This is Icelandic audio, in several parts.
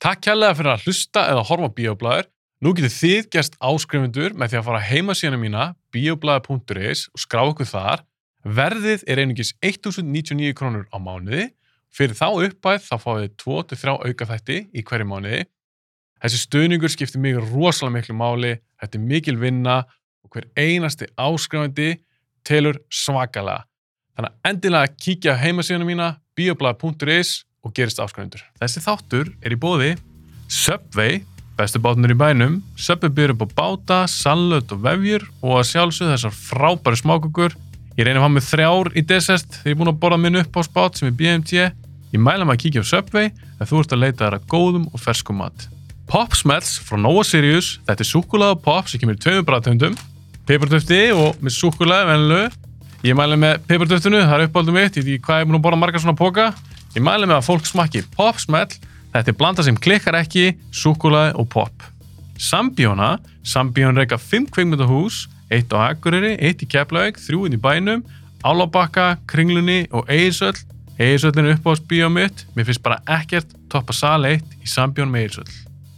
Takk kærlega fyrir að hlusta eða horfa á Bíoblæður. Nú getur þið gerst áskrifundur með því að fara á heimasíðuna mína bioblæður.is og skrá okkur þar. Verðið er einungis 1.099 krónur á mánuði. Fyrir þá uppæð þá fáið þið 2-3 aukaþætti í hverju mánuði. Þessi stuðningur skiptir mig rosalega miklu máli, þetta er mikil vinna og hver einasti áskrifandi telur svakalega. Þannig að endilega kíkja á heimasíðuna mína bioblað.is og gerist áskrifundur. Þessi þáttur er í bóði Subway, bestu bátunur í bænum, Subway byrjur upp á báta, sallöt og vefjur og að sjálfsögðu þessar frábæri smákukur. Ég reyni að hafa með þrjár í desert þegar ég er búin að borða minn upp á spát sem er BMT. Ég mæla maður að kíkja á Subway þegar þú ert að leita þar að góðum og ferskum mat. Pop Smells frá Nova Sirius, þetta er súkulega pop sem kemur í tveimur bræðtöndum, pipartöfti og með súkulega venlu. Ég mæli með pipartöftinu, það er uppáldum mitt, ég veit ekki hvað ég er búin að borða margar svona póka. Ég mæli með að fólk smakki Pop Smell, þetta er blanda sem klikkar ekki, súkulega og pop. Sambjóna, Sambjón reyka 5 kveikmyndahús, 1 á Akureyri, 1 í Keflavík, 3 inn í bænum, Álabakka, Kringlunni og Eirsöll. Eirsöllin er uppáhaldsbíó mitt, mér finnst bara ekkert toppa sal 1 í Sambjón með Eirsöll.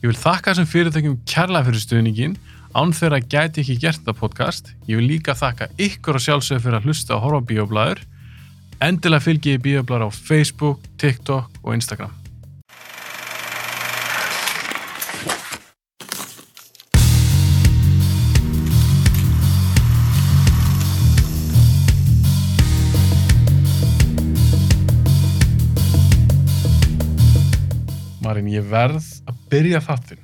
Ég vil þakka þessum fyrirtækjum kærlega fyrir stuðningin, án þeirra gæti ég ekki gert þetta podcast. Ég vil líka þakka ykkur og sjálfsögur fyrir að hlusta og horfa á bíoblæður. Endilega fylgi ég bíoblæður á Facebook, TikTok og Instagram. Marín, ég verð að byrja þáttinn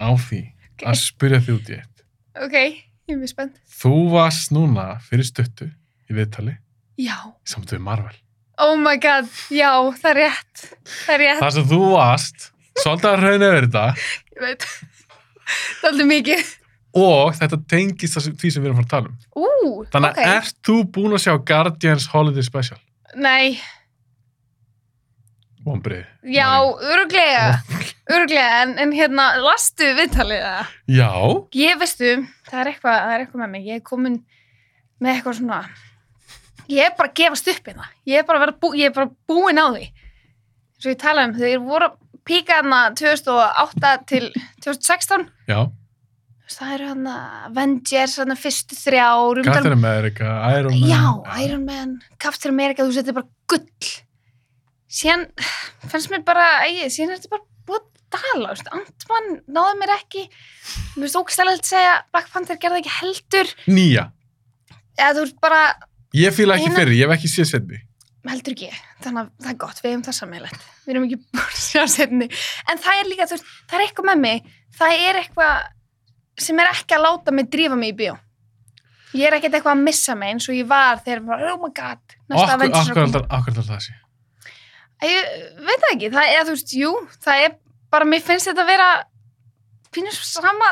á því að spyrja því út í eitt. Ok, ég er mjög spennt. Þú varst núna fyrir stöttu í viðtali í Já. samt við Marvel. Oh my god, já, það er rétt. Það er rétt, Þar sem þú varst, svolítið að rauna yfir þetta ég veit. Það er aldrei mikið. og þetta tengist þessu- því sem við erum að fara að tala um. Ú, Þannig ok. að ert þú búin að sjá Guardians Holiday Special? Nei, Vombrið. já, öruglega. Öruglega, en, en hérna, lastu viðtalið það. Já, Ég veistu, það er eitthvað, það er eitthvað með mig. Ég er komin með eitthvað svona, ég er bara að gefast upp í það. Ég er bara að vera bú, ég er bara búin á því. Svo ég talaði um, þeir voru að píka hérna 2008 til 2016. já. Þú veist, það eru hann Avengers, hann fyrstu þrjá Captain America, Iron Man. Já, Iron Man, Captain America þú setur bara gull síðan fannst mér bara æ, síðan er þetta bara búið að dala þú veist, Ant-Man náði mér ekki mér veist ógstælega að segja Black Panther gerði ekki heldur Nýja. eða þú veist bara, Ég fýla ekki Eina- fyrir, ég hef ekki séð setni. heldur ekki þannig að það er gott, við hefum það sammeilegt við erum ekki búin að sjá setni en það er líka, þú veist, það er eitthvað með mig það er eitthvað sem er ekki að láta mig drífa mig í bíó ég er ekkert eitthvað að missa mig eins og ég var þegar bara, oh my god næsta Okkur, Avengers er að okkur, koma. aldar, okkur aldar það sé. Æ, Ég veit það ekki, það er, þú veist, jú, það er bara, mér finnst þetta að vera pínur sama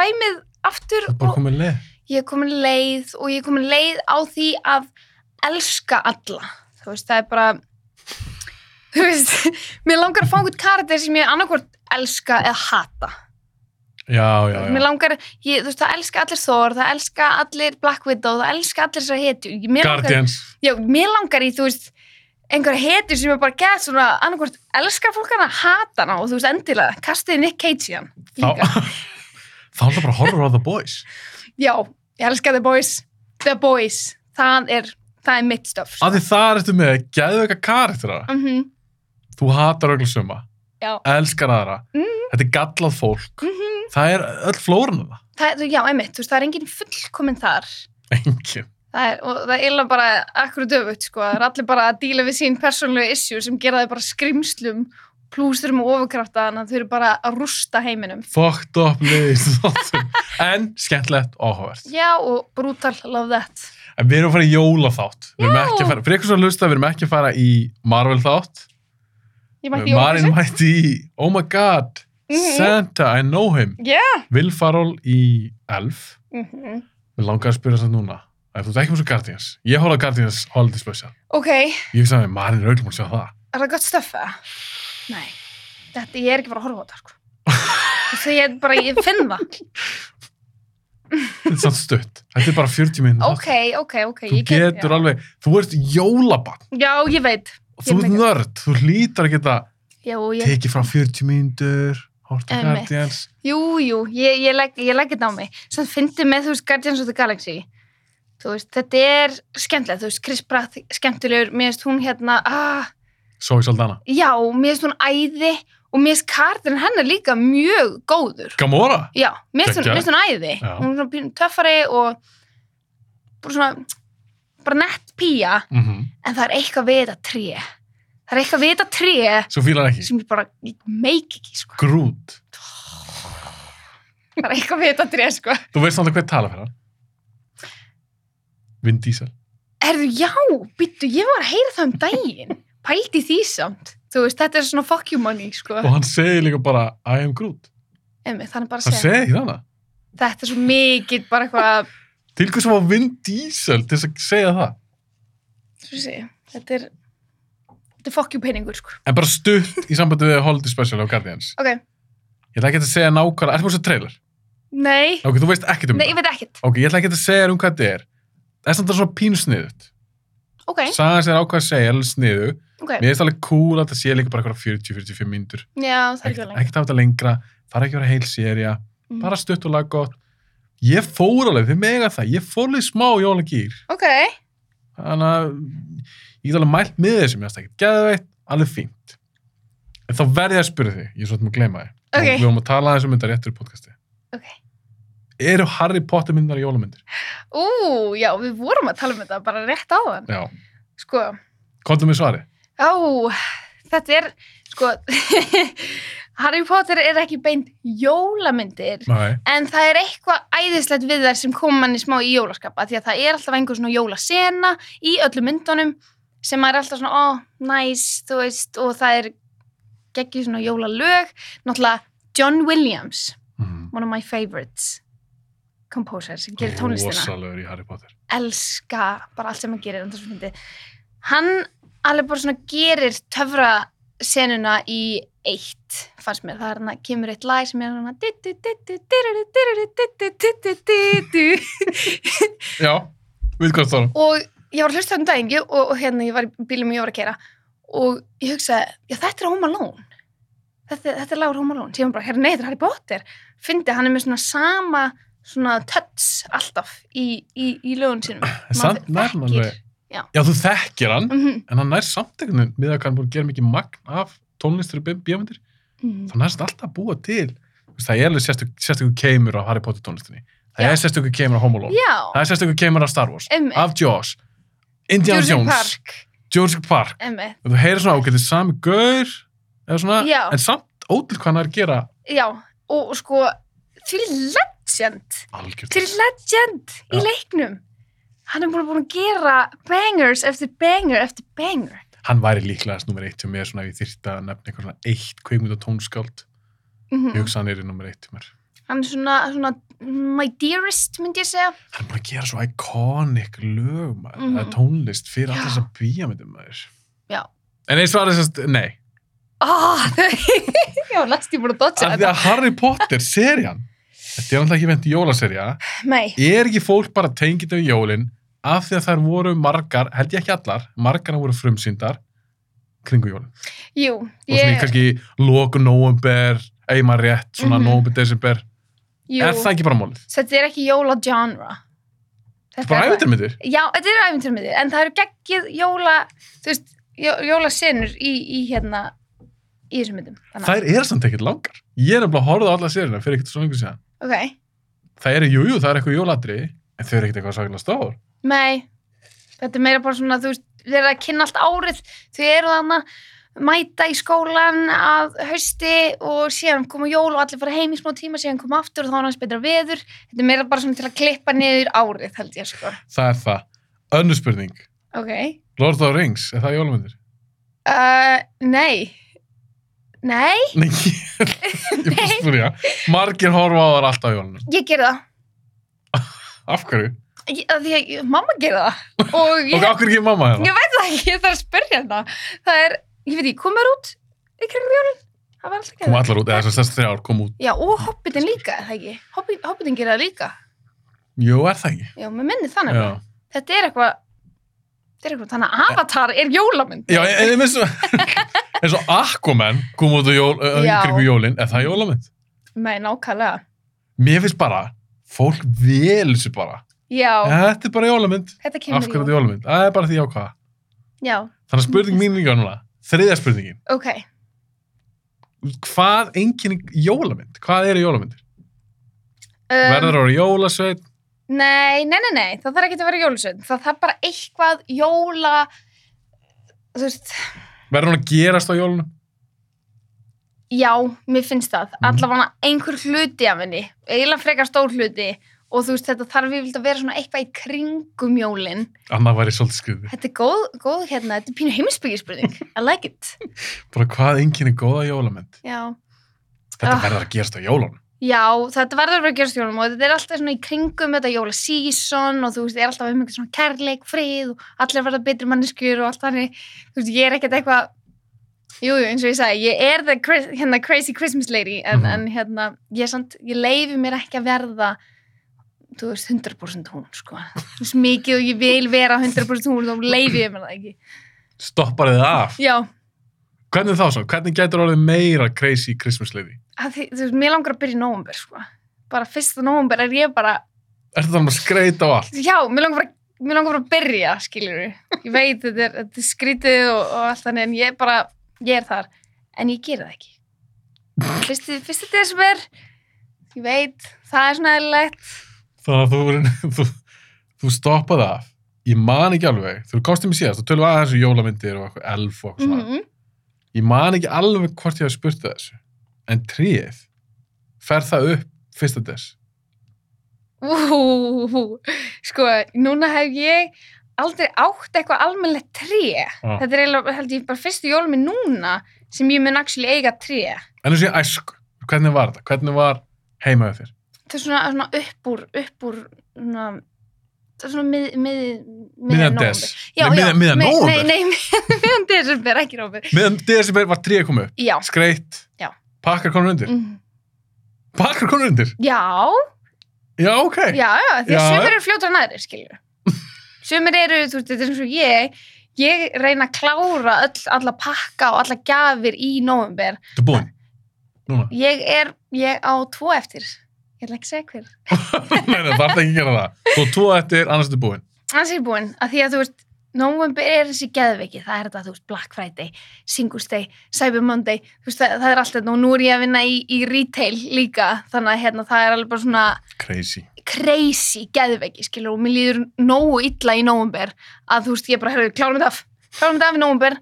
dæmið aftur Það er bara og komið leið. ég er komin leið og ég er komin leið á því að elska alla, þú veist, það er bara, þú veist, mér langar að fá einhvern karakter sem ég annarkvort elska eða hata. Já, já, já. Mér langar, ég, þú veist, það elska allir Thor, það elska allir Black Widow, það elska allir þessar hetjur. Mér langar- Guardians. já, mér langar í, þú veist, einhverja hetjur sem er bara gett svona, annarkvort elskar fólk hana, hata hana og þú veist, endilega, kastiði Nick Cage í hann. Þá, líka. þá er það bara horror of the boys. Já, ég elska The Boys. The Boys, það er, það er mitt sko. stöf. Af því þar ertu með geðveika karaktera. Mm -hmm. Þú hatar öll suma. Já. Elskar aðra. Mhm. Þetta er gallað fólk. Það er öll flóran af það. það, er- já, einmitt, þú veist, það er engin fullkominn þar. Engin. Það er, og það er illa bara akkurat öfugt, sko. Það er allir bara að díla við sín persónlega issue sem gera þau bara skrimslum, plústurum og ofurkrafta, þannig að þau eru bara að rústa heiminum. Fucked up leið. en skemmtilegt og áhugavert. Já, og brutal, love that. En við erum að fara í jólaþátt. Við erum Já. ekki að fara, fyrir ykkur sem hlusta, við erum ekki að fara í Marvel þátt. Ég mætti í Marin óvissu. mætti í, oh my god, Mhm. Santa, I know him. Já. Will Farrell í Elf. Mhm. Við langar að spyrja þess að núna. Ef þú ert ekki með svo Guardians, ég horfði á Guardians Holiday Special. Ok, Ég hugsa að Marin er auðvitað að sjá það. er það gott stöffa? Nei, þetta, ég er ekki bara að horfa á þetta, sko. Þegar ég bara, ég finn það. Þetta er sann stutt. Þetta er bara 40 minn. Ok, ok, ok. Þú ég get- getur alveg, þú ert jólabann. Já, já ég veit. Þú Ég ert meina- nörd. Þú hlýtar að geta Já, og ég, tekið fram 40 mínútur hort og Einmitt. Guardians jú, jú, ég, ég legg ég legg þetta á mig. Sann fyndi með, þú veist, Guardians of the Galaxy. Þú veist, þetta er skemmtilegt, þú veist, Chris Pratt skemmtilegur, mér veist hún hérna, ah, Zoe Saldana já, mér veist hún æði og mér veist kartin hennar líka mjög góður. Gamora Já, mér finnst hún, Geggjað. mér finnst hún æði. Já. Hún er svona pínu töffari og bara svona, bara nett pía, mm en það er eitthvað við þetta tré. Það er eitthvað við þetta tré svo fílar ekki sem ég bara, ég meik ekki, sko. Groot Það er eitthvað við þetta tré, sko. þú veist náttúrulega hver tala fyrir hann Vin Diesel Herðu, já, býttu, ég var að heyra það um daginn. Pældi því samt. Þú veist, þetta er svona fuck you money, sko. og hann segir líka bara I am Groot Emi, þannig bara að hann segja. segir hana Þetta er svo mikið bara eitthvað, til hvers var Vin Diesel til þess að segja það þú veist, þetta er, þetta er fuck you peningur, sko. en bara stutt í sambandi við Holiday Special á Guardians Ok, ég ætla ekki að segja nákvæmlega ertu búin að sjá trailer nei, ok, þú veist ekkert um nei, það ég veit ekkert. ok, ég ætla ekki að segja þér um hvað þetta er það er samt að svona pínsniðut Ok, sagan sem er ákvað að segja er alveg sniðu ok, mér finnst alveg cool að það sé líka bara eitthvað 40-45 mínútur já, það er ekki ekkert lengi. ekkert að hafa þetta lengra þarf ekki að vera heil sérija Mhm. bara stutt og laggott ég fór alveg, þið mega það, ég fór alveg smá jólagýr Ok, þannig að ég get alveg mælt með þessu mér finnst það ekkert geðveitt, alveg fínt en þá verð ég að spyrja þig, ég er svolítið að gleyma þig Ok. við vorum að tala aðeins um myndar réttur í podcasti ok. eru Harry Potter myndar jólamyndir? Ú, já, við vorum að tala um þetta bara rétt á þann. Já, Sko, komdu með svari á, þetta er, sko, Harry Potter er ekki beint jólamyndir. Nei. En það er eitthvað æðislegt við þær sem kom manni smá í jólaskapa því að það er alltaf einhver svona jólasena í öllum myndunum sem maður er alltaf svona, ó, nice, þú veist, og það er geggjur svona jólalög. Náttúrulega John Williams, Mm. one of my favorites composer sem gerir tónlistina. Rosalegur í Harry Potter Elska bara allt sem hann gerir, en það er svo fyndið. Hann alveg bara svona gerir töfra senuna í eitt fannst mér, það er hann að kemur eitt lag sem er svona dittu, dittu, dirru, dirru, dittu, dittu, dittu Já, við hvað það er og ég var að hlusta um daginn og, og hérna ég var í bílum og ég var að kera og ég hugsaði, já þetta er Home Alone þetta, þetta er lagur Home Alone síðan bara, hérna neyður Harry Potter fyndi hann er með svona sama svona tötts alltaf í, í, í lögun sínum En samt nær hann þekkir. alveg. Já. Já, þú þekkir hann, Mhm. en hann nær samt einhvern veginn með að hann búið að gera mikið magn af tónlistur og bíómyndir. Mhm. Það nær samt alltaf að búa til. Þú Veist, það er alveg sérstök, sérstökur keimur af Harry Potter tónlistinni. Það Já. er sérstökur keimur af Home Alone. já, Það er sérstökur keimur af Star Wars. emmi Af Jaws. Indiana Jurassic Jones. Park, Jurassic Park. emmi Og þú heyrir svona, ok, þetta er sami gaur, eða svona, Já. en samt ótil hvað hann er að gera já, og og sko til legend algjörð. til legend í Já. leiknum hann er bara búin að gera bangers eftir banger eftir banger Hann væri líklegast nummer eitt hjá mér, svona, ef ég þyrfti að nefna eitthvað svona eitt kveikmynd og tónskáld. Mhm. Ég hugsa að hann er í nummer eitt hjá mér. hann er svona, svona my dearest myndi ég segja hann er búin að gera svo iconic lög maður, Mhm. mm -hmm. tónlist fyrir Já. alltaf þess að býja með þeim maður Já. en eins var þess að, nei oh, já, næst ég búin að dodja af því þetta að Harry Potter, serían þetta er alltaf ekki vent í jólaserja nei, er ekki fólk bara tengið við jólin af því að þær voru margar, held ég ekki allar margar voru frumsýndar kringu jólin jú og svona í ég, kannski loku november eima rétt, svona mm Mhm. november, desember jú er það ekki bara málið? þetta er ekki jóla genre Þetta er bara æfintirmyndir? já, þetta er æfinturmiðir en það eru geggið jóla þú veist, jó, jóla í, í hérna í þessum myndum Þannig Þær að- er samt ekkert langar. Ég er nefnilega að horfa á alla sérina fyrir ekkert svo lengur síðan. ok, það eru, jújú, það eru eitthvað jóladri en þau eru ekkert eitthvað svaklega stór nei, þetta er meira bara svona þú veist, þeir eru að kynna allt árið þau eru þarna mæta í skólan að hausti og síðan koma jól og allir fara heim í smá tíma síðan koma aftur og þá er hans betra veður þetta er meira bara svona til að klippa niður árið held ég sko, það er það, önnur spurning ok Lord of the Rings, er það jólamyndir? uh, nei nei, Nei, ég ég bara spurja margir horfa á þar alltaf á jólunum ég gerði það af hverju? Ég, að því að ég- mamma gerði það og og ég, af hverju ekki mamma ég hérna? veit það ekki, ég þarf að spyrja hérna það er, ég veit ekki, komur út í kringum jólun, það var alltaf kom allar út, eða þess að þrjár kom út Já, og Hobbitin líka, er það ekki? Hobbit, Hobbitin gerir það líka. jú, er það ekki? Já, mér minni þannig. Já. Já. Þetta er eitthvað, þetta eftir ykkur. Þannig að Avatar er jólamynd. Já, en ég minnst eins og Aquaman kom út á jól, uh, Já. kringu jólin, er það jólamynd? Nei, nákvæmlega. Mér finnst bara, fólk vel þessu bara. Já, Þetta er bara jólamynd. þetta kemur Af hverju þetta í er jólamynd? Það er bara því ákvaða. jól. Já, Þannig að spurning mín líka núna, þriðja spurningin. ok. Hvað enginn jólamynd? Hvað eru jólamyndir? Um, Verður ára jólasveit? Nei, nei, nei, nei, það þarf ekki að vera jólusveinn. Það þarf bara eitthvað jóla, þú veist, Verður hún að gerast á jólunum? já, mér finnst það. Mhm. Allavega einhver hluti af henni, eiginlega frekar stór hluti og þú veist, þetta þarf yfirlega að vera svona eitthvað í kringum jólin. Annað væri svolítið skriði. Þetta er góð, góð hérna, þetta er pínu heimisbyggjspurning. I like it. Bara hvað enginn er góða jólamynd? Já, Þetta Ah. verður að gerast á jólunum. já þetta verður að vera að gera stjórnum og þetta er alltaf svona í kringum þetta jóla season og þú veist, það er alltaf um einhvern svona kærleik, frið og allir verða betri manneskjur og allt þannig. Þú veist, ég er ekkert eitthvað, jú, jú, eins og ég sagði, ég er the cra- hérna, crazy Christmas lady en, Mhm. en hérna, ég, samt, ég leifi mér ekki að verða þú veist, 100% hún, sko. Þú veist, mikið og ég vil vera 100% hún, þá leifi ég mér það ekki. Stoppar þið af. Já, Hvernig þá svo? Hvernig getur orðið meira crazy Christmas lady? að því, þú veist, mér langar að byrja í nóvumber, sko. Bara fyrsta nóvumber er ég bara, Ertu það um að skreita á allt? já, mér langar bara, mér langar bara að byrja, skiljur Ég veit, þetta er, þetta er skrítið og, og allt þannig, en ég bara, ég er þar. En ég gera það ekki. Fyrst, fyrst þetta er sem er, ég veit, það er svona eðlilegt. Þannig að þú, þú, þú stoppaði af. Ég man ekki alveg. Þú kostum mér síðast, þú tölum aðeins um jólamyndir og eitthvað elf og eitthvað Mm svona. Ég man ekki alveg hvort ég hafi spurt það þessu. En tríið, fer það upp fyrsta des? Ú, sko, núna hef ég aldrei átt eitthvað almennilegt tré. Ah. Þetta er eiginlega, held ég, bara fyrstu jólum minn núna sem ég mun actually eiga tré. En þú sé æsku, hvernig var þetta? Hvernig var heimaðu þér? það er svona, svona upp úr upp úr svona, það er svona mið, mið, Miðjan nóvember. des. já, Nei, já, miðjan- miðjan nei, nóvember? nei, nei, miðan desember, ekki nóvember Meðan desember var tríið komið upp. já, Skreitt. Já. Pakkar konur undir. mm. Pakkar konur undir? já, Já, ok. já, já því Já. að sumir eru fljóta næri, skilju sumir eru, þú veist, þetta er eins og ég ég reyna að klára öll, alla pakka og alla gjafir í nóvember, Þetta er búinn. Núna. ég er ég á tvo eftir, ég ætla ekki að segja hver Nei, það þarf ekki að gera það. Þú átt tvo eftir, annars þetta er búinn. Annars er ég búin, að því að þú veist, november er þessi geðveiki, það er þetta, þú veist, Black Friday, Singles Day, Cyber Monday, þú veist, það, það er allt þetta og nú er ég að vinna í, í retail líka, þannig að hérna, það er alveg bara svona Crazy. crazy geðveiki, skilur, og mér líður nógu illa í november að þú veist, ég bara, herru, klárum þetta af, klárum þetta af í november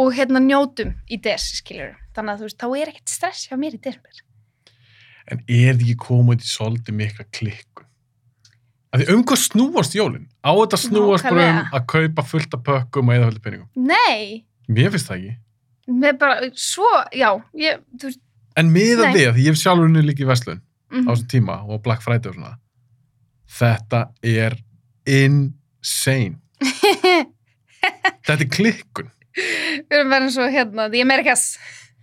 og hérna njótum í des, skilur, þannig að þú veist, þá er ekkert stress hjá mér í desember. En er þetta ekki komið til svolítið mikla klikkun? Af því um hvað snúast jólinn? Á þetta snúast bara um Nákvæmlega. að kaupa fullt af pökkum og eða fullt af peningum. Nei, Mér finnst það ekki. með bara, svo, já, ég, þú veist, En miða Nei. við, af því ég hef sjálfur henni líka í Vestlun á mm, þessum tíma og Black Friday og svona. Þetta er insane. Þetta er klikkun. við erum verið svo, hérna, The Americas.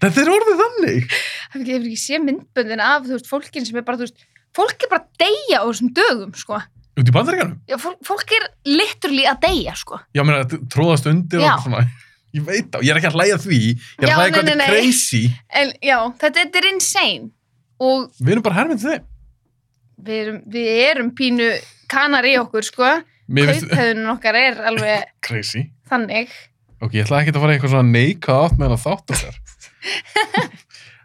Þetta er orðið þannig. hef ekki, hefur ekki sé myndböndin af þú veist, fólkin sem er bara, þú veist, fólk er bara að deyja á þessum dögum, sko. Út í bandaríkanum? Já, fólk, fólk er literally að deyja, sko. Já, mér að tróðast undir Já. og svona. Ég veit á, ég er ekki að hlæja að því. Ég er Já, að hlæja nei, hvað nei, þetta nei. er crazy. En já, þetta, þetta er insane. Og Við erum bara hermið þeim. við erum, við erum pínu kanar í okkur, sko. Mér finnst Kauphauðunum okkar er alveg crazy. þannig. Ok, ég ætla ekki að fara í eitthvað svona neikað átt meðan að þátt okkar.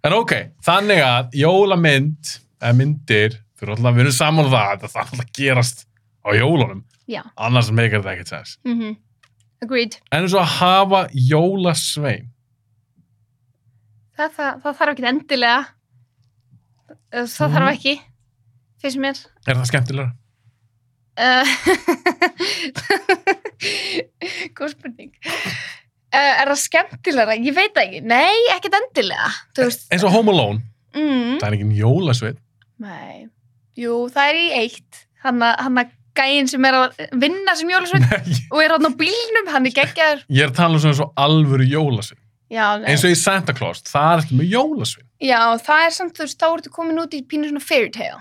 en ok, þannig að jólamynd, eða myndir, þú eru alltaf að vinna saman um það, þetta þarf alltaf að gerast á jólunum. Já. Annars meikar þetta ekkert sens. Mm Agreed. En eins og að hafa jólasvein. Það, það, það þarf ekki endilega. Það, það Mhm. þarf ekki, finnst mér. Er það skemmtilega? Uh, Góð spurning. Uh, er það skemmtilegra? Ég veit það ekki. Nei, ekkert endilega. Þú veist, Eins og Home Alone, mm, það er ekki jólasvein. nei. Jú, það er í eitt. Hanna, hanna gæinn sem er að vinna sem jólasveinn Nei, og er hann á bílnum, hann er geggjaður. ég er að tala um svona eins og alvöru jólasvein. Já, nei. Eins og í Santa Claus, það er með jólasvein. Já, það er samt, þú veist, þá ertu komin út í pínu svona fairy tale.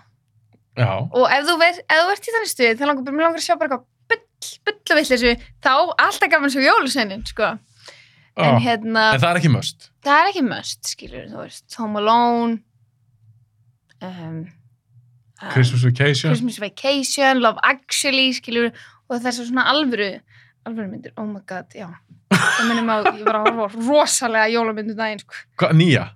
Já, Og ef þú, ver, ef þú ert í þannig stuð, þá langar, mig langar að sjá bara eitthvað bull, bull og vill þessu, þá alltaf gaman svo jólusveinin, sko. Ah, En hérna, en það er ekki möst. það er ekki möst, skilur, þú veist, Home Alone, um, um, Christmas Vacation. Christmas Vacation, Love Actually, skilur, og þessar svona alvöru, alvöru myndir, oh my god, já. Það minnum að ég var að horfa á rosalega jólamyndu daginn, sko. Hva, nýja,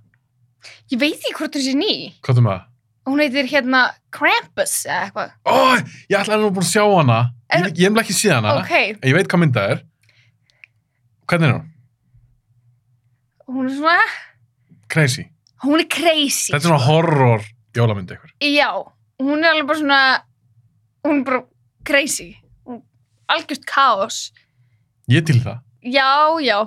Ég veit ekki hvort þessi er ný. hvað er maður? Hún heitir hérna Krampus eða eitthvað. Ó, ég ætlaði nú búin að sjá hana. Ég, Er- ég hef ekki séð hana. Ok, En ég veit hvað mynda er. Hvernig er hún? hún er svona, Crazy. hún er crazy. Þetta er svona horror jólamyndi ykkur. Já, hún er alveg bara svona, hún er bara crazy. Hún- Algjört kaos. Ég til það. Já, já,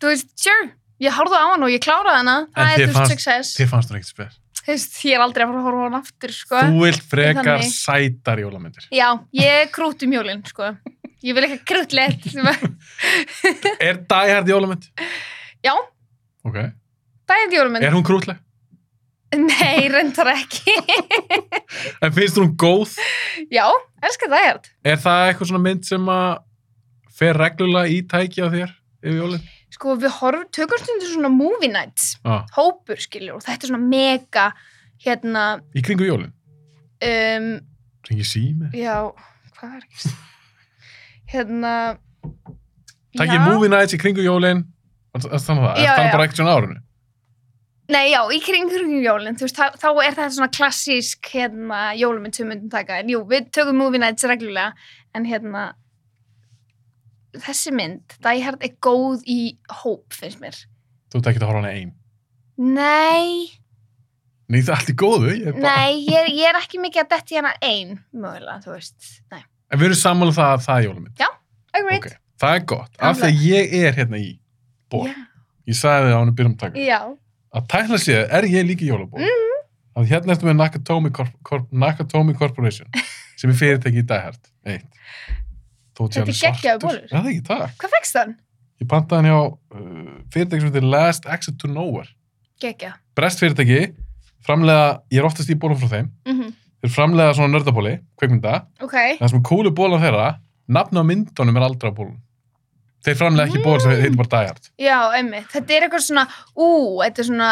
þú veist, sure, ég horfði á hana og ég kláraði hana. Það þér er þú veist fannst- success. Þér fannst hún ekkert spes. Þú veist, ég er aldrei að fara að horfa á hana aftur, sko. Þú vilt frekar Þannig. sætar jólamyndir. Já, ég er krút um jólinn, sko. Ég vil eitthvað krútlegt. Er Die Hard jólamynd? Já. Ok. Það er jóluminn. Er hún krútleg? um Nei, reyndar ekki. En finnst hún góð? Já, elskar það hjart. Er það eitthvað svona mynd sem að fer reglulega í tæki á þér yfir jólinn? Sko, við horfum, tökum stundur svona movie nights, Já, hópur, skilur, og þetta er svona mega, hérna, í kringu jólinn. um, Ringi sími. já, hvað er ekki? Hérna, Takk ég movie nights í kringu jólinn. Þannig að það, Já, er það já. bara ekkert svona á árinu? Nei, já, í kringjum jólinn, þú veist, þá, þá er þetta svona klassísk, hérna, jóluminn sem við myndum taka, en jú, við tökum movie nights reglulega, en hérna, þessi mynd, Die Hard er góð í hóp, finnst mér. Þú ert ekki að horfa á hana einn. Nei, Nei, það er allt í góðu. Ég er bara... nei, ég er, ég er ekki mikið að detti hérna ein, mögulega, þú veist, nei. En við erum sammála um það að það er jólamynd. Agreed. Ok, það er gott. Af því að ég er hérna í ból. Ég sagði það á henni byrjum taka. Já, Að tækla séð er ég líka í jólaból. Mm. Að hérna ertu með Nakatomi, Corp Corp Nakatomi Corporation sem er fyrirtæki í daghært. Eitt. Þó Þetta er geggjaður bolur. Já, það er ekki takk. hvað fækst þann? Ég pantaði hann hjá uh, fyrirtæki sem heitir Last Exit to Nowhere. Gekja. Brest fyrirtæki, framlega, ég er oftast í bólum frá þeim, Mm þeir framlega svona nördabóli, kveikmynda, Ok, En það sem er kúlu bólan þeirra, nafn á myndunum er aldrei á bólun. Þeir framlega ekki mm. ból sem heitir bara Die Hard. já, emmi, þetta er eitthvað svona, ú, þetta er svona,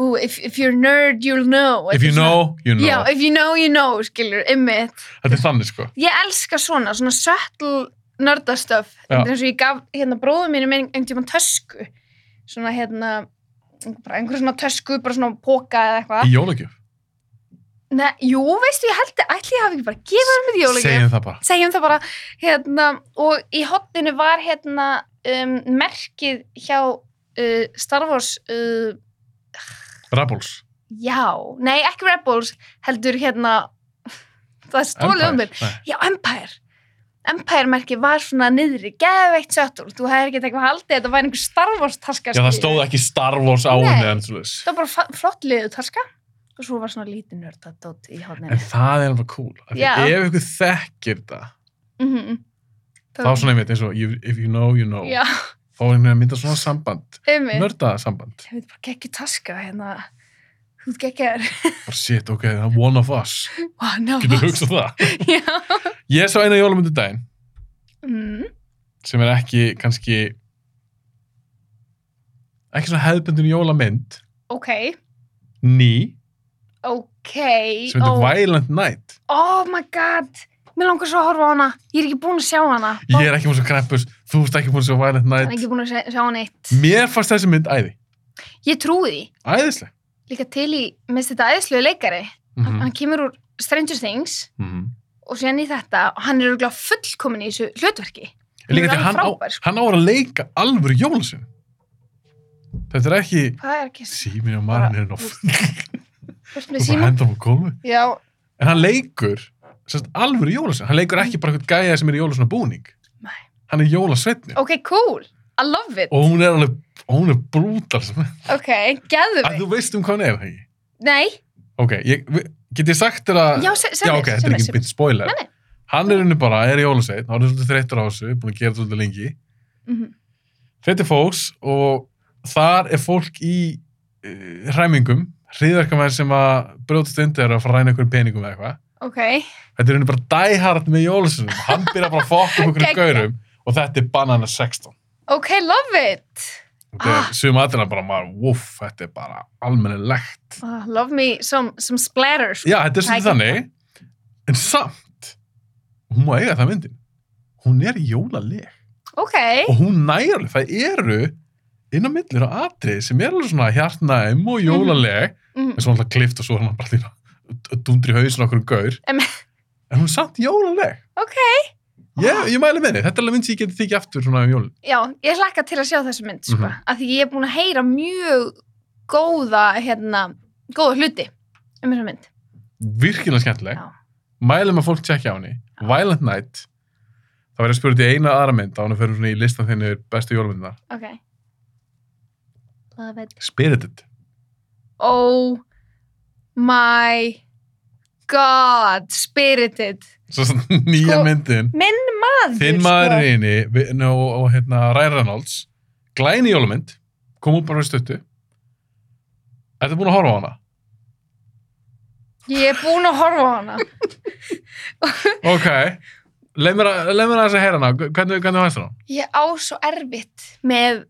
ú, if, if you're a nerd, you'll know. If Þetta er you svona- know, you know. Já, if you know, you know, skilur, ymmið. Þetta er þannig sko. Ég elska svona, svona subtle nördastöf. Já. Þetta er eins og ég gaf hérna bróðu mínum ein- einhvern tímann tösku. Svona hérna, bara einhver svona tösku, bara svona póka eða eitthvað. Í jólagjöf. Nei, jú, veistu, ég held að ætli ég hafi ekki bara gefið hann með jólagjöf. Segjum það bara. Segjum það bara, hérna, og í hotninu var hérna um, merkið hjá uh, Star Wars, uh, Rabbles. já, nei, ekki Rebels, heldur hérna, það er stólið um mér. Nei. Já, Empire. Empire-merki var svona niðri, geðveikt sötul. Þú hefði ekki eitthvað haldið, þetta var einhver Star Wars taska. Já, það stóð ekki Star Wars á eh, Nei. henni en svoleiðis. Það var bara fa- flott liðu taska og svo var svona lítið nörda dótt í hálfninu. En það er alveg cool. af því Já. Ef ykkur þekkir þetta, Mm -hmm. þá Eh. svona einmitt eins og you- if you know, you know. Já, Þá er einhvern veginn að mynda svona samband. ummi. Nörd. Nördasamband. Ég veit bara geggju taska hérna. Þú veit geggjar. Bara shit, ok, það er one of us. Wow, no. Getur hugsað það. Já. Ég sá eina jólamyndu daginn Mm. sem er ekki kannski ekki svona hefðbundin jólamynd Ok, ný, ok. sem heitir Violent Night Oh my god. Mér langar svo að horfa á hana. Ég er ekki búin að sjá hana. ég er ekki búin svo kreppus, þú ert ekki búin svo Violent Ég er Night ekki búin að sjá, sjá hana eitt. mér fannst þessi mynd æði, Ég trúi því. æðisleg líka til í, minnst þetta æðisluðu leikari mm hann, hann kemur úr Stranger Things Mhm. og síðan í þetta og hann er örgulega fullkomin í þessu hlutverki líka Hún er því hann, á, alveg frábær, sko. hann á að leika alvöru jólasin þetta er ekki hvað er ekki símin og marinn er nóf hvort og með bara síma henda hann á gólfi já, en hann leikur sérst, alvöru jólasin, hann leikur ekki bara eitthvað gæja sem er í jólasuna búning Nei. hann er jólasveitni ok, cool, I love it og hún er alveg og hún er brútal sem ok, geðu að mig þú veist um hvað hann er það ekki nei, ok, ég, vi- get ég sagt þér að já, sem já ok, þetta er ekki beint spoiler Nei, nei. hann er unni bara, er í ólusveit hann er svolítið þreyttur á þessu, búin að gera þetta svolítið lengi Mhm. þetta er fólks og þar er fólk í eh, uh, hræmingum hriðverkamæður sem að brjóðst undir að fara að ræna einhverjum peningum eða eitthvað ok, Þetta er henni bara dæhard með jólusunum. Hann byrja bara að fokka um okkur Geggjað. gaurum og þetta er banana 16. ok, love it Þetta Ah. er sum aðeina bara maður, woof, þetta er bara almennilegt. oh, love me some, some splatter sko. Já, þetta er svolítið Það er þannig, en samt, hún má eiga það myndin. Hún er jólaleg ok, og hún nægir alveg, það eru inn á millir og atrið sem er alveg svona hjartnæm og jólaleg, mm, en svo alltaf klift og svo er hann bara líka dundri hausin okkur um gaur. Em. En hún er samt jólaleg. ok Ah. Ég, ég mæli með þið, þetta er alveg mynd sem ég geti þykja aftur svona um jólin. já, ég hlakka til að sjá þessu mynd sko, Mhm. af því ég er búin að heyra mjög góða hérna, góða hluti um þessu mynd virkilega skemmtileg Já. mælum að fólk tjekkja á henni Violent Night það verður spurt í eina aðra mynd á hann að fyrir svona í listan þinn yfir bestu jólmyndina ok love it Spirited oh my god, spirited svo svona nýja Sko, myndin minn maður sko. þinn maður er eini við- no, og hérna Ryan Reynolds glæni jólmynd kom út bara fyrir stuttu Ertu búin að horfa á hana? sko. ég er búin að horfa á hana Ok, leið mér að- leið mér að þess að heyra hana hvernig, hvernig hægst hana? ég á svo erfitt með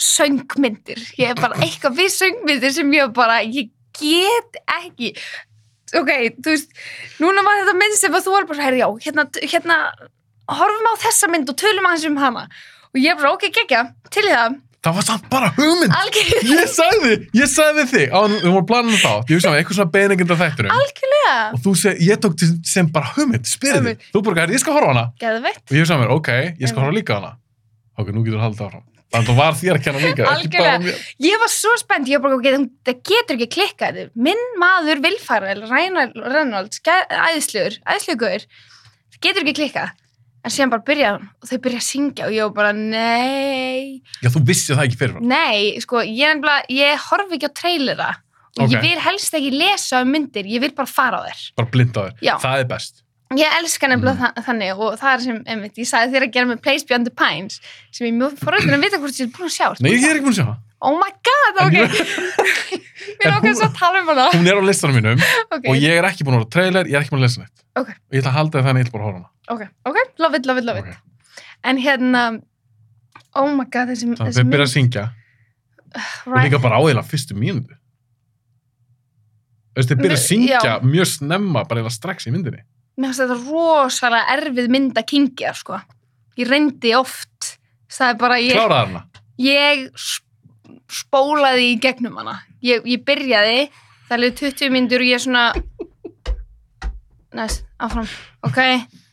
söngmyndir ég er bara eitthvað við söngmyndir sem ég bara, ég get ekki ok, þú veist núna var þetta mynd sem að þú var bara herri, já, hérna, hérna horfum á þessa mynd og tölum aðeins um hana og ég er bara, ok, geggja, til í það Það var samt bara hugmynd algjörlega, Ég sagði, ég sagði við þig á, við vorum planinu þá, ég hugsaði eitthvað svona beinengind af þætturum algjörlega. og þú seg, ég tók til sem bara hugmynd, spyrði Hugmynd. þig, þú bara, "Herri, ég skal horfa á hana geðveitt og ég sagði mér, ok, ég skal Einmitt. horfa líka á hana ok, nú getur þú haldið áfram þannig að var þér að kenna líka ekki bara Algjörlega. mér. Ég var svo spennt, ég var bara, okay, það getur ekki klikkað. Minn maður vilfæra, Reynolds, æðislegur, æðislegur, það getur ekki klikkað. En síðan bara byrjaði hún og þau byrjaði að syngja og ég var bara, nei, já, þú vissi það ekki fyrir frá nei, sko, ég, er nefnilega, ég horfi ekki á trailera og Ok. ég vil helst ekki lesa um myndir, ég vil bara fara á þér. bara blind á þér, Já. það er best Ég elska Mm. nefnilega þa þannig og það er sem, einmitt, ég sagði þér að gera með Place Beyond the Pines sem ég er mjög foröndin að vita hvort ég er búin að sjá. sko. Ertu nei, búin ég að- er ekki búin að sjá hana Oh my god, En ok. ég- Mér En ákveður hún- svo að tala um hana. hún er á listanum mínum Ok, og ég er ekki búin að horfa á trailer, ég er ekki búin að lesa neitt Ok. og ég ætla að halda það þannig, ég ætla bara að horfa á hana ok, ok, love it, love it, love it. Ok. En hérna, oh my god, þessi, þannig að þau byrja að syngja og líka bara áðila fyrstu mínútu Þú veist, þau byrja að Mér- syngja já. mjög snemma, bara eiginlega strax í myndinni. Mér finnst þetta rosalega erfið mynd að kynkja, sko. Ég reyndi oft, það er bara, ég, Kláraði hana. ég sp- spólaði í gegnum hana. Ég, ég byrjaði, það er liðið 20 myndur og ég svona, næst, áfram, ok,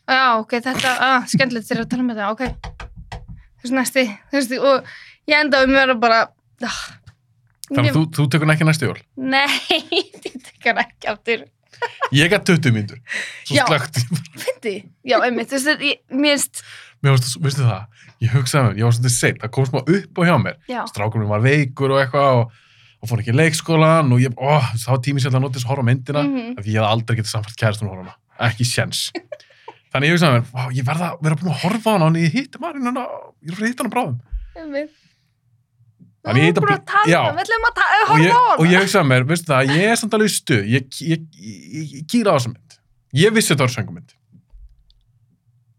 já, ok, þetta, að, skemmtilegt þér að tala með þetta, ok. Þessu næsti, þessu, og ég endaði mér að bara, ah, Þannig að þú, þú tekur hana ekki næstu jól. Nei, ég tekur ekki aftur. Ég gætt 20 mínútur. Svo Já. slögt. Fyndi? Já, einmitt, þú veist, þetta- ég- mér finnst, Mér varst, veistu það, ég hugsaði mér, ég var svolítið seitt, það kom smá upp á hjá mér. já, Strákurinn var veikur og eitthvað og, og fór ekki í leikskólan og ég, ó, þá var tími sér að nota þess að horfa á myndina. Mm. mhm, Því ég hafði aldrei getið samfært kærastun um að horfa á hana. Ekki séns. Þannig ég hugsaði mér, vá, ég verða að vera búin að horfa á hana og ég hitti maður hana, ég er að fara að hitta hana bráðum. einmitt. Þú Þannig ég erum hitt að bara að tala, já. við ætlum að tala, Og ég, horfa á og hana. ég hugsaði mér, veistu það, ég er samt alveg í stuð, ég, ég, ég, ég, ég kýra á þessa mynd. Ég vissi þetta var söngumynd.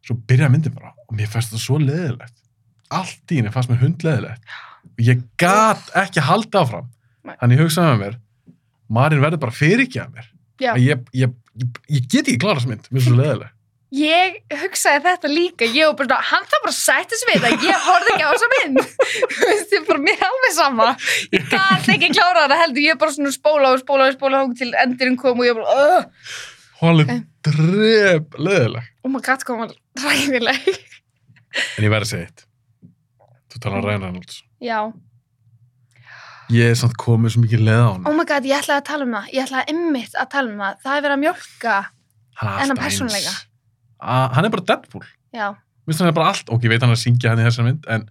Svo byrjaði myndin bara og mér fannst það svo leðilegt. Allt í henni fannst mér hundleðilegt. Og ég gat ekki halda áfram. Nei. Þannig ég hugsaði með mér, Marín verður bara fyrirgjað mér. Já. Að Ég, ég, ég, ég get ekki klára þessa mynd, mér er svo leðileg. Ég hugsaði þetta líka, ég var bara, svona, hann þarf bara að sætta sig við það, ég horfði ekki á þessa mynd. Þú veist, ég bara, mér er alveg sama. Ég gæti ekki klára hana heldur, ég bara svona spóla og spóla og spóla og til endurinn kom og ég bara, oh, Hún er Nei. alveg drep leðileg. oh my god, kom hann ræðileg. En ég verði að segja eitt. Þú talar Ryan Reynolds. Já. Ég er samt komið svo mikið leð á hann. Oh my god, ég ætlaði að tala um það, ég ætlaði ymmit að tala um það, það er verið að mjölka, hann er En hann alltaf eins. persónuleika? A, hann er bara Deadpool já, Vist, hann er bara allt, ok, ég veit hann er að syngja hann í þessari mynd en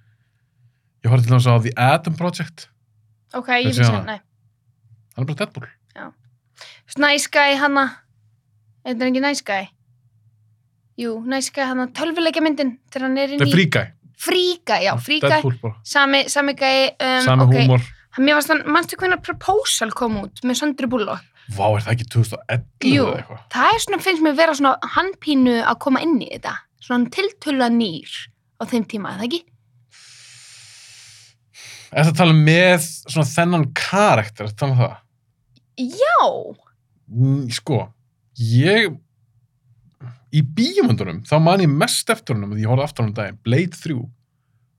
ég horfði til hans á The Atom Project ok, ég Þessi hana? finnst það, nei, hann er bara Deadpool Nice Guy hana, eitthvað er ekki Nice Guy, jú, Nice Guy hana, tölvuleika myndin, þegar hann er inn Nei, í, Free Guy, fríka, já, fríka, Deadpool bara sami, sami gæi, um, sami ok, húmor, Mér varst þann, manstu hvernig Proposal kom út með Söndri Bullock? Vá, er það ekki 2011 Jú. eða eitthvað? Það er svona, finnst mér vera svona handpínu að koma inn í þetta. Svona tiltöla nýr á þeim tíma, er það ekki? Er það að tala með svona þennan karakter, ertu að tala um það? Já, Mm, Sko, ég, í bíomundunum, þá man ég mest eftir húnum, því ég horfði aftur húnum daginn, Blade 3,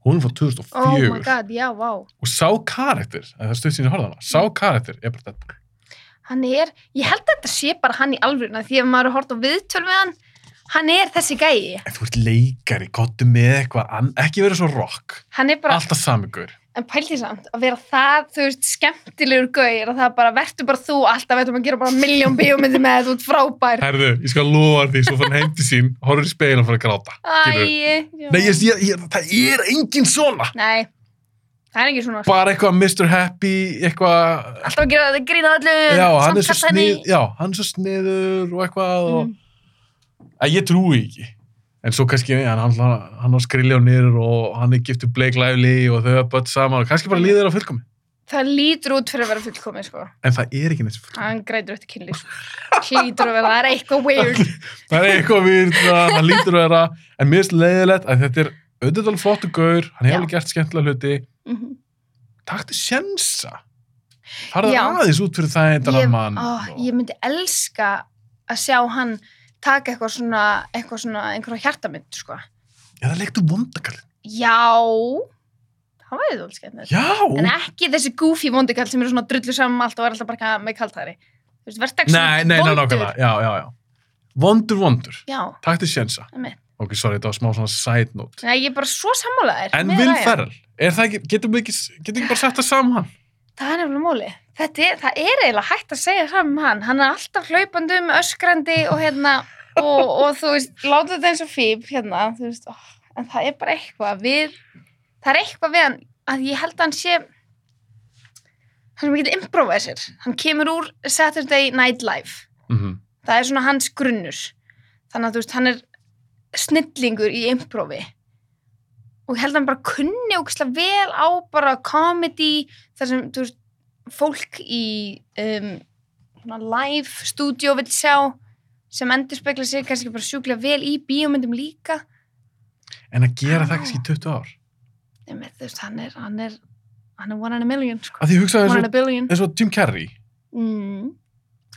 hún er frá oh my 2004 god, já, vá. og sá karakter, að það er stöð sín í horfðana, sá karakter er bara Deadpool. Hann er, ég held að þetta sé bara hann í alvöruna því að maður hort á viðtöl með hann, hann er þessi gæi. En þú ert leikari, gottu með eitthvað, ann- ekki verið svo rock, Hann er bara, alltaf samigur. en pældi samt að vera það, þú veist, skemmtilegur gauðir og það bara, verður bara þú alltaf, veitum að gera bara miljón bíómyndi með þetta, þú ert frábær. Herðu, ég skal lofa þér því, svo fann heim til sín, horfður í speilin og fyrir að gráta. skilurðu. Æ, já. Nei, ég, ég, ég, það er engin svona. Nei, það er ekki svona. Bara eitthvað Mr. Happy, eitthvað... Alltaf að gera þetta grína öllu, Já, hann er svo samkalla henni. snið, já, hann er svo sniður og eitthvað og... Mm. Að ég trúi ekki. En svo kannski, ja, hann, hann, hann á skriljónir og hann er giftur Blake Lively og þau hafa börn saman og kannski bara líður á fullkomi. Það lítur út fyrir að vera fullkomið, sko. En það er ekki neitt fullkomi. Hann grætur eftir kynlýs. Hlýtur að vera, það er eitthvað weird. það er eitthvað við það lítur að vera en mér finnst leiðilegt að þetta er auðvitað alveg flottu gaur, hann Já. hefur alveg gert skemmtilega hluti Mhm. takti sjensa farðu Já. aðeins út fyrir það eitthvað ég, mann ó, og- ég myndi elska að sjá hann taka eitthvað svona, eitthvað svona, einhverja hjartamynd, sko. eða leiktu vondakall Já, það væri þú skemmtilegt. En já, ekki þessi goofy vondikall sem eru svona drullu saman allt og er alltaf bara ka- með kaltæri. Þú veist, verðst ekki nei, nei, nei, nákvæmlega já, já, já, vondur, vondur Já, takti sjensa, einmitt. ok, sorry, þetta var smá svona side note Nei, ég er bara svo sammálaðir. en Will Ferrell, er það ekki getum við ekki, getum við ekki bara sett það saman hann Það er nefnilega móli. Þetta er, það er eiginlega hægt að segja saman um hann. Hann er alltaf hlaupandi um öskrandi og hérna, og, og þú veist, láta þetta eins og fíb hérna, þú veist, ó, en það er bara eitthvað við, það er eitthvað við hann, að ég held að hann sé, hann er mikill improviser. Hann kemur úr Saturday Night Live. mm Það er svona hans grunnur. Þannig að þú veist, hann er snillingur í improvi. Og ég held að hann bara kunni ógislega vel á bara comedy, þar sem, þú veist, fólk í um, svona live stúdíó vil sjá, sem endur spekla sig kannski bara sjúklega vel í bíómyndum líka. en að gera það Já. kannski í 20 ár Nei, með, þú veist, hann er, hann er, hann er one in a million, sko. að því hugsaði One in eins a billion. og- eins og Jim Carrey Mm.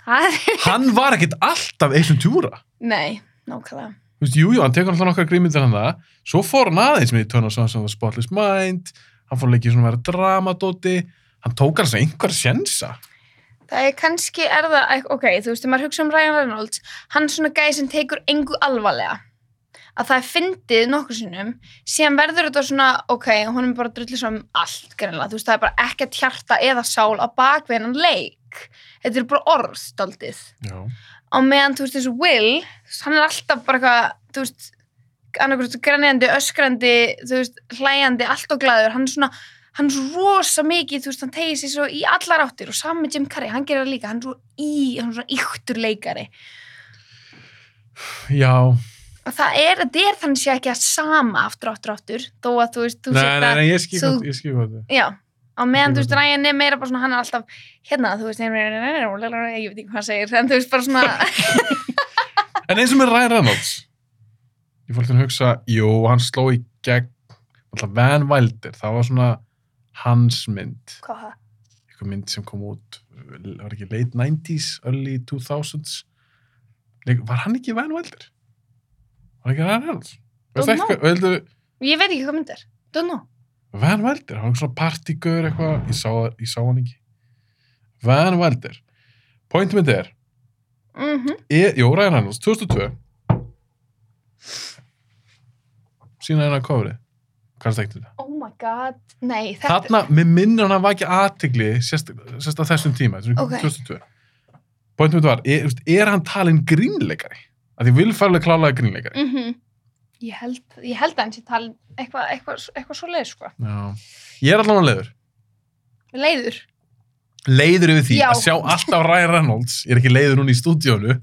Það er, hann var ekkit alltaf eitt um túra nei, nákvæmlega. Þú veist, jú, jú, hann tekur alltaf nokkar grímyndir hann það, svo fór hann aðeins með í Tönn og Svansson og Spotless Mind, hann fór að leikja í svona að vera dramadóti, hann tók alveg einhver sjensa. Það er kannski, er það, ek- ok, þú veist, þegar maður hugsa um Ryan Reynolds, hann er svona gæði sem tekur engu alvarlega. Að það er fyndið nokkur sinnum, síðan verður þetta svona, ok, hún er bara drullið um allt, greinlega, þú veist, það er bara ekkert hjarta eða sál á bakvið hennan leik. Þetta er bara orð, daldið. Já. Á meðan, þú veist, þessu Will, þú veist, hann er alltaf bara eitthvað, þú veist, annarkvæmst grænjandi, öskrandi, þú veist, hlæjandi, allt og glæður, hann er svona, hann er svo rosa mikið, þú veist, hann tegir sér svo í allar áttir og saman með Jim Carrey, hann gerir það líka, hann er svo í, hann er svona yktur leikari. Já, Og það er, þetta er þannig sé ekki að sama aftur, aftur, aftur, þó að þú veist, þú nei, nei, Mm-hmm. nei, ég skil þú- hvað- ég skil hvað þetta. já, á meðan, þú veist, Ég veit það. Ryan er meira bara svona, hann er alltaf, hérna, þú veist, ég veit ekki hvað hann segir, en þú veist, bara svona, er. En eins og með Ryan Reynolds, ég fór alltaf að hugsa, jú, hann sló í gegn, alltaf Van Wilder, það var svona hans mynd, hvað það? eitthvað mynd sem kom út, var ekki late 90s, early 2000s, Leik- var hann ekki Van Wilder? Var ekki Ryan Reynolds? Don't Veistu eitthvað- veistu- Ég veit ekki hvað mynd er, don't know. Van Wilder, hann var svona partígöður eitthvað, ég sá, ég sá hann ekki Van Wilder Point mitt er, Mm er Jó, Ryan Reynolds, 2002 sína hennar kofrið kannski ekki þetta Oh my god, nei, þetta... þarna, mér minnir hann að vakja aðtigli sérst sérst að þessum tíma, þessum Ok. 2002 Point mitt var, er, þú veist, er hann talin grínleikari? Að því vilfærlega klálega grínleikari Mm ég, held, ég held að hann sé talin eitthvað eitthva, eitthva svo leið, sko. Já. Ég er allan að leiður Leiður. leiður yfir því Já. að sjá alltaf Ryan Reynolds ég er ekki leiður núna í stúdíónu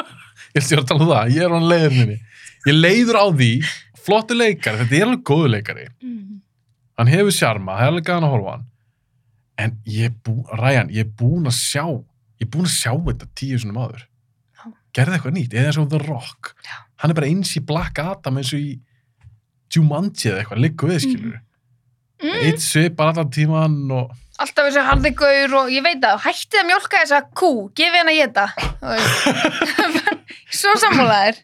ég ætti að tala um það, ég er hann leiður minni ég er leiður á því flottu leikari, þetta er alveg góðu leikari Mm. hann hefur sjarma, það er alveg gaman að horfa á hann en ég er búinn, Ryan, ég er búinn að sjá, ég er búinn að sjá þetta tíu svona maður. Já. Gerði eitthvað nýtt, eða eins og The Rock. Já. Hann er bara eins í Black Adam eins og í Jumanji eða eitthvað, liggur við, skilur. Mm. Mm, Eitt svipar allan tíman og alltaf þessi harði gaur og ég veit að hættið að mjólka þessa kú, gefi henn að geta. Svo sammálaðir.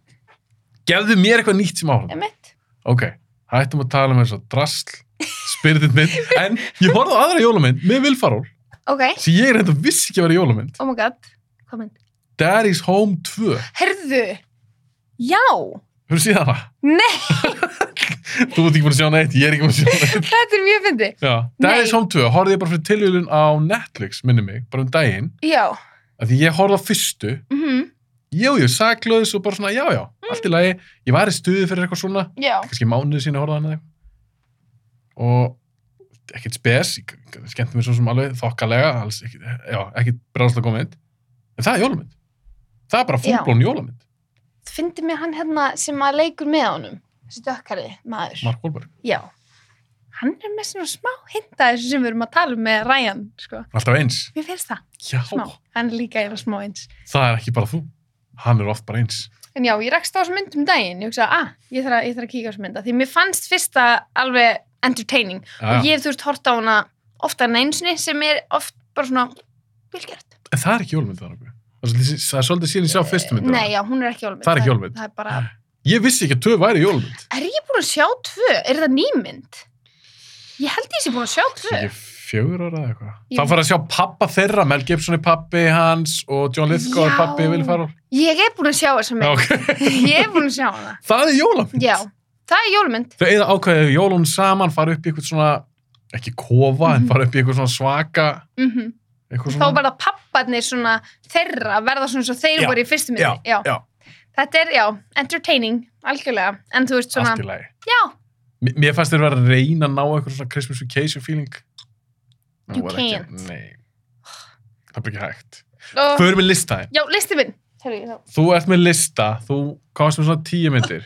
gefðu mér eitthvað nýtt sem áhrif. Emitt. Ok, hættum að tala með þessu drasl, spyrðið minn, en ég horfði á aðra jólamynd með Vilfaról, Ok, sem ég reynda vissi ekki að vera jólamynd. oh my god. Hvað mynd? Daddy's Home 2, Herðu, já, hefur síðan það? Nei. Þú ert ekki búin að sjá neitt, ég er ekki búin að sjá neitt. þetta er mjög fyndið. Já, Daddy's Nei. Home 2 horfði ég bara fyrir tilvíðun á Netflix, minni mig, bara um daginn Já, af því ég horfði á fyrstu, mhm, jú, jú, saklaus og bara svona, já, já, Mm. allt í lagi ég var í stuði fyrir eitthvað svona, já. kannski mánuði sína horfði hann að þeim og ekkert spes ég- ég- skemmti mér svo sem alveg þokkalega alls, ekkit, já, ekkit bráðslega góð mynd en það er jólamynd það er bara fullblón jólamynd, Fyndi mér hann hérna sem að leikur með honum, þessi dökkari maður. Mark Wahlberg Já. Hann er með svona smá hinda þessu sem við erum að tala um með Ryan, sko. alltaf eins, Mér finnst það, já, smá. Hann er líka eða smá eins. það er ekki bara þú hann er oft bara eins En já, ég rakst á þessu mynd um daginn. Ég hugsaði, ah, ég þarf að, ég þarf að kíka á þessu mynd. af Því mér fannst fyrsta alveg entertaining. já, Og já. ég hef þú veist hort á hana ofta en einsinni sem er oft bara svona vilgjört. en það er ekki jólamynd það er nokkuð. Það er svolítið- það er svolítið síðan ég sjá fyrstu myndina. Eh, Nei, já, hún er ekki jólmynd. Það er ekki jólmynd. Það er bara, Ég vissi ekki að tvö væri jólmynd. er ég búin að sjá tvö? Er það nýmynd? Ég held ég sé búin að sjá tvö. Ekki fjögur ára eða eitthvað. Jú. Þá fara að sjá pappa þeirra, Mel Gibson er pappi hans og John Lithgow er Já. pappi Will Farrell. Ég er búin að sjá þessa Já, mynd. ok. ég er búin að sjá hana. Það er jólamynd. Já, það er jólmynd. Þau eða ákveðið jólun saman, fara upp í eitthvað svona, ekki kofa, en Mhm. fara upp í eitthvað svona svaka, Mm eitthvað Þá svona. verða papparnir svona þeirra, verða svona svo þeir Já, voru í fyrstu myndi. já, já. Þetta er, já, entertaining, algjörlega. En þú veist svona, Allt í lagi. já, M- Mér fannst þeir vera að reyna að ná eitthvað svona Christmas vacation feeling. You var ekki- can't. Nei. Það er bara ekki hægt. og, Förum við listaðin. já, listi minn. Herri, já. Þú ert með lista, þú komast með svona tíu myndir.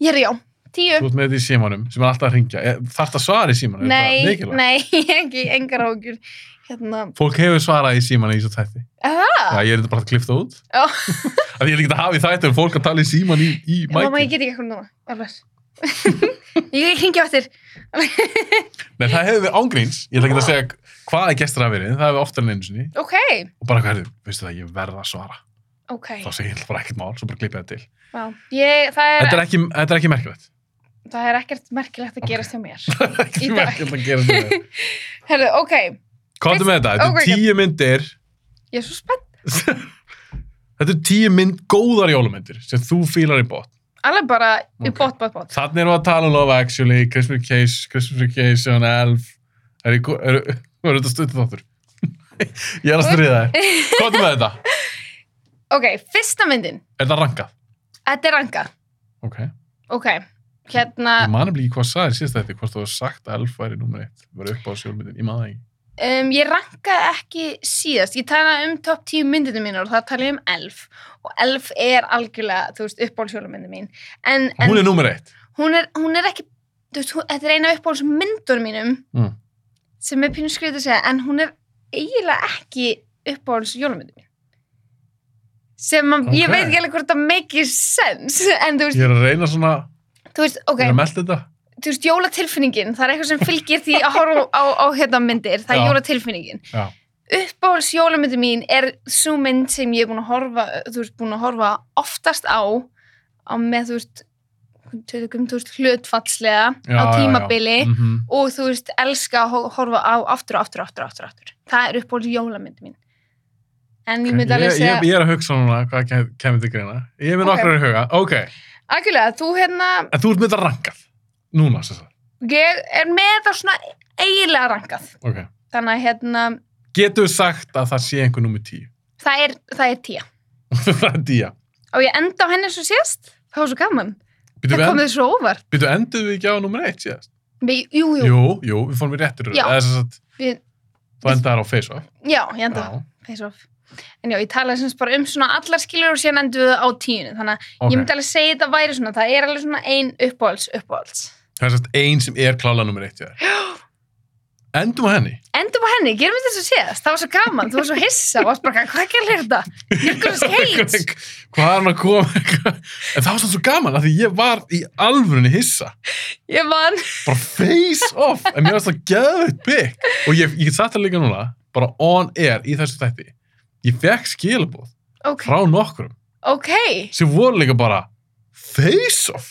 Ég er já, tíu. Þú ert með þetta í símanum sem er alltaf að ringja. Þarf það svara í símanum? Nei, er það nei. nei, ekki, engar ágjur. Hérna, Fólk hefur svarað í símanum í þessu þætti. Já, aha, ég er þetta bara að klifta út. Já. Það ég er ekki að hafa í þætti en fólk að tala í síman í, í mamma, ég mækin. get ekki eitthvað núna, alveg. ég hringi á eftir. Nei, það hefur verið ángríns. Ég ætla ekki að segja hvaða gestur það hafa verið. Það hefur oftar en einu sinni. Ok, Og bara hverju, veistu það, ég verð að svara. ok, Þá segir ég bara ekkert mál, svo bara klippa það til. já. Ég, það, er, Þetta er ekki, þetta er ekki merkilegt. það er ekkert merkilegt að gerast hjá mér. Í ekki dag. merkilegt að gera þetta. Herru, ok, Komdu með þetta. Þetta Ok, er tíu myndir. ég er svo spennt. Þetta er tíu mynd góðar jólumyndir sem þú fílar í bótt. Alveg bara í Ok. bótt, bótt, bótt. Þannig erum við að tala um Love Actually, Christmas Case, Christmas Vacation, Elf. Er ég, er, er, er þetta stundið þáttur? ég er að stríða þér. Hvað er með þetta? Ok, fyrsta myndin, Er það rankað? þetta er rangað. Ok. Ok, hérna, Ég manum líka hvað sagði síðast þetta, hvort þú hefur sagt að Elf væri nummer eitt. Verið upp á sjálfmyndin, ég maður það ekki. um, ég rankaði ekki síðast. Ég talaði um topp 10 myndinu mínar og það talaði ég um elf. Og elf er algjörlega, þú veist, uppbólshjólamyndi mín. En, en Hún er nummer eitt. hún, er, hún er ekki, þú veist, hún, þetta er eina uppbólsmyndunum mínum Mm. sem er pínu skriðið að segja, en hún er eiginlega ekki uppbólshjólamyndi mín. Sem að, Ok. ég veit ekki alveg hvort það make sense, en þú veist, Ég er að reyna svona, þú veist, ok. ég er að melda þetta. þú veist, jólatilfinningin, það er eitthvað sem fylgir því að horfa á, á hérna myndir, það Já. er jólatilfinningin. Já. Uppbóls jólamyndi mín er svo mynd sem ég er búin að horfa, þú veist, búin að horfa oftast á, á með, þú veist, tökum, þú veist, hlutfallslega Já, á já, já. tímabili Mm og þú veist, elska að ho- horfa á aftur, aftur, aftur, aftur, aftur. Það er uppbóls jólamyndi mín. En ég myndi alveg ég, segja, ég, ég er að hugsa núna hvað kem- kemur til greina. Ég er með Ok. nokkrar í huga. Ok, algjörlega, þú hérna, en þú ert með þetta rankað. Núna, sem sagt. ég er með það svona eiginlega rangað. Ok. Þannig að hérna, Getur sagt að það sé einhver nummer tíu. það er, það er tía. það er tíja. og ég enda á henni svo sést það var svo gaman, Býtu, það við kom en, þið svo óvart býtu endur við ekki á nummer eitt síðast? Nei, jú, jú, Jú, jú, við fórum í réttur röð. Já. Eða sem sagt, Við- þú endaðar á face-off. já, ég enda Já, face off en já, ég talaði semst bara um svona allar skilur og síðan endur við á tíunni þannig að ok. ég myndi alveg segja þetta væri svona það er alveg svona ein uppáhalds, uppáhalds Það er sem sagt ein sem er klála nummer eitt í þér. Endum að henni. Endum á henni, gerum við þess að séðast, það var svo gaman, þú var svo hissa og varst bara, hvað gerir þetta? Nicholas Cage, Hvað er hann að koma? en það var samt svo gaman að því ég var í alvörunni hissa. ég man, Bara face off. En mér varst það geðveitt bygg. Og ég, ég satt það líka núna, bara on air í þessu þætti. Ég fekk skilabóð ok, frá nokkrum ok, sem voru líka bara face off.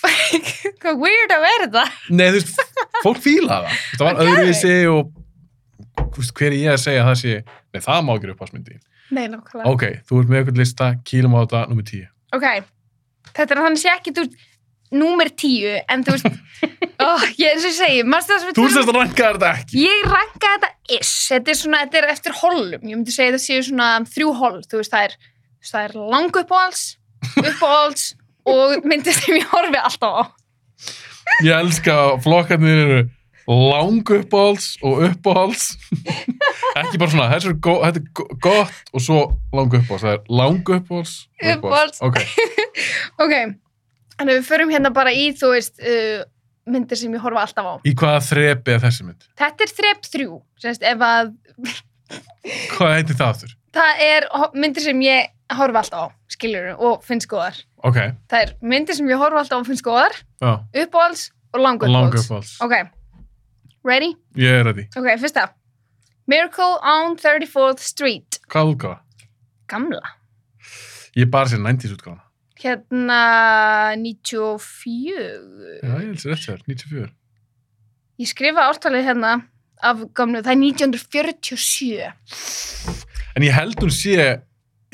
hvað weird að verða, Nei, þú veist, fólk fílaði það. Það var Það gerði. öðruvísi og þú veist, hver er ég að segja að það sé, nei, það má ekki uppásmyndi. nei, nákvæmlega, Ok, þú ert með eitthvað lista, kýlum á þetta, nummer 10. ok, þetta er þannig sé ekki, þú veist, númer tíu, en þú veist, oh, ég eins og ég segi, mannstu það sem við um? Þú veist að ranka þetta ekki. Ég ranka þetta ish, þetta er svona, þetta er eftir hollum, ég myndi segja þetta séu svona þrjú holl, þú veist, það er, þú veist, það er lang uppáhalds, uppáhalds og myndist þeim ég horfi alltaf á. Ég elska að flokkarnir eru lang uppáhalds og uppáhalds. ekki bara svona, þessu er, go, þetta er go- gott og svo lang uppáhalds. Það er lang uppáhalds og Uppáhalds. Ok, Ok, en ef við förum hérna bara í, þú veist, uh, myndir sem ég horfa alltaf á. í hvaða þrepi er þessi mynd? Þetta er þrep þrjú, semst, ef að Hvað heitir það þurr? það er ho- myndir sem ég horfa alltaf á, skilur og finnst góðar. Ok, Það er myndir sem ég horfa alltaf á og finnst góðar, já, uppáhalds og lang lang uppáhalds. uppáhalds. Ok, ready? Ég er að því. Ok, fyrsta. Miracle on 34th Street. Hvað útgáfa? Gamla. Ég er bara sér 90s útgáfa. Hérna Já, 94. ég held sér eftir þér, 94. Ég skrifa ártalið hérna af gamlu. Það er 1947. En ég held hún sé, ég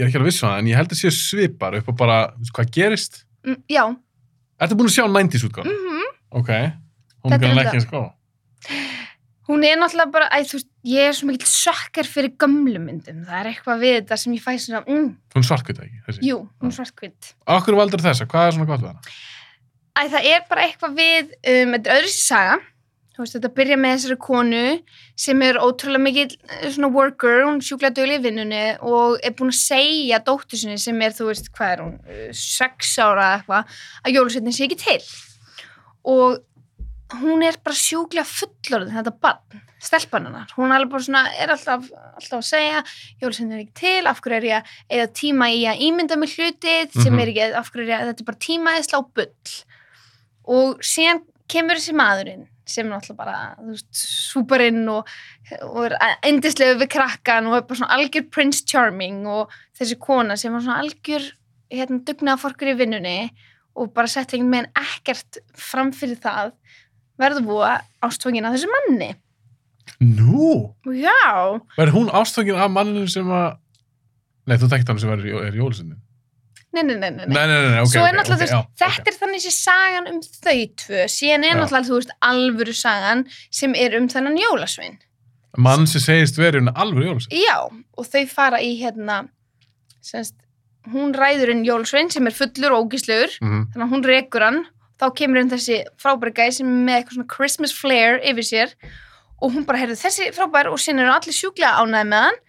er ekki alveg viss um það, en ég held að sé svipar upp á bara, veistu hvað gerist? Mm, já. Ertu búin að sjá 90s útgáfa? Mm Ok, hún er Þetta er gæðan þetta. ekki eins góð. Hún er náttúrulega bara, æ, þú veist, ég er svo mikill sökkar fyrir gamlu myndum. Það er eitthvað við þetta sem ég fæ svona, mm, Hún svarkvita ekki, þessi. jú, hún svart kvitt. Akkur valdur þessa, hvað er svona gott við hana? Æ, það er bara eitthvað við, um, þetta er öðru sér saga. Þú veist, þetta byrja með þessari konu sem er ótrúlega mikill eh, svona worker, hún sjúklega dögli í vinnunni og er búin að segja dóttur sinni sem er, þú veist, hvað er hún, eh, sex ára eða eitthvað, að jólusetnin sé ekki til. Og hún er bara sjúklega fullorðin þetta barn, stelpan hennar. Hún er alveg bara svona, er alltaf, alltaf að segja, jólusetnin er ekki til, af hverju er ég að eða tíma í að ímynda mig hluti sem Mhm. er ekki, af hverju er ég að þetta er bara tímaðisla og bull. Og síðan kemur þessi maðurinn sem er náttúrulega bara, þú veist, súparinn og, og er endislegu við krakkan og er bara svona algjör Prince Charming og þessi kona sem var svona algjör hérna, dugnaðaforkur í vinnunni og bara sett einhvern veginn ekkert fram fyrir það verður búa ástfangin af þessu manni. Nú, Og Já, verður hún ástöngin af manninu sem að... Nei, þú tekkt hann sem verður í- er í jólusinni. nei, nei, nei, nei. Nei, nei, nei, nei, ok, Svo er ok, náttúrulega, ok, þú veist, þetta er þannig sé sagan um þau tvö, síðan er Já. náttúrulega, þú veist, alvöru sagan sem er um þennan jólasvein. já. Mann sem segist verið hún alveg jólusinni. Já, og þau fara í hérna, semst, hún ræður inn Jólasvein sem er fullur og ógislegur, Mm þannig að hún rekur hann, þá kemur inn þessi frábæri gæði sem er með eitthvað svona Christmas flair yfir sér og hún bara heyrði þessi frábæri og síðan eru allir sjúklega ánæði með hann,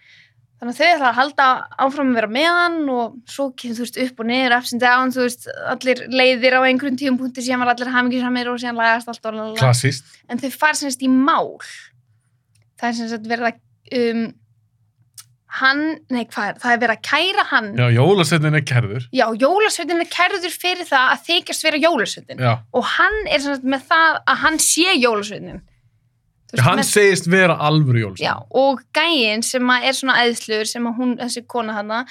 þannig að þau ætla að halda áfram að vera með hann og svo kemur þú veist upp og niður, ups and down, þú veist, allir leiðir á einhverjum tíum punkti, síðan var allir hamingisamir og síðan lagast allt og lalala Klassist. en þau fara sem sagt í mál það er sem sagt verið að um, hann, nei hvað er, það er verið að kæra hann Já, jólusinni er kerður. já jólasveitin er kærður fyrir það að þykjast vera jólasveitin Já, og hann er sem sagt með það að hann sé jólasveitin Þú veist, hann með- segist vera alveg jólusinni. já, og gæin sem að er svona æðslur sem að hún, þessi kona hana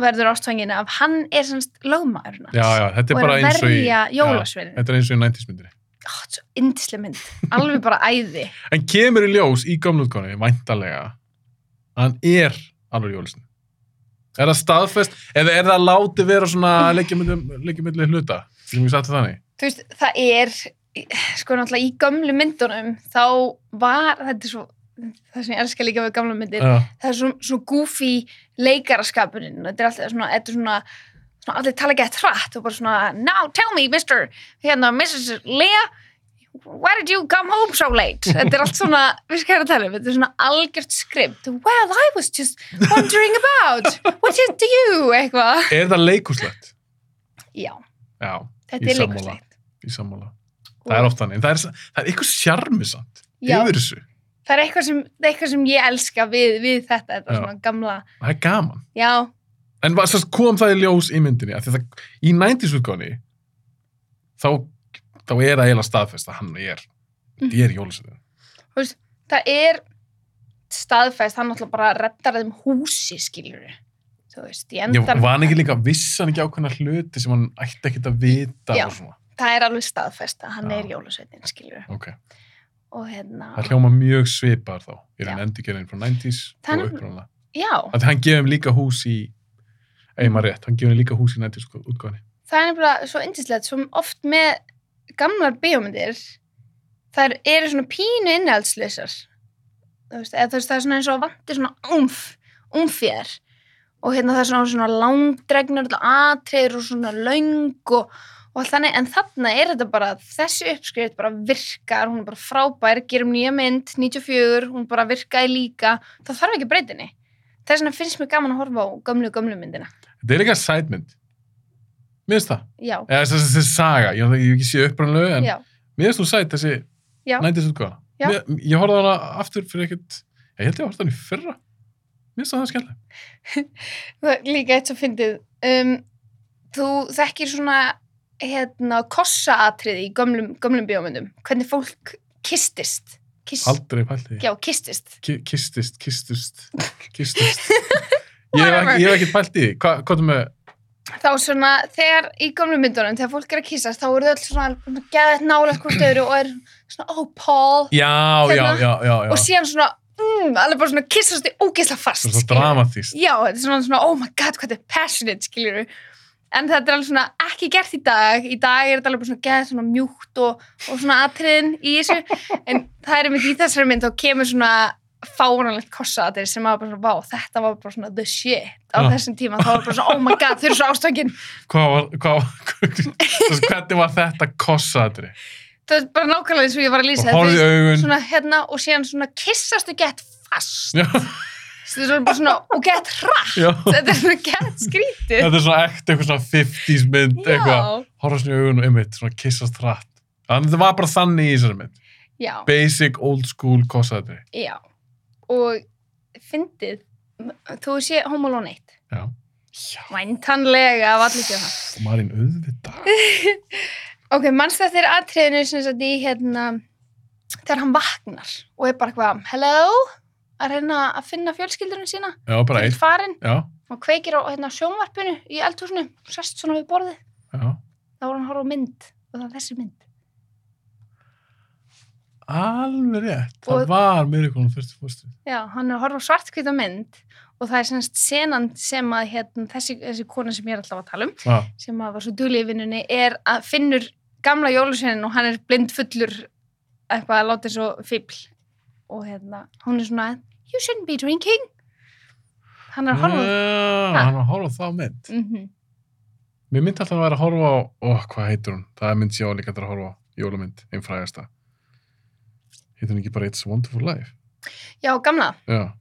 verður ástfangin af, hann er sem sagt lögmaður hans Já, já, þetta er og er bara að eins og í... verja jólasveitin Þetta er eins og í 90s myndinni. oh, þetta er svo indislega mynd, alveg bara æði En kemur í ljós í gömlutgóni, væntalega, að hann er alveg jólusin. Er það staðfest, eða er það látið vera svona leikjumilli hluta, sem ég satt þannig? þú veist, það er sko náttúrulega í gömlu myndunum þá var, þetta er svo það sem ég elska líka við gamla myndir Já, það er svona, svona goofy leikaraskapunin þetta er alltaf svona, þetta er svona, svona allir tala ekki að trætt og bara svona now tell me Mr. hérna Mrs. Lea why did you come home so late þetta er allt svona, við skal hérna tala um þetta er svona algjört skript well I was just wondering about what did you, eitthvað Er það leikuslegt? já, Já, þetta Ég er sammála. leikurslegt í sammála. Það er oft þannig, en það er, það er eitthvað sjarmisamt Já. yfir þessu. það er eitthvað sem, það er eitthvað sem ég elska við, við þetta, þetta Já. svona gamla það er gaman já, En var, sérst, kom það í ljós í myndinni? Af því að Það, í 90s útgáni þá, þá er það eiginlega staðfest að hann er, Mhm. ég er jólasveitin. það er staðfæst, hann náttúrulega bara reddar þeim húsi, skiljur þú veist, ég Ég endar var hann ekki líka, vissi hann ekki ákveðna hluti sem hann ætti ekkert að vita Já. og svona. það er alveg staðfæst að hann Já. er jólasveitin, skiljur Ok, og hérna, það hljóma mjög svipar þá. Ég er Já. hann endurgerðin frá 90s Það er og nefnilega- upprónulega. já Þannig hann gefur hann líka hús í, eða maður rétt, hann gefur hann líka hús í sko, 90s útgáni. það er nefnilega svo yndislegt svo oft með gamlar bíómyndir þær eru svona pínu innihaldslausar þú veist, eða þú veist, það er svona eins og vantir svona umf, umfjær og hérna það er svona, svona langdregnar og atriður og svona löng og, og allt þannig, en þarna er þetta bara þessi uppskrift bara virkar hún er bara frábær, gerum nýja mynd 94, hún bara virkaði líka það þarf ekki að breyta henni þess vegna finnst mér gaman að horfa á gömlu, gömlu myndina Þetta er líka sætmynd. Mér finnst það. já, Eða þess að þessi saga, ég hef ekki séð upprónulega en já, Mér finnst þú sætt þessi Já. 90s útgáða. Já. Mér- Ég horfði á hana aftur fyrir ekkert, ég held ég að horfði á hana í fyrra. Mér finnst það skemmtileg. Það er líka eitt svo fyndið. Um, þú þekkir svona hérna, kossaatrið í gömlum, gömlum bíómyndum. Hvernig fólk kistist. Kist, Aldrei pælt því. Já, kistist. Ki- Kistist, kistust, kistust. ég hef ekki- ég hef ekkert pælt í því. Hva, hvað er með, Þá svona, þegar í gömlum myndunum, þegar fólk er að kissast, þá eru þau öll svona geðað nálega hvort öðru og er svona, oh Paul, já, já, Hérna. já, já, já. og síðan svona, mm, alveg bara svona kissast í ógeðslega fast. Svo svo skilurðu. dramatíst. Já, þetta er svona, svona oh my god, hvað þetta er passionate, skiljur En þetta er alveg svona ekki gert í dag. Í dag er þetta alveg bara svona geð, svona mjúkt og, og svona atriðin í þessu. En það er einmitt í þessari mynd, þá kemur svona fáranlegt kossaðir sem var bara svona, vá, þetta var bara svona the shit á Já. þessum tíma. Það var bara svona, oh my god, þau eru svo ástökin. Hvað var, hvað var, þessi, hvernig var þetta kossaðri? Það er bara nákvæmlega eins og ég var Og að lýsa. horfði í Þetta er augun. Svona hérna og síðan svona kissastu gett fast. Já, Þetta er bara svona, og gett hratt. já. Þetta er svona gett skrítið. Þetta er svona ekti, eitthvað svona 50s mynd, eitthvað. Já, Horfði svona í augun og ymmit, svona kissast rætt. Þannig þetta var bara þannig í þessari mynd. já. basic old school kossaðri. Já, og fyndið, þú sé Home Alone 1. Já. Já. Væntanlega af allir séu það. Marín auðvitað. Ok, mannst þetta er atriðinu sem sagt í hérna, þegar hann vaknar og er bara eitthvað, hello, að reyna að finna fjölskyldurinn sína. Já, bara Til einn. farin, Já, hann kveikir á hérna, sjónvarpinu í eldhúsinu, sest svona við borðið. já. Þá var hann að horfa á mynd og það er þessi mynd. Alveg rétt. Það Og- var mér eitthvað um fyrstu fórstu. Já, hann er að horfa á svartkvita mynd og það er semst senan sem að hérna, þessi, þessi kona sem ég er alltaf að tala um Já, sem að var svo dugleg í vinnunni er að finnur gamla jólusveinin og hann er blind fullur eitthvað að láta svo fíbl og hérna, hún er svona you shouldn't be drinking hann er að horfa Já, Ha? hann var að horfa á þá mynd. mm -hmm. Mér myndi alltaf að vera að horfa á, ó, hvað heitir hún? Það er mynd sem ég á líka til að horfa á, jólamynd, einn frægasta. Heitir hún ekki bara It's a Wonderful Life? já, gamla, Já.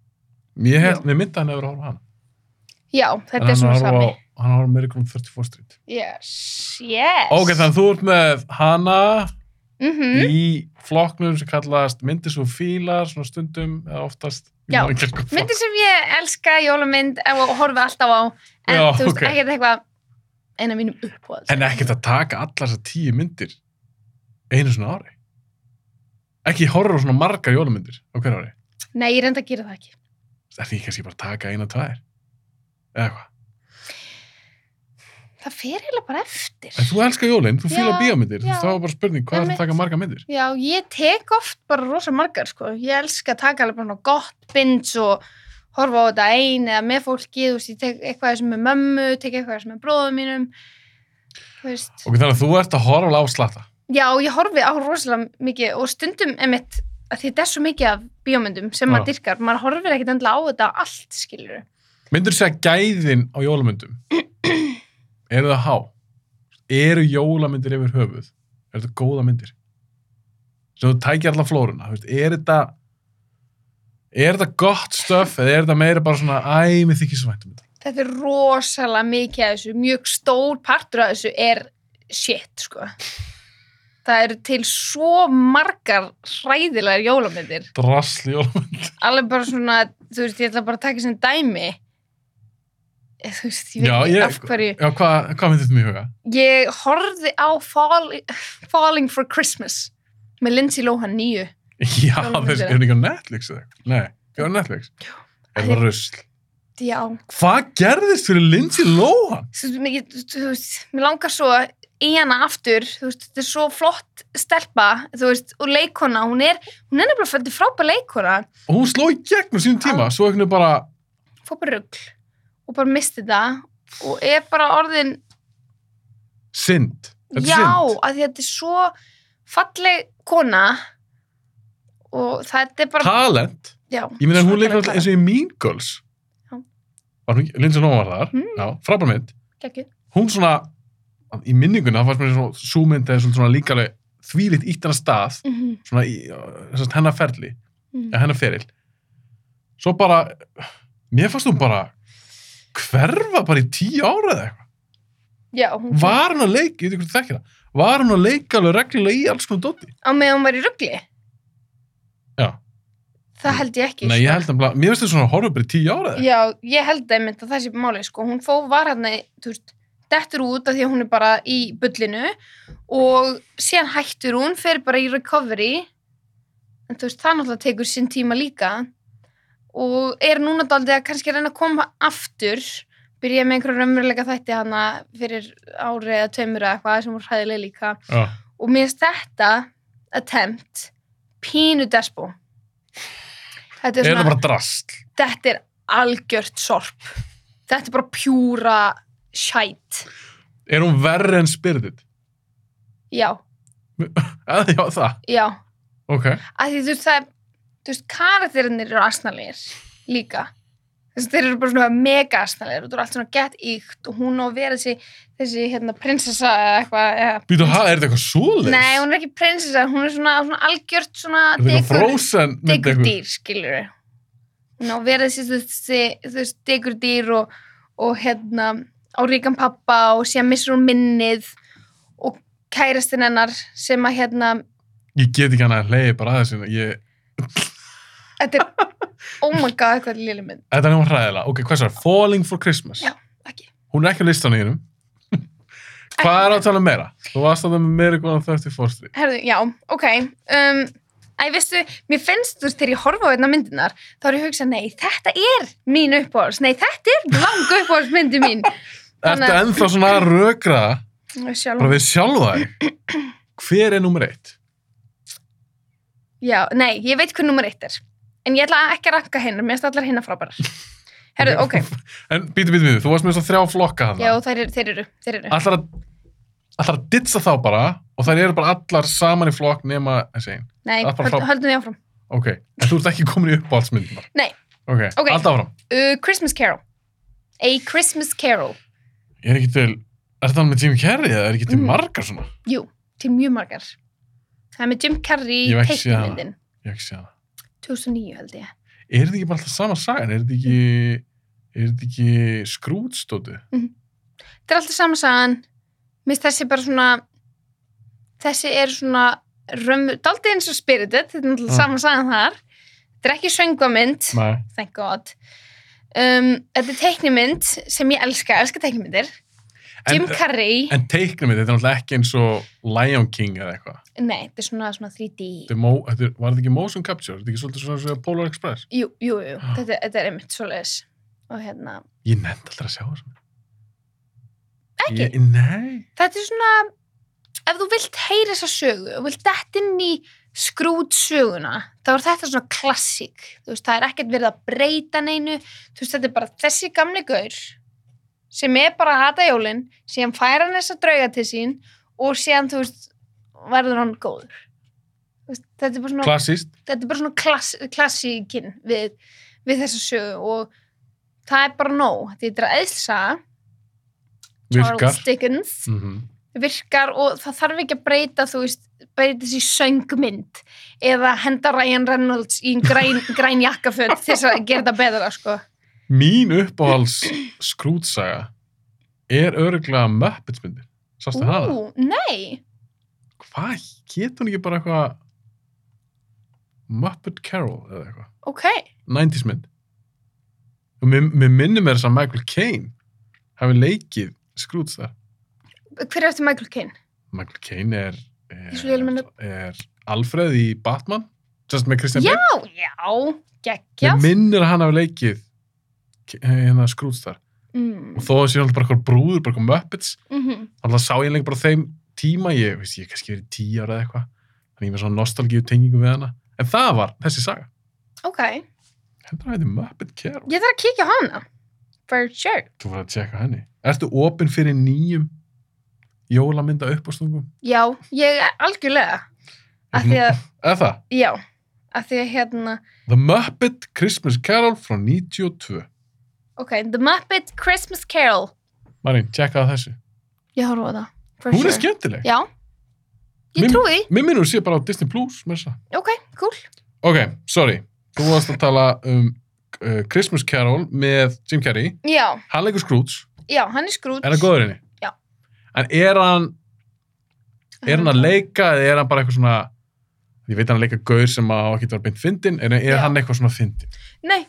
Mér, hef, Jú. mér myndi að hann hefur að horfa á hann. já, þetta er En hann svona var að horfa sami á- Hann var að horfa á mér eitthvað um fyrstu fórstu. yes, yes Ok, þannig að þú ert með hana, Mhm. í flokknum sem kallast myndir svo fílar, svona stundum eða oftast Já, myndir sem ég elska jólumynd og horfi alltaf á en Já, þú veist, ok. ekkert eitthvað eina mínum uppáðs en ekkert að taka allar þessar tíu myndir einu svona ári ekki horfa á svona margar jólumyndir á hverju ári, nei, ég reynda að gera það ekki er því kannski bara að taka eina tvær eða hvað, það fer eiginlega bara eftir en þú elskar jólin þú fílar Já, bíómyndir, þú já. veist, þá er bara spurning hvað er Einmitt. að taka margar myndir Já, ég tek oft bara rosa margar, sko. Ég elska að taka alveg bara svona gott binds og horfa á þetta ein eða með fólki, þú veist, ég tek eitthvað sem er mömmu, tek eitthvað sem er bróðum mínum, þú veist. ok, þannig að þú ert að horfa á slata Já, ég horfi á rosalega mikið og stundum, emitt, að því þetta er svo mikið af bíómyndum sem Já. maður dyrkar, maður horfir ekkit endla á þetta allt, skilur. myndir þú segja gæðin á jólumyndum eru það há eru jólamyndir yfir höfuð eru það góða myndir sem þú tækir allar flóruna þú veist, er þetta er þetta gott stöf eða er þetta meira bara svona æ, mér þykir svo væntum þetta Þetta er rosalega mikið af þessu, mjög stór partur af þessu er shit, sko. það eru til svo margar hræðilegar jólamyndir Drasl jólamynd. alveg bara svona, þú veist, ég ætla bara að taka sem dæmi Eh, þú veist, ég veit Já, ekki ég- af hverju Já, hvað hva myndir þetta mér huga? ég horfði á Fall, Falling for Christmas með Lindsay Lohan nýju Já, Jólamyndina. þess, er hún ekki á Netflix eða? eitthvað? Nei, ekki á Netflix. Er það rusl? já, Hvað gerðist fyrir Lindsay Lohan? þú veist, mér- ég- þú veist, mér langar svo í hana aftur, þú veist, þetta er svo flott stelpa, þú veist, og leikona hún er, hún er nefnilega fætti frábæð leikona Og hún sló í gegnum sínum tíma, svo ekki bara, fór bara rugl og bara misti það og er bara orðin, synd. Þetta er já, synd. að því að þetta er svo falleg kona og þetta er bara Talent. já, Ég meina, hún svakalega leikur alltaf klara. eins og í Mean Girls. Já. Var hún, ekki- Lindsay Lohan var þar, Mm. já, frábær mynd. Geggjuð. Hún svona, í minninguna, það fannst mér svona, sú mynd eða svona, svona líka alveg þvílitt íttan að stað, Mhm, svona í, þessast hennar ferli, mhm. eða hennar feril. Svo bara, mér fannst hún bara hverfa bara í tíu ára eða eitthvað. já, hún Var hún að leika, ég veit ekki hvort þú þekkir það, var hún að leika alveg reglulega í alls konar dóti? á meðan hún var í ruggli Já. það held ég ekki Nei, sko. ég held að, mér finnst þetta svona að horfa bara í tíu ára eða eitthvað. já, ég held einmitt að það sé máli sko. hún fó var hérna í, þú veist, dettur út af því að hún er bara í bullinu og síðan hættur hún fer bara í recovery en þú veist, það náttúrulega tekur sinn tíma líka og er núna daldið að kannski reyna að koma aftur byrja með einhverjum raunveruleika þætti hana fyrir ári eða tveimur eða eitthvað sem hún hræðilega líka Já. og mér finnst þetta attempt pínu despo þetta er, Er svona, það bara drasl? þetta er algjört sorp þetta er bara pjúra shite Er hún verri en spyrðið? já, Ah, Já, það. já Ok. að því þú veist það er- þú veist, karakterinir eru asnalegir líka þess að þeir eru bara svona mega asnalegir og þú eru allt svona gett íkt og hún á að vera þessi, þessi hérna prinsessa eða eitthvað eða- Býtu, ha, er þetta eitthvað svoleiðis? nei, hún er ekki prinsessa, hún er svona, svona algjört svona Er þetta eitthvað dekur- frozen mynd degur eitthvað? dýr, skilur við Ná, verið þessi, þú veist, þessi- þú veist, degur dýr og, og hérna á ríkan pappa og síðan missur hún minnið og kærastinn hennar sem að hérna, Ég get ekki hana að leiði bara aðeins. hérna. Ég, þetta er oh my god, hvað er lili mynd, þetta er nefnum hræðilega. Ok, hvað svo er? Falling for Christmas. Já. ekki Hún er ekki á listanum þínum. Hvað er að tala um meira? Þú varst að það með meira góðan 34 stríð. Herðu, já, ok um, Æ, veistu, mér finnst þú veist, þegar ég horfa á einna myndinar, þá er ég að hugsa nei, þetta er mín uppáhalds nei, þetta er lang uppáhaldsmyndi mín Ertu Þannig að- ennþá svona að rökra það Sjálf bara við sjálfa þig? Hver er nummer eitt? Já, nei, ég veit hvað nummer eitt er. En ég ætla ekki að ranka hennar, mér finnst allar hennar frábærar. Herru, ok, En býtu, býtu, býtu, þú varst með þess að þrjá flokka hann. já, þeir, eru- þeir eru, þeir eru. Allar að, allar að ditsa þá bara og þær eru bara allar saman í flokk nema þessi einn. Nei, það er ah, bara höld, frá- höldum því áfram. Ok, en þú ert ekki komin í uppáhaldsmyndunar? Nei. Ok, Ok. allt áfram. Uh, Christmas Carol. A Christmas Carol. Ég er ekki til, er þetta alveg með Jim Carrey eða er ekki til Mm. margar svona? Jú, til mjög margar. Það er með Jim Carrey Ég hef ekki séð hana. teiknumyndin. Ég hef ekki séð hana. 2009 held ég. Er þetta ekki bara alltaf sama sagan? Er þetta ekki, er þetta ekki skrútstótu? Þetta er alltaf samasagan. Mér finnst þessi bara svona, þessi er svona, römmu, daldið eins og spirited, þetta er náttúrulega Mm. samasagan þar. Þetta er ekki söngvamynd. Nei. thank god um, þetta er teiknimynd sem ég elska, elska teiknimyndir Jim En, uh, Carrey, en teiknum þetta er náttúrulega ekki eins og Lion King eða eitthvað. nei, þetta er svona, svona 3D Þetta er mó- þetta er- Var þetta ekki motion capture? Er Þetta ekki svolítið svona svona Polar Express? jú, jú, jú, þetta, þetta er einmitt svoleiðis og hérna, Ég nefndi aldrei að sjá það svona. Ekki? Ég, nei. þetta er svona ef þú vilt heyra þessa sögu og vilt dett inn í skrút söguna þá er þetta svona klassik þú veist, það er ekkert verið að breyta neinu þú veist, þetta er bara þessi gamli gaur sem er bara að hata jólin síðan fær hann þessa drauga til sín og síðan, þú veist, verður hann góður Þú veist, þetta er bara svona, Klassist. þetta er bara svona klass, klassíkin við, við þessa sögu og það er bara nóg þetta er æðsa Virkar. Charles Dickens Mm virkar og það þarf ekki að breyta þú veist, breyta þessi söngmynd eða henda Ryan Reynolds í græn, græn jakkaföld til þess að gera þetta betra sko. Mín uppáhalds skrútsaga er öruglega Muppets myndir. Sástu það? Ú, nei Hvað getur hún ekki bara eitthvað Muppet Carol eða eitthvað? ok, 90s mynd. Og mér, mér minnir mér þess að Michael Caine hafi leikið Scrooge þar. hver er eftir Michael Caine? Michael Caine er, Ég svo vel er, minna- er Alfred í Batman, just með Christian Já, Bale. já, geggjað Mér minnir að hann hafi leikið Ke- hérna Scrooge þar. mm. Og þó að sé alltaf bara eitthvað brúður, bara eitthvað Muppets, mm -hmm. alltaf sá ég lengi bara á þeim tíma, ég veist, ég hef kannski verið tíu ára eða eitthvað, þannig ég er með svona nostalgíu tengingu við hana. En það var þessi saga. ok, Hendur hann heiti Muppet Carol. ég þarf að kíkja á hana for sure, Þú voru að tjekka henni. Ertu opinn fyrir nýjum jólamynda uppástungum? já, ég algjörlega að því að, Eða það? já að því að hérna, The Muppet Christmas Carol frá 92. ok, The Muppet Christmas Carol Marín, tjekkaðu þessu. ég horfa á það, for Hún sure er skemmtileg. já, ég Mim- trúi því. Mér minnur hún sé bara á Disney Plus með þessa. ok, cool, Ok, sorry. Þú varst að tala um uh, Christmas Carol með Jim Carrey. já, Hann leikur Scrooge. já, hann er skrút Er hann góður henni? Já. En er hann, er hann að leika eða er hann bara eitthvað svona... Ég veit að hann leika gaur sem á ekki var beint fyndin, en er Já. hann eitthvað svona fyndin? nei,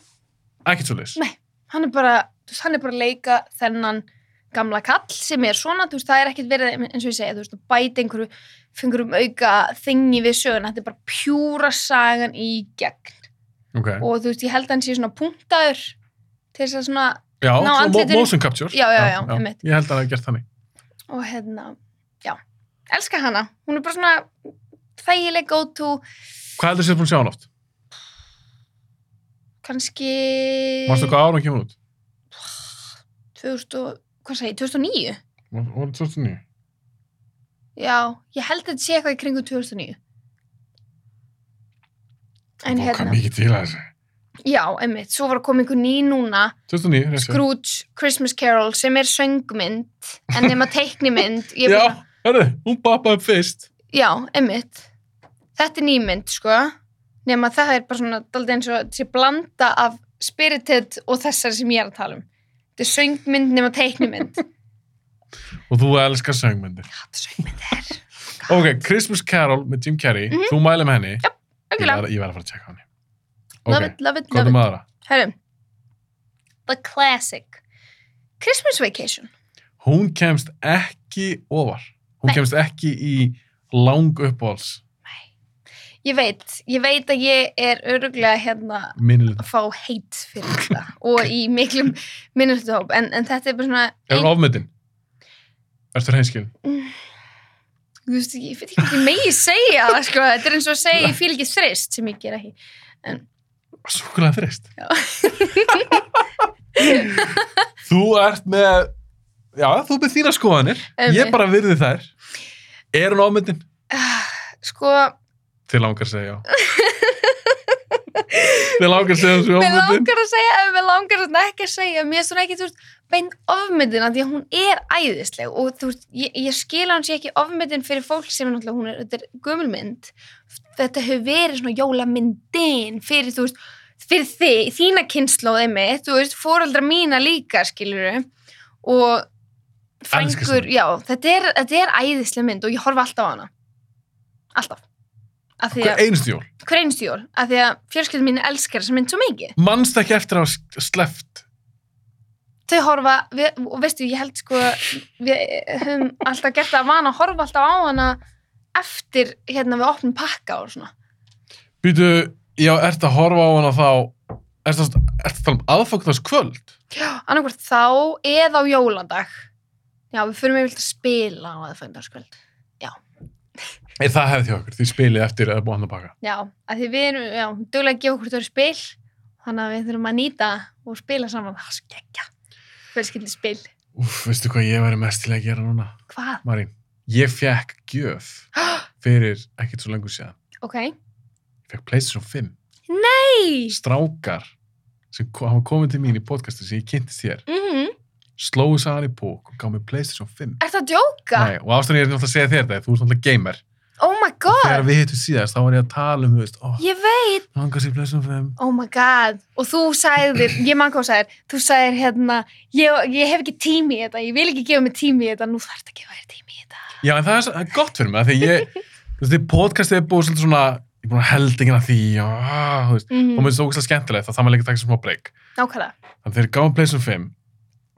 Ekkert svo leis. Nei. hann er bara, þú veist, hann er bara að leika þennan gamla kall sem er svona, þú veist, það er ekkert verið, eins og ég segi, þú veist, að bæta einhverju, fengur um auka þingi við söguna, þetta er bara pjúra sagan í gegn Ok. og þú veist, ég held að hann sé svona punktaður til þess að svona, Já, svona Ná, mo- andlitinu- motion capture. Já, já, já, einmitt. Ég held að hann hafi gert þannig. og hérna, já, elska hana, hún er bara svona þægileg go to, Hvað heldur sér búin að sjá hann oft? kannski, Varstu hvað ára hann kemur út? 2000, og- hvað segi, ég, 2009? Var var það 2009? Já, ég held að þetta sé eitthvað í kringum 2009. En Vá, Hvað hérna, mikið til að þessu? já, einmitt, svo var að koma einhver ný núna, 2009, rétt hjá. Scrooge Christmas Carol, sem er söngmynd, en nema teiknimynd. ég Já, bara- hörru, hún bapaði upp fyrst. já, einmitt. Þetta er nýmynd, sko, nema það er bara svona, daldið eins og þessi blanda af spirited og þessari sem ég er að tala um. Þetta er söngmynd nema teiknimynd. Og þú elskar söngmyndir. Þetta söngmynd er, Ok, Christmas Carol með Jim Carrey. Mhm. Þú mæli með henni. Ég okkurlega, verð- ég verð að fara að tjekka henni. love Ok, it, love it, hvað love er it. maður? Herru, The Classic Christmas Vacation Hún kemst ekki ofar. Hún Nei. kemst ekki í lang uppáhalds Ég veit, ég veit að ég er öruglega hérna minnilegna. að fá heit fyrir þetta og í miklum minnustahóp en, en þetta er bara svona Er hún ofmyndin? Ertu hreinskil? Þú veist, ég veit ekki hvað ég megi segja það sko, þetta er eins og að segja ég fíl ekki þrist sem ég ger ekki Súkulega þrist. Já. þú ert með, já, þú ert með þína skoðanir. Einmitt. Ég bara virði þær. Er hún ámyndin? Ah, Sko, Þið langar að segja já. Þið langar að segja þessu mér ámyndin. langar að segja ef mér langar svona ekki að segja mér er svona ekki, þú veist, beint ofmyndin af því að hún er æðisleg og þú veist, ég, ég skila hann sé ekki ofmyndin fyrir fólk sem er náttúrulega, hún er, þetta er gömulmynd þetta hefur verið svona jólamyndin fyrir, þú veist, fyrir þig þína kynnslóði mitt, þú veist, foreldra mína líka, skilur og Elskar frængur, já, þetta er, þetta er æðisleg mynd og ég horfa alltaf á hana alltaf af því Hver að, einustu jól. hver einstu jól, af því að fjölskyldum mín elskar þessa mynd svo mikið Manst ekki eftir að hafa sleft. þau horfa við, og veistu, ég held sko við höfum alltaf gert það að vana að horfa alltaf á hana eftir hérna við opnum pakka og svona Býtu, já, ert að horfa á hana þá, ert að, ert að tala um aðfóknars kvöld? annarkvort þá eða á jólandag já, við förum yfirleitt að spila á aðfændagskvöld Er það hefði hjá okkur, því spilið eftir eða búið hann að baka. já, að því við erum, já, duglega að gefa okkur þau spil þannig að við þurfum að nýta og spila saman, það er svo geggja fjölskyldi spil, Úf, veistu hvað ég væri mest til að gera núna? hvað? Marín, ég fekk gjöf fyrir ekkert svo lengur séðan. ok, Ég fekk PlayStation 5. hei Strákar sem ko- hafa komið til mín í podcastin sem ég kynntist þér, mm slóðu sagan í bók og gaf mér PlayStation 5. er það að djóka? Nei, og ástæðan ég er náttúrulega að segja þér þetta, þú ert náttúrulega gamer. Oh my god, Þegar við hittum síðast, þá var ég að tala um, þú veist, ó, ég veit langar sér blessum fem. Oh my god, og þú sagðir, ég mann hvað þú sagðir, þú sagðir hérna, ég, ég hef ekki tími í þetta, ég vil ekki gefa mig tími í þetta, nú þarf þetta að gefa þér tími í þetta. Já, en það er, það er gott fyrir mig, af því ég, þú veist, því podcastið er búið svolítið svona, ég er búin að held ekki að því, og, ah, þú veist, og mér Mm, finnst það ógæslega skemmtilegt, þá það maður líka að taka sér smá breyk. nákvæmlega. Þannig að þegar ég gáðum Playstation 5,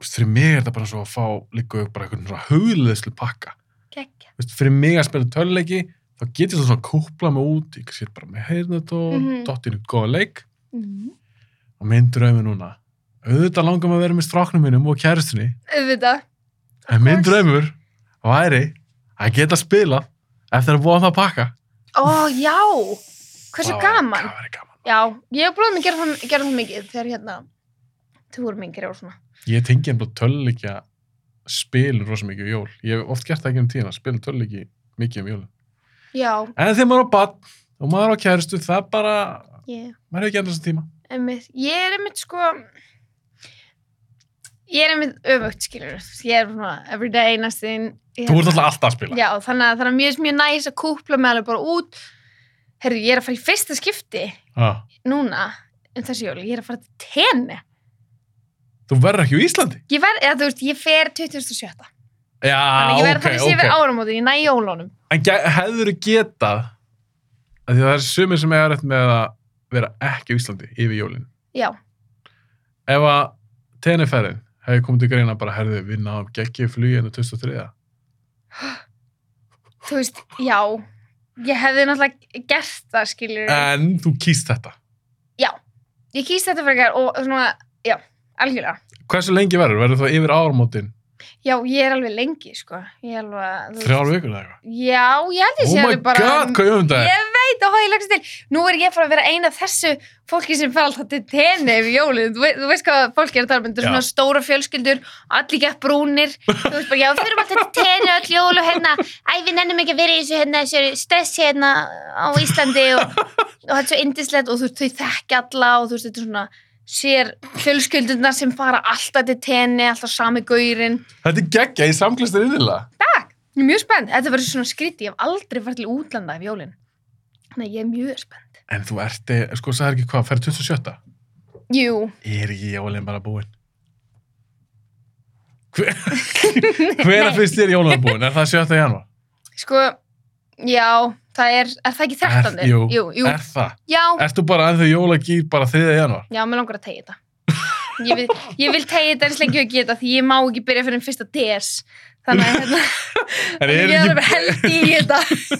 þú veist, fyrir mig er þetta bara svo að fá líka bara einhvern svona hugleðslu pakka. Gekk. Þú veist, fyrir mig að spila töluleiki, þá get ég svolítið svona kúpla mig út, ég sér bara með heyrnatón, mm Mhm. dottinu góða leik Mm. og minn draumi núna. Auðvitað langar maður að vera með stráknum mínum og kærustinni, Auðvitað. en minn course. draumur væri að geta spila eftir að búa það að pakka. Ó, já, hversu Það væri- gaman. Það væri gaman. Já, ég hef bróðum að gera það, gera það mikið þegar hérna, túr minn gerir og svona. Ég tengi einhvern töluleikja spilur rosa mikið um jól. Ég hef oft gert það ekki um tíðina, spila töluleiki mikið um jólum. Já, En þegar maður er á bann og maður er á kærustu, það bara, ég, maður hefur ekki endast tíma. einmitt, ég er einmitt sko, ég er einmitt öfugt, skilur, ég er svona everyday næstinn. Þú ert alltaf alltaf að spila. Já, þannig að það er mjög, mjög næs að kúpla með alveg bara út. Herru, ég er að fara í fyrsta skipti Ah. núna um þessi jól, ég er að fara til tenni. Þú verður ekki í Íslandi. Ég verð, eða þú veist, ég fer 2017. Já, Þannig að ég verð Ah, ok, að fara í ok. sifir áramótin, ég næ jólunum. En gæ- hefðirðu getað, af því að það er sumir sem eiga rétt með að vera ekki á Íslandi yfir jólin. Já, Ef að tenniferðin hefði komið til greina bara, herðu, við náðum geggið fluginu 2003. þú veist, já, ég hefði náttúrulega gert það, skilur. En þú kýst þetta. Ég kýst þetta frekar og svona, já, algjörlega. Hversu lengi verður? Verður það yfir áramótin? Já, ég er alveg lengi, sko. Ég er alveg, þú Þrjár vikur eða eitthvað? Já, ég held ég Oh sé my alveg bara... god, hvað ég um þetta er? Ég veit og hvað ég lagst til. Nú er ég frá að vera eina af þessu fólki sem fer alltaf til tenni yfir jólið. Þú, vei- þú veist hvað fólki er að tala um, þetta er Já. svona stóra fjölskyldur, allir gett brúnir. Þú veist bara, já, við fyrir alltaf til tenni öll jól og hérna, æ, við nennum ekki að vera í þessu, hérna, þessu stressi hérna á Íslandi og, og þetta er svo indislegt og þú veist, þau þekki alla og þú veist, þetta er svona sér fjölskyldurnar sem fara alltaf til tenni, alltaf sami gaurinn. Þetta er geggja, ég samklist þér yfirlega. Ég er mjög spennt. Þetta verður svona skríti, ég hef aldrei farið til útlanda ef jólinn. Þannig að ég er mjög spennt. En þú ert, eh, sko, sagði ekki hvað, ferð 27. Jú, Er ekki jólinn bara búinn? Hver, hver að finnst þér jólinn búinn? Er það 7. janúar? Sko, já, það er, er það ekki 13? Er- jú. jú, jú. Er það? já, Ert þú bara ennþá jólagýr bara 3. janúar? já, mér langar að tegja þetta. Ég vil, ég vil tegja þetta eins lengi og ég geta því ég má ekki byrja fyrir en fyrsta DS. Þannig að hérna, En er ég er ekki, alveg held í þetta.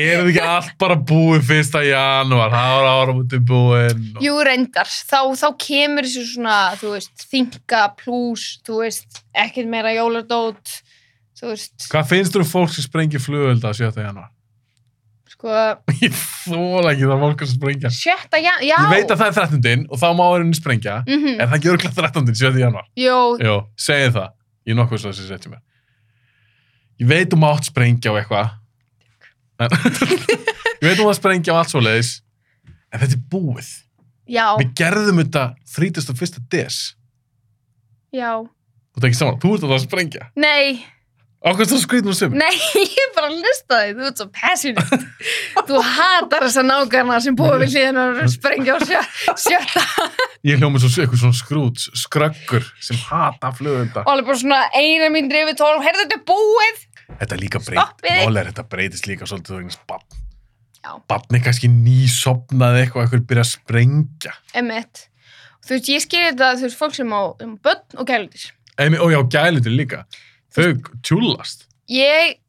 er ekki allt bara búið 1. janúar? Það var áramúti búinn. og- Jú, reyndar. Þá, þá kemur þessu svona, þú veist, þinga plus, þú veist, ekkert meira jólardót, þú veist, Hvað finnst þú um fólk sem sprengir flugölda 7. janúar? sko, Ég þóla ekki það fólk sem sprengja. sjötta, já, já. Ég veit að það er 13. og þá má erinn sprengja. Mm Er það ekki örglega 13. 7. janúar? Jú, Jó, segið það. Ég er nokkuð svo að þessi setja mér. Ég veit um átt sprengja á eitthvað. En, ég veit um að sprengja á allt svo leiðis. En þetta er búið. já, Við gerðum þetta 31. des. já. Þú ert ekki saman. Þú ert að það að sprengja. Nei, Á hvernig þú skrýtum sem? Nei, ég er bara að lista þig, þú ert svo passionate. þú hatar þessa nágarna sem búið við hliðin og eru að sprengja á sjö, sjötta. Ég hljóma svo eitthvað svona skrút, skröggur sem hata flugunda. Og alveg bara svona eina mín drifið tólum, heyrðu þetta er búið. Þetta er líka breyt. Stoppið. Mál er þetta breytist líka svolítið þú eignast barn. Já. Barn er kannski nýsopnað eitthvað, eitthvað byrja að sprengja. Emmett, þú veist, ég skilja þetta, þú veist, fólk sem á um börn og gælutir. Emi, og já, gælindur líka. Þau tjúlast. Ég,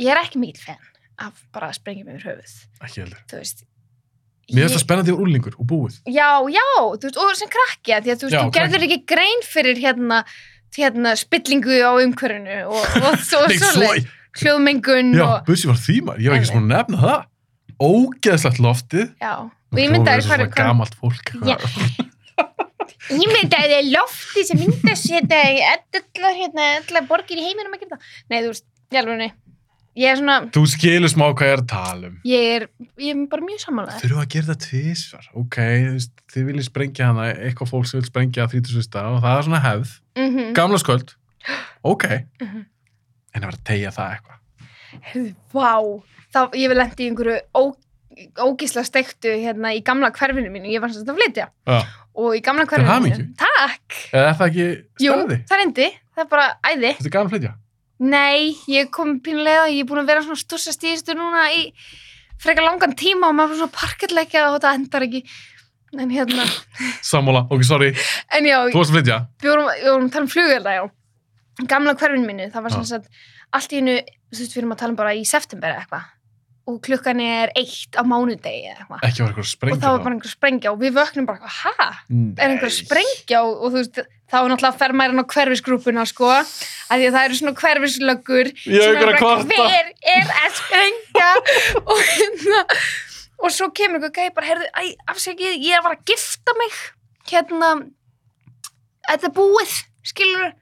ég er ekki mikill fan af bara að sprengja mig yfir höfuð, Ekki heldur. þú veist. Mér Ég- finnst það spennandi úr úlingur og búið. Já, já, þú veist, og sem krakki að því að þú, veist, Já, þú gerður ekki grein fyrir hérna, hérna spillingu á umhverfinu og, og, og, og Nei, svo, svoleið, hljóðmengun já, og, bussi var því maður, ég var ekki svona að nefna það. Ógeðslegt loftið. já, og ég myndi að það er hvað, gamalt fólk. eitthvað. Já. ég myndi að þið lofti sem myndi að setja í allar hérna, allar borgir í heiminum að gera það. Nei, þú veist, ég alveg nei, ég er svona, Þú skilur smá hvað ég er að tala um. ég er, ég er bara mjög samanlega. Þurfa að gera það tvísvar. Ok, þú veist, þið viljið sprengja hana, eitthvað fólk sem vil sprengja að 30. og það er svona hefð. Mm -hmm. Gamla sköld. Ok. Mhm. En að vera að tegja það eitthvað. Heyrðu, vá, þá ég vil lendi í einhverju ó, ógisla steiktu hérna í gamla hverfinu mínu, ég var svolítið að flytja Já. og í gamla Til hverfinu hamingju. mínu, takk Eða er það ekki stærði? það reyndi, það er bara æði Þetta er gaman að flytja. Nei, ég kom pínulega, ég er búin að vera svona stúrsa stíðistu núna í frekar langan tíma og maður er svona parkettleikja og þetta endar ekki en hérna, Sammála, ok, sorry. en já, Þú varst að flytja? við vorum, við vorum að tala um flugvelda, já. Gamla hverfinu mínu, það var Já. svona satt, allt í einu, þú veist, við erum að tala um bara í september eða eitthvað. Og klukkan er eitt á mánudegi eða eitthvað. Ekki var eitthvað Og sprengja þá var bara einhver sprengja og við vöknum bara, hæ? Mm. Er einhver sprengja og, og þú veist, þá er náttúrulega fer maður inn á hverfisgrúpuna, sko. Af því að það eru svona hverfislöggur. Ég hef sem einhver eru að bara, kvarta. Hver er að sprengja? og hérna, og svo kemur einhver gæði bara, herðu, æ, afsækið, ég er að fara að gifta mig. Hérna, þetta er búið, skilur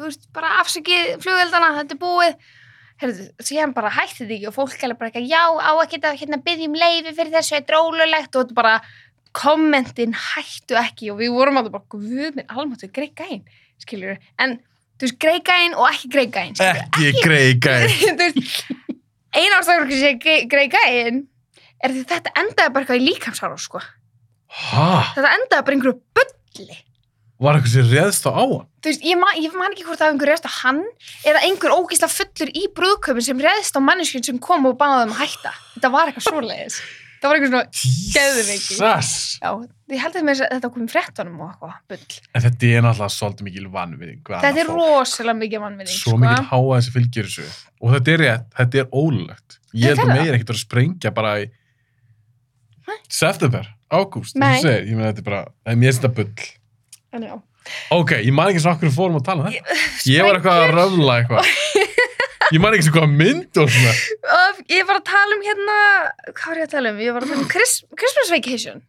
þú veist, bara afsakið flugveldana, þetta er búið Herðu, síðan bara hætti þetta ekki og fólk kallar bara eitthvað, já, á að geta hérna byggjum leifi fyrir þessu, þetta er ólulegt og þetta bara, kommentin hættu ekki og við vorum að það bara, guð minn, almáttu, greikæin, skilur en, þú veist, greikæin og ekki greikæin Ekki greika. þú veist, eina ástæður hvernig sé greikæin er því þetta endaði bara eitthvað í líkamsára, sko Hæ? þetta endaði bara í einhverju bulli Var eitthvað sem réðst þá á hann? þú veist, ég, man, ég man ekki hvort það var einhver reyðst á hann eða einhver ógísla fullur í brúðköpun sem reyðst á manneskjum sem kom og báði um að hætta. Þetta var eitthvað svoleiðis. Það var einhver svona, Geðveiki. Jesus. já, ég held að mér að þetta kom í fréttunum og eitthvað, bull. En þetta er náttúrulega svolítið mikil vannviðing. Þetta er rosalega mikið sko. mannvinning, Svo mikil háa þessi fylgir þessu. Og þetta er rétt, þetta er ólulegt. Ég held Þetta að er megin ekkert að sprengja bara í september, ágúst, Nei. þú segir, ég meina þetta er bara, það er mér þetta bull. En já, Ok, ég man ekki svo okkur við fórum að tala um þetta. Ég var eitthvað að röfla eitthvað. Ég man ekki svo hvað mynd og svona. Öf, ég var að tala um hérna, hvað var ég að tala um? Ég var að tala um Chris, Christmas Vacation,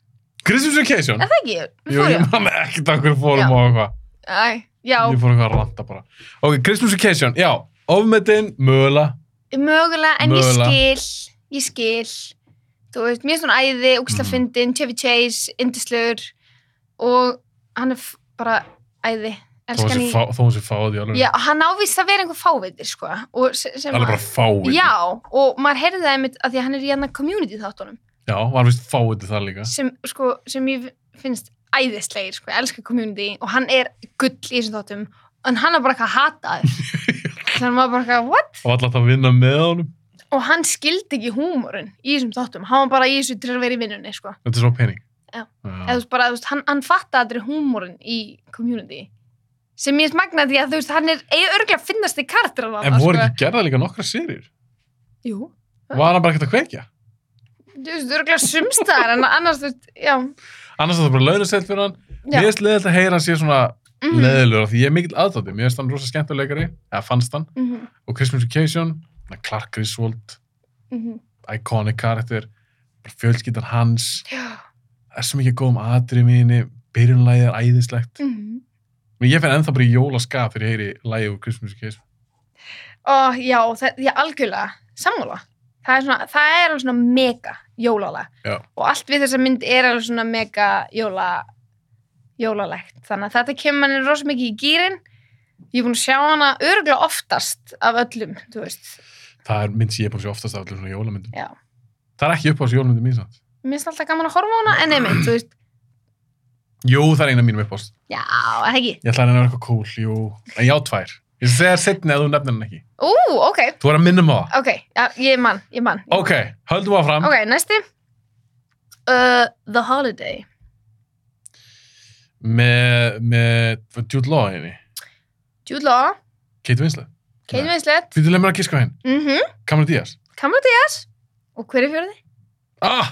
Christmas Vacation? er það ekki? Jú, Fór ég man ekkert okkur við fórum Já. og eitthvað. Æ, já, Ég fór eitthvað að ranta bara. Ok, Christmas Vacation, já, ofmetin, mögulega. mögulega, en Mögulega. ég skil, ég skil, þú veist, mér er svona æði, ógisla Mhm. fyndin, Chevy Chase, Indislegur og hann er f- bara æði, Þó elskan í... hún sé fáð í alveg. Já, hann ávist að vera einhver fáveitir, sko. og se- sem Alveg bara að- fáið. Já, og maður heyrði það einmitt að því að hann er í hann community þáttunum Já, var vist fáið til það líka. sem, sko, sem ég finnst æðislegir, sko, ég elska community og hann er gull í þessum þáttum en hann er bara eitthvað hataður þannig að maður bara eitthvað, what? Og alltaf að vinna með honum. og hann skildi ekki húmorinn í þessum þáttum, hann var bara í þessu til að vera í vinnunni sko. Þetta er svo pening. Já. eða þú Já. veist bara, þú veist, hann, hann fatta aldrei húmorinn í community sem ég smagna því að þú veist, hann er örgulega finnast í kartur En voru ekki gerða líka nokkra sýrir? jú, Var hann bara ekkert að kveikja? þú veist, örgulega sumstaðar en annars, þú veist, já, Annars að það bara launaselt fyrir hann. já. Mér finnst leðilt að heyra hann sé svona Mhm, leðilegur af því ég er mikill aðdátti. Mér finnst hann rosa skemmtuleikari, eða fannst hann. mhm, Og Christmas Vacation, hann Clark Griswold, mhm. iconic karakter, bara fjölskyldan hans, Já, það er svo mikið góðum atriðum í henni, byrjunlægið er æðislegt. mhm. Men ég finn ennþá bara í jólaskap þegar ég heyri lægið úr Christmas Vacation. Ó, já, það, já, algjörlega sammála, það er svona það er alveg svona mega jólala Já. og allt við þessa mynd er alveg svona mega jóla jólalegt, þannig að þetta kemur manni rosa mikið í gýrin ég er búin að sjá hana örgulega oftast af öllum, þú veist Það er mynd sem ég er búin að sjá oftast af allir svona jólamyndum. Já. Það er ekki upp á þessu jólamyndum mín samt. mér finnst alltaf gaman að horfa á hana, en einmitt, þú veist Jú, það er eina mínum upp á þessu. já, eða ekki, Ég ætla að reyna að vera eitthvað cool, jú. En já, tvær. Ég skal segja setni að þú nefnir hann ekki. ú, ok Þú er að minna maður. ok, já, ég mann, ég mann Ok, höldum að fram. ok, næsti uh, The Holiday Með, með Jude Law henni. Jude Law, Kate Winslet. Kate Nei. Winslet Býtu leið mér að kíska henn. mhm, Cameron Diaz. Cameron Diaz og hver er fjörði? Ah,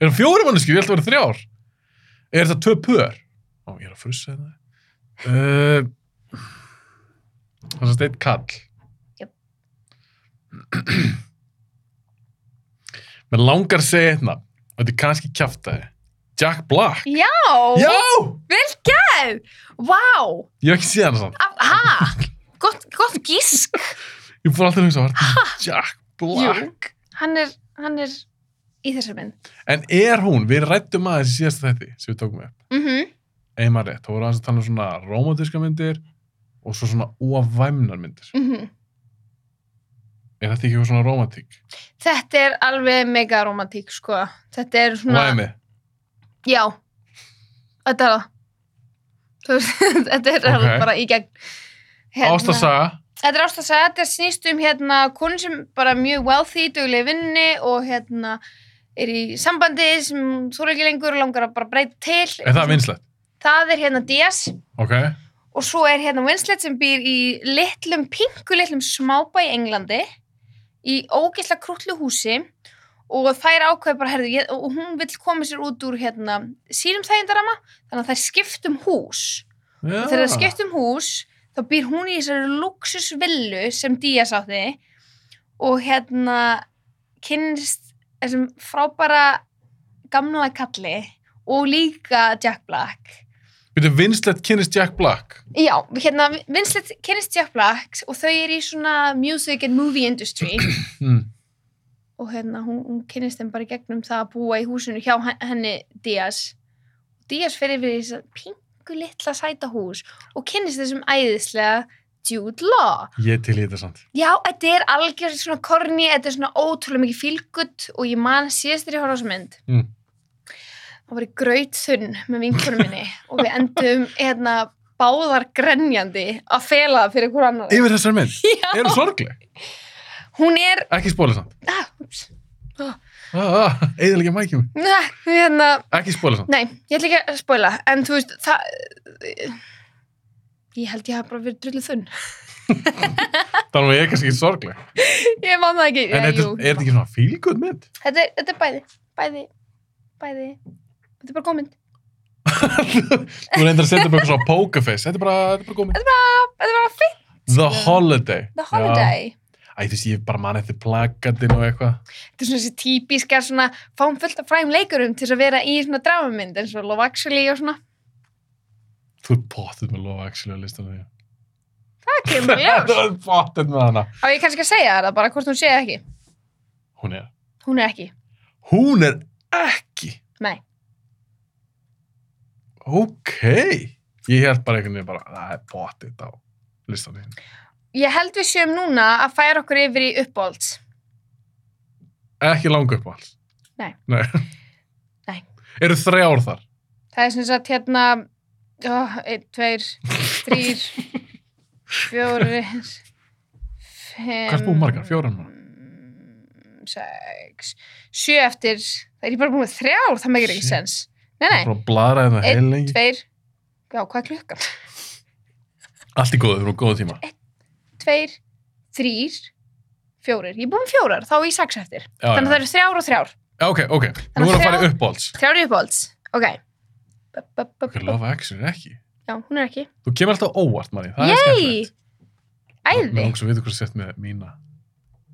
er það fjóri manneski? Ég held að vera þrjár. Er það tvö pör? Ó, ég er að frussa hérna. það. Uh, það er steitt kall. Jöp. Mér langar að segja eitthvað. Þetta er kannski kjaftaði. Jack Black. Já, Já! vel gæð! Vá, Ég hef ekki séð hana samt. af- ha, gott, gott gísk. Ég fór alltaf að hugsa, var þetta Jack Black? Jú, hann er, hann er í þessari mynd. En er hún, við rættum aðeins í síðasta þætti sem við tókum upp. Mm Eimar rétt, þá voru aðeins að tala um svona mhm. romantíska myndir og svo svona óafvæmnar myndir. -hmm. Er Er þetta ekki svona romantík? Þetta er alveg mega romantík, sko. Þetta er svona... Væmi. Já. Þetta er það. Þú veist, þetta er Ok. bara í gegn. Hérna. Ástasaga. Þetta er ástasaga, þetta snýst um hérna konu sem bara er mjög wealthy, duglega vinni og hérna er í sambandi sem þú er ekki lengur og langar að bara breyta til. Er það vinslegt? Það er hérna Díaz Ok. og svo er hérna Winslet sem býr í litlum, pinku litlum smábæ í Englandi í ógeðslega krútlu húsi og þær ákveð bara, herðu, ég, og hún vill koma sér út úr hérna sínum þægindarama þannig að þær skiptum hús Já. og þegar þær skiptum hús þá býr hún í þessari luxusvillu sem Díaz átti og hérna kynnist þessum frábæra gamla kalli og líka Jack Black Býtu, vinslegt kynist Jack Black. Já, hérna, Vincent kynist Jack Black og þau eru í svona music and movie industry Mm. og hérna, hún, hún kynist þeim bara í gegnum það að búa í húsinu hjá hen- henni Díaz. Díaz fyrir við þess að pingu litla sæta hús og kynist þessum æðislega Jude Law. Ég til í þetta samt. Já, þetta er algjörð svona korni, þetta er svona ótrúlega mikið fílgutt og ég man síðast þegar ég horfa á þessa mynd. Mm. Það var í gröytþunn með vinkunum minni og við endum hérna báðar grenjandi að fela það fyrir hver annar. Yfir þessar mynd. Já. Er það sorgleg? hún er Ekki spóla samt. ah, ups, Ah, ah, Eðalega mækjum. na, hérna, Ekki spóla samt. nei, ég ætla ekki að spoila en þú veist, það ég held ég hafa bara verið drullið þunn Þannig að ég er kannski ekki sorgleg. ég man það ekki En Já, er þetta jú. er þetta ekki svona feel good mynd? þetta, er, þetta er bæði, bæði bæði, þetta er bara gómynd Þú reyndir að setja upp eitthvað svona poker face. Þetta er bara, þetta er bara góð mynd. þetta er bara fyrr, The Já. Holiday. The Holiday Já. Æ, þú veist, ég bara man eftir plakatinn og eitthvað. þetta er svona þessi típiska svona fáum fullt af fræm leikurum til þess að vera í svona dramamynd eins og Love Actually og svona Þú er potið með Love Actually að listan því. það kemur bara í Þú ljós er potið með hana. á ég kannski að segja þér það bara hvort hún sé eða ekki Hún er. hún er ekki, Hún er ekki. nei Ok. Ég held bara einhvern veginn bara, það er potið á listan því. ég held við séum núna að færa okkur yfir í uppbólds Ekki langa upp á alls. Nei. Nei. Nei. Eru þrjár þar? Það er sem sagt hérna ó, einn, tveir, þrýr fjórir fimm Hvað ert búin margar? Fjórar núna? Sex Sjö eftir Það er ég bara búin með þrjár, það megir ekki Shit. sens Nei, nei, Bara bladraði það Einn, heil lengi. tveir Já, hvað er klukkan? Allt í góðu, við erum á góðu tíma. Tveir, þrýr Fjórir, ég er búin með fjórar, þá er ég sex eftir Já, Þannig að það já. eru þrjár og þrjár Já, ok, ok. Nú Þannig erum við að þrjár- fara upp á alls. Þrjár í uppáhalds, ok B -b -b Ok, -b -b Love Actually er ekki. Já, hún er ekki Þú kemur alltaf óvart, Mari. Það er Yey, skemmtilegt. Mér æði langs að við ykkur sett með mína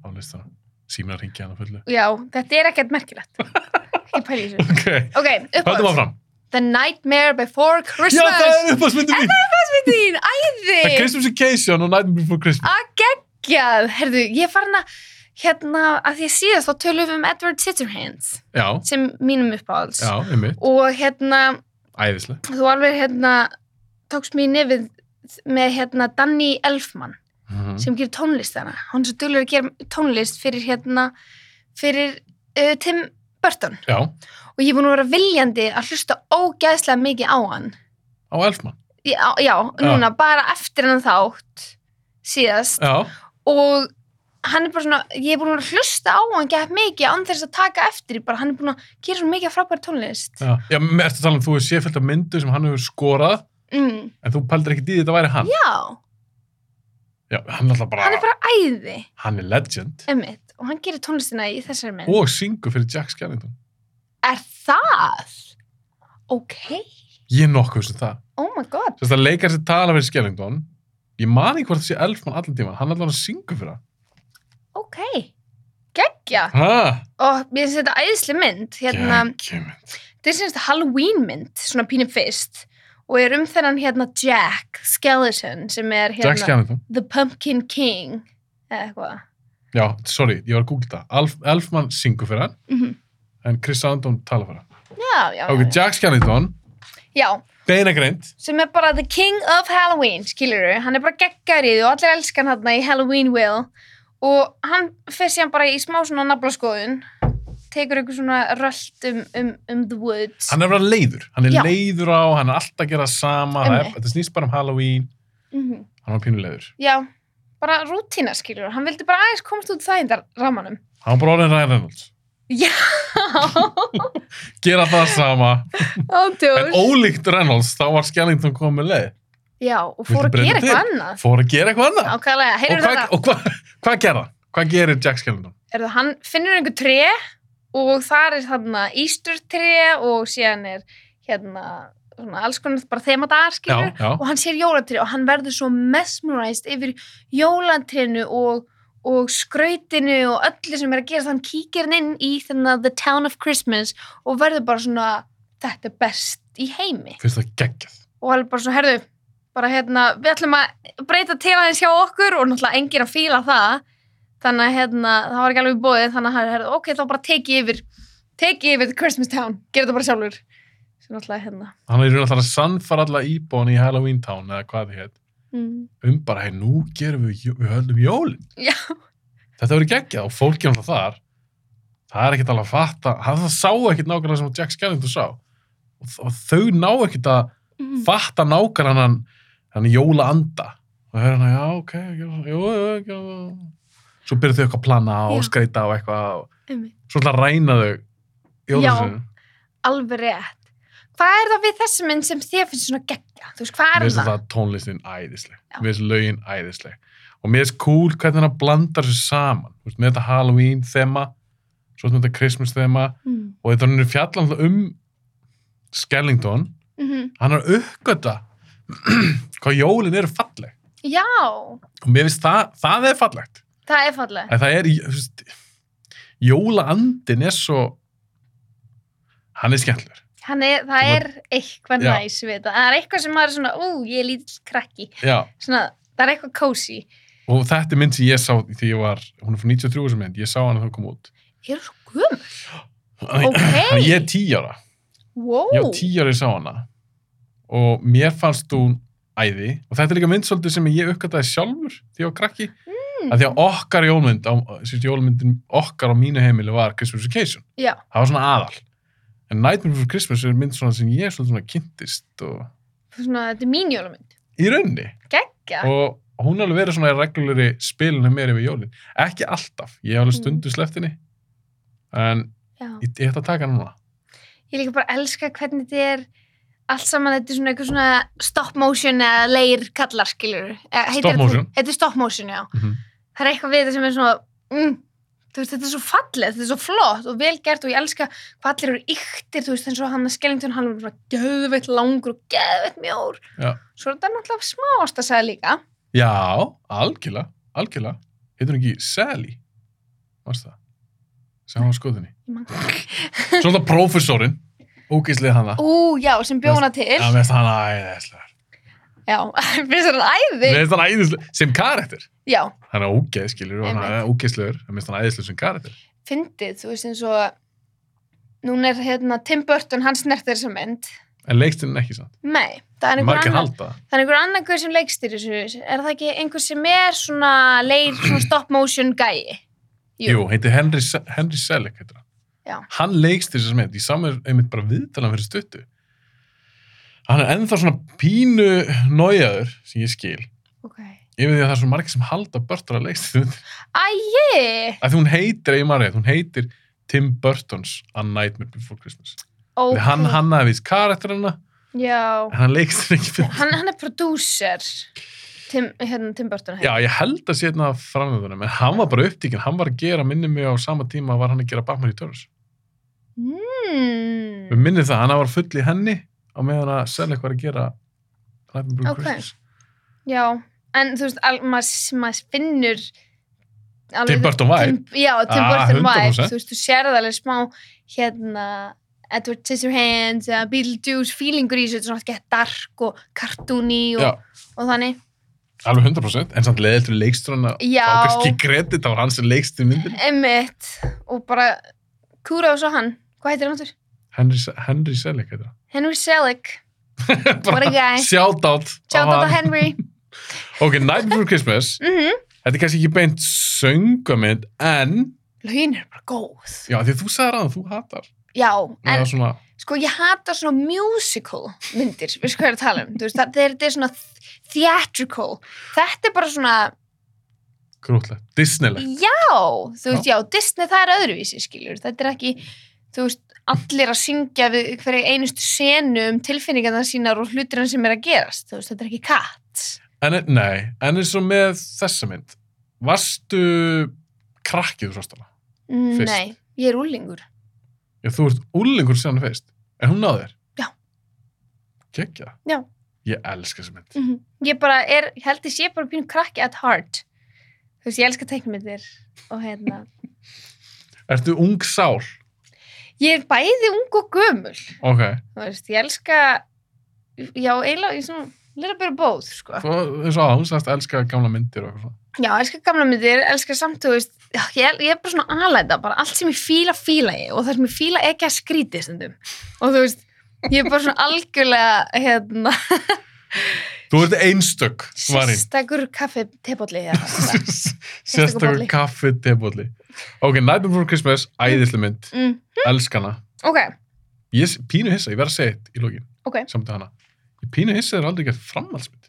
á listana. Símina ringja hana fullu. Já, þetta er ekkert merkilegt. Ekki pæli í þessu. Ok, Ok, höldum uppáhalds. áfram. The Nightmare Before Já, Christmas. það er uppáðsmyndin mín. Christmas þín, æði. Það er Christmas Vacation og Nightmare Before Christmas. Geggjað. Herðu, ég er farin að, hérna, að því að síðast þá tölum við um Edward Scissorhands Já, sem mínum uppáhalds. já, einmitt. Og hérna, Æðislega. þú alveg hérna tókst mér í nefið með hérna Danny Elfman Mhm. sem gerir tónlist þarna. Hann er svo dullur að gera tónlist fyrir hérna, fyrir uh, Tim Burton. Já, og ég er búin að vera viljandi að hlusta ógeðslega mikið á hann á Elfman. já, já núna, bara eftir hann þátt síðast Já, og hann er bara svona, ég er búin að vera að hlusta á hann gett mikið án þess að taka eftir því, bara hann er búin að gera svona mikið frábæri tónlist já. Já, með eftir að tala um þú er séfælt af myndu sem hann hefur skorað, mm, en þú pældir ekkert í þetta væri hann. já, Já, hann er alltaf bara, hann er bara æði hann er legend emmitt, og hann gerir tónlistina í þessari mynd og syngur fyrir Jack Skellington. er það? ok, Ég er nokkuð sem það. oh my god Sérst að leikar sér tala fyrir Skellington, ég mani hvort það sé Elfman allan tíman, hann er allan að syngur fyrir hann. ok, geggja Hæ? og mér finnst þetta æðisli mynd hérna, Gekkjumynd. þetta er semst Halloween mynd, svona pínum fyrst og er um þennan hérna Jack Skeleton sem er Jack hérna Skellington. The Pumpkin King eða eitthvað Já, sorry, ég var að googla það. Alf, Elfman syngur fyrir hann, mm en Chris Andon tala fyrir hann. já, já, Ok, Jack Skellington, já, beina greint. sem er bara The King of Halloween skilur hann er bara geggar í því og allir elskan hann í Halloween Will og hann fyrir síðan bara í smá svona naflaskoðun tekur einhver svona rölt um, um, um the woods Hann er bara leiður, hann er Já. leiður á, hann er alltaf að gera það sama, það er, Einmitt. þetta snýst bara um Halloween, Mhm. hann var pínuleiður. já, bara rútína skilur hann vildi bara aðeins komast út það indar ramanum Hann var bara orðin Ryan Reynolds. já, Gera það sama, en ándjós ólíkt Reynolds, þá var Skellington komið leið. já, og Viltu fór að breyta gera til? eitthvað annað Fór að gera eitthvað annað. ákvæðlega, og heyrðu hvað, þetta og hvað, hvað gerða? Hvað gerir Jack Skellington? er það hann finnur einhver tré og þar er þarna Ístur tré og síðan er hérna svona alls konar bara þemadagar Já, skilur já. og hann sér jólatri og hann verður svo mesmerized yfir jólatrinu og, og skrautinu og öllu sem er að gera þann kíkir hann inn í þarna The Town of Christmas og verður bara svona þetta er best í heimi Finnst það geggjað. og hann er bara svona, herðu, bara hérna, við ætlum að breyta til aðeins hjá okkur og náttúrulega engir að fíla það þannig að hérna, það var ekki alveg bóðið þannig að hann er, herðu, ok, þá bara teki yfir teki yfir Christmas Town, gera þetta bara sjálfur sem náttúrulega hérna Hann er í raun að það að sannfara alla íbúan í Halloween Town eða hvað þið heit. mm. Um bara, hei, nú gerum við, jó- við höldum jólin. Já. Þetta verður geggjað og fólk er alltaf þar. Það er ekkert alveg að fatta. Það, það sá ekkert nákvæmlega sem Jack Skellington sá. Og, þ- og þau ná ekkert að Mm. fatta nákvæmlega hann, hann jóla anda. Og það er hann að, já, ok, já, jú, jú, jú, jú. Svo byrjuðu þau eitthvað að plana og Já. skreita og eitthvað og Einmitt. svo ætla að ræna þau jólasinu. alveg rétt hvað er það við þessi mynd sem þér finnst svona geggja þú veist, hvað Mér er finnst það? það tónlistin æðisleg. Já. Mér finnst lögin æðisleg. Og mér finnst cool hvernig hann blandar sér saman. Þú veist, með þetta Halloween þema, svo með þetta Christmas þema Mm. og þetta hann er fjallan um Skellington. Mm. Hann er að uppgöta hvað jólin eru falleg. já, Og mér finnst það, það er fallegt. það er fallega En það er, í- þú veist, jólaandin er svo, hann er skemmtlur. Hann er, það Þú er eitthvað Já. næs við þetta það er eitthvað sem maður er svona, ú, ég er lítill krakki Já. svona, það er eitthvað kósi Og þetta er mynd sem ég sá því ég var, hún er frá 93 sem mynd, ég sá hann að það kom út. Ég er svo gömul Þannig- Ok. Ég er 10 ára. Ég wow. var 10 ára ég sá hana. Og mér fannst hún æði. Og þetta er líka mynd svolítið sem ég uppgöttaði sjálfur því ég var krakki. Mm. Að því að okkar jólmynd, á, sérst jólmyndin okkar á mínu heimili var Christmas Vacation. Já. Það var svona aðal. En Nightmare Before Christmas er mynd svona sem ég svolítið svona kynntist og svona, þetta er mín jólamynd í raunni. geggja, Og hún er alveg verið svona í reglulegi spilinu mér yfir jólin. Ekki alltaf. Ég hef alveg Mm. stundu sleftinni. En já ég, ég ætla að taka hana núna. Ég líka bara elska hvernig þetta er allt saman, þetta er svona eitthvað svona stop motion eða leir kallar, skilur. Stop motion? Þetta er stop motion, já. Mhm. Það er eitthvað við þetta sem er svona, mm, þú veist, þetta er svo fallið, þetta er svo flott og vel gert og ég elska hvað allir eru yktir, þú veist, eins og hann að skellingtun, hann er svona geðveitt langur og geðveitt mjór. Já. Svo er þetta náttúrulega smá ástasæði líka. Já, algjörlega, algjörlega. Heitir hún ekki Sally? Varst það? Sem hann var skoðinni. Ég man- Svo er það prófessorinn, ógeðslega hana. Ú, já, sem bjóna til. Já, mér finnst hann æðislega. Já, finnst þér hann Mér æði? finnst hann æðislega, sem karakter. Já. Hann er ógeð, skilur, og hann er ógeðslegur. Mér finnst hann æðislega sem karakter. fyndið, þú veist eins og núna er hérna Tim Burton, hann snertir þessa mynd En leikstinn ekki samt. nei, það er einhver Margir annar halda. það. það er einhver annar guð sem leikstir þessu er það ekki einhver sem er svona leir svona stop motion gæi Jú, heitir Henry, Se- Henry Selick, heitir hann. Já. Hann leikst þess að mynd, ég samar einmitt bara viðtalan fyrir stuttu. Hann er ennþá svona pínu nójaður, sem ég skil, ok yfir því að það er svo margir sem halda Burton að leikst þess æi, að því hún heitir, ég maður rétt, hún heitir Tim Burton's A Nightmare Before Christmas okay. ok hann hannaði vist karakterina já, en hann leikst henni ekki fyrir hann, hann er producer Tim, hérna Tim Burton já, ég held að sé hérna framöðunum en hann var bara upptíkin, hann var að gera minni mig á sama tíma var hann að gera Batman í Törnus við mm. minnið það, hann var full í henni á meðan að selja eitthvað að gera Nightmare Before Ok. Christmas já, en þú veist al- maður maður finnur alveg- Tim Burton væri Tim, já, Tim Ah, Burton vibe 100%. þú veist, þú sérð alveg smá hérna Edward Scissorhands eða Beetlejuice feelingur í þessu, þetta er svona gett dark og kartúni Já, og, og þannig alveg 100% en samt leðið til leiksturinn að já, fá kannski kredit á hann sem leikst í myndin emmitt og bara kudos á hann hvað heitir hann áttur? Henry, Se- Henry Selick heitir Henry Selick, hann what a guy Shoutout á shout out hann. to Henry Ok, Nightmare Before Christmas mm Þetta er kannski ekki beint söngamind, en Lögin er bara góð. já, því þú sagðir að þú hatar. Já, En, en svona, sko ég hata svona musical myndir, við sko hvað ég er að tala um, þú veist, það, þeir, þetta er svona theatrical, þetta er bara svona, krútlegt, Disneylegt. já, þú veist, já, Disney það er öðruvísi, skiljur, þetta er ekki, þú veist, allir að syngja við hverju einustu senu um tilfinningarna sínar og hlutirna sem er að gerast, þú veist, þetta er ekki katt. En, er- nei, en eins og með þessa mynd, varstu krakkið frá stala? Fyrst. Nei, ég er úlingur. Já, þú ert úlingur síðan fyrst. Er hún náð þér? Já. Kekja? Já. Ég elska þessa mynd. Ég bara er, ég held ég sé bara pínu krakki at heart. Þú veist, ég elska teknmyndir og hérna. Ertu ung sál? Ég er bæði ung og gömul. Ok. Þú veist, ég elska, já, eiginlega, ég er svona, lera bara bóð, sko. Þú, eins og að hún sagðist elska gamla myndir og eitthvað svona. Já, elska gamla myndir, elska samt, þú veist, já, ég, el- ég er bara svona aðlæta, bara allt sem ég fíla, fíla ég og það sem ég fíla ekki að skríti stundum. Og þú veist, ég er bara svona algjörlega, hérna, Þú ert einstök, varinn. sérstakur kaffi teipolli hérna. bara. Sérstakur bolli. kaffi tebóli. Ok, Night Before Christmas, æðisli mynd. Mm. Elskana. Ok, Ég er pínu hissa, ég verð að segja eitt í lógin. Ok. Samt að hana. Ég pínu hissa þeir aldrei gert framhaldsmynd.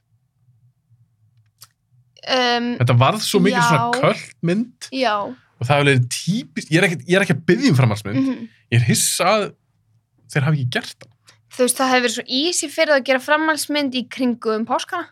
um, Þetta varð svo mikið Já. svona kvöld mynd já, og það hefur leiðið típist, ég er ekkert- ég er ekki að byggja um framhaldsmynd. mm Ég er hissa að þeir hafi ekki gert það. þú veist, það hefur verið svo easy fyrir það að gera framhaldsmynd í kringum páskana.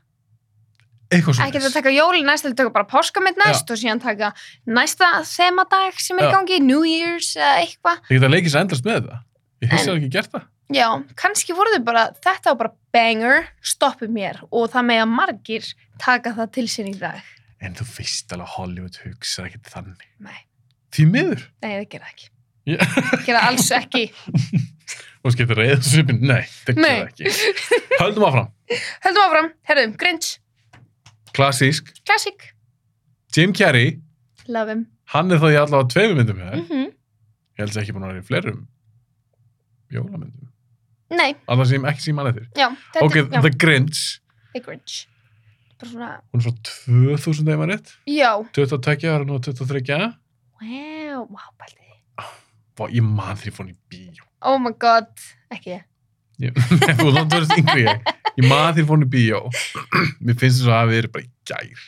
Eitthvað svona. Ekki að taka jólin næst, heldur taka bara páskamynd næst og síðan taka næsta þemadag sem er í Já. gangi, New Year's eða eitthvað. Þeir geta leikis að endast með það. Ég hissa En- að þeir ekki gert það. Já, kannski voru þau bara, þetta var bara banger, stoppu mér og það með að margir taka það til sín í dag. En þú veist alveg að Hollywood hugsa ekkert þannig. Nei, Því miður. nei, það gera það ekki. Já. Gera alls ekki. Og skiptir reyða svipin. Nei, þetta Nei. er ekki. Höldum áfram. Höldum áfram, herðum, Grinch, Klassísk. Classic, Jim Carrey, Love Him. hann er þá í allavega tveimur myndum með Mm þér. Ég held að ekki búin að vera í flerum jólamyndum. Nei, Alltaf sem ekki sem mann eftir. já, þetta Ok, já, The Grinch. The Grinch. Bara svona, Hún er frá 2000 eða rétt. já, 22 ára nú 23. wow, wow, bælti því. Vá, ég man því fór hún í bíó. Oh my god, ekki ég. Ég- Þú langt verðist yngri en ég. Ég man því fór hún í bíó. Mér finnst þess að hafi verið bara í gær.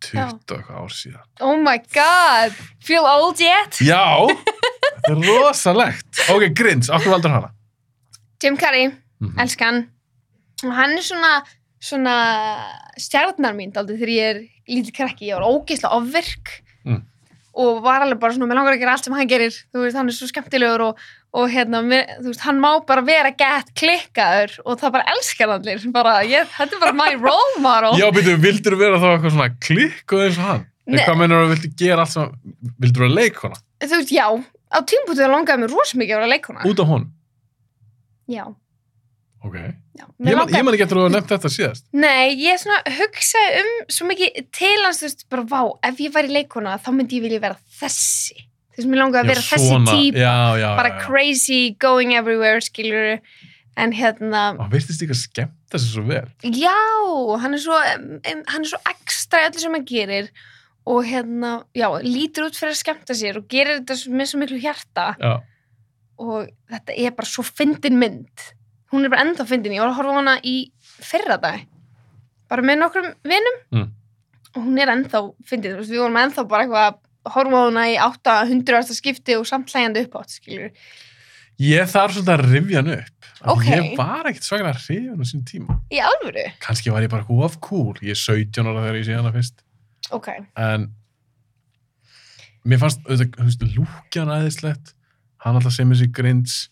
20 og eitthvað ár síðan. Oh my god, feel old yet? Já, þetta er rosalegt. Ok, Grinch, okkur valdur hana. Jim Carrey, Mm -hmm. elskan. Og hann er svona, svona stjarnar mín daldið þegar ég er lítið krakki. Ég var ógeðslega ofvirk Mm. og var alveg bara svona, mér langar að gera allt sem hann gerir. Þú veist, hann er svo skemmtilegur og, og hérna, mér, þú veist, hann má bara vera gett klikkaður og það bara elskar allir. Bara, ég, þetta er bara my role model. Já, byrju, vildur vera þá eitthvað svona klikk og eins og hann? Nei. Nei. Hvað mennur að vildu gera allt sem, vildur vera leikona? Þú veist, já, á tímpútið langaði mér rosamikið að vera leikona. Út af honum? Já, Ok. já. Ég man, Mér langaði- ég man ekki eftir að þú hafa nefnt þetta síðast. Nei, ég svona hugsaði um svo mikið til hans, þú veist, bara vá, ef ég væri leikona þá myndi ég vilja vera þessi. Þú veist, mér langaði að vera þessi típ, Já, já, bara já. crazy, going everywhere, skiljur, en hérna, Hann virtist líka skemmta sér svo vel. já, hann er svo, em, em, hann er svo ekstra í öllu sem hann gerir og hérna, já, lítur út fyrir að skemmta sér og gerir þetta svo- með svo miklu hjarta Já. og þetta er bara svo fyndin mynd. Hún er bara enda fyndin. Ég var að horfa á hana í fyrra dag. Bara með nokkrum vinum. Mm. Og hún er ennþá fyndin. Þú veist, Við vorum ennþá bara eitthvað að horfa á hana í 800. skipti og samt hlægjandi upp átt, skiljur. Ég þarf svolítið að rifja hann upp. Af Ok. því Ég var ekkert svaklega að rifja hann á sín tíma. Í alvöru? Kanski var ég bara eitthvað of cool. Ég er 17 ára þegar ég sé hana fyrst. Ok. en mér fannst auðvitað, þú veist, lúkjan æðislegt hann alltaf sem þessi grins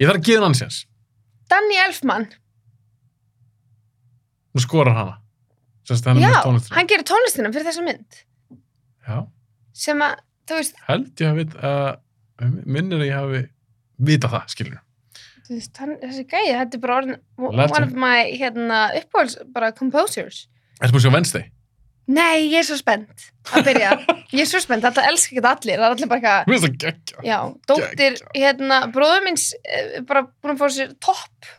ég þarf að gefa hann séns, Danny Elfman. nú skorar hana sérst hann Já, er með tónlistina hann gerir tónlistina fyrir þessa mynd. já, Sem að, þú veist, held ég að vit að minnir að ég hafi vita það, skilur þú veist hann, þessi gæði, þetta er bara orðin Legend. one of my, hérna, uppáhalds, bara composers. Ertu búin að sjá Wednesday? Nei, ég er svo spennt að byrja. Ég er svo spennt, þetta elskar ekki allir. Það er allir bara eitthvað, Mér finnst það geggja. já, dóttir, hérna, bróður minns eh, bara búin að fá sér topp.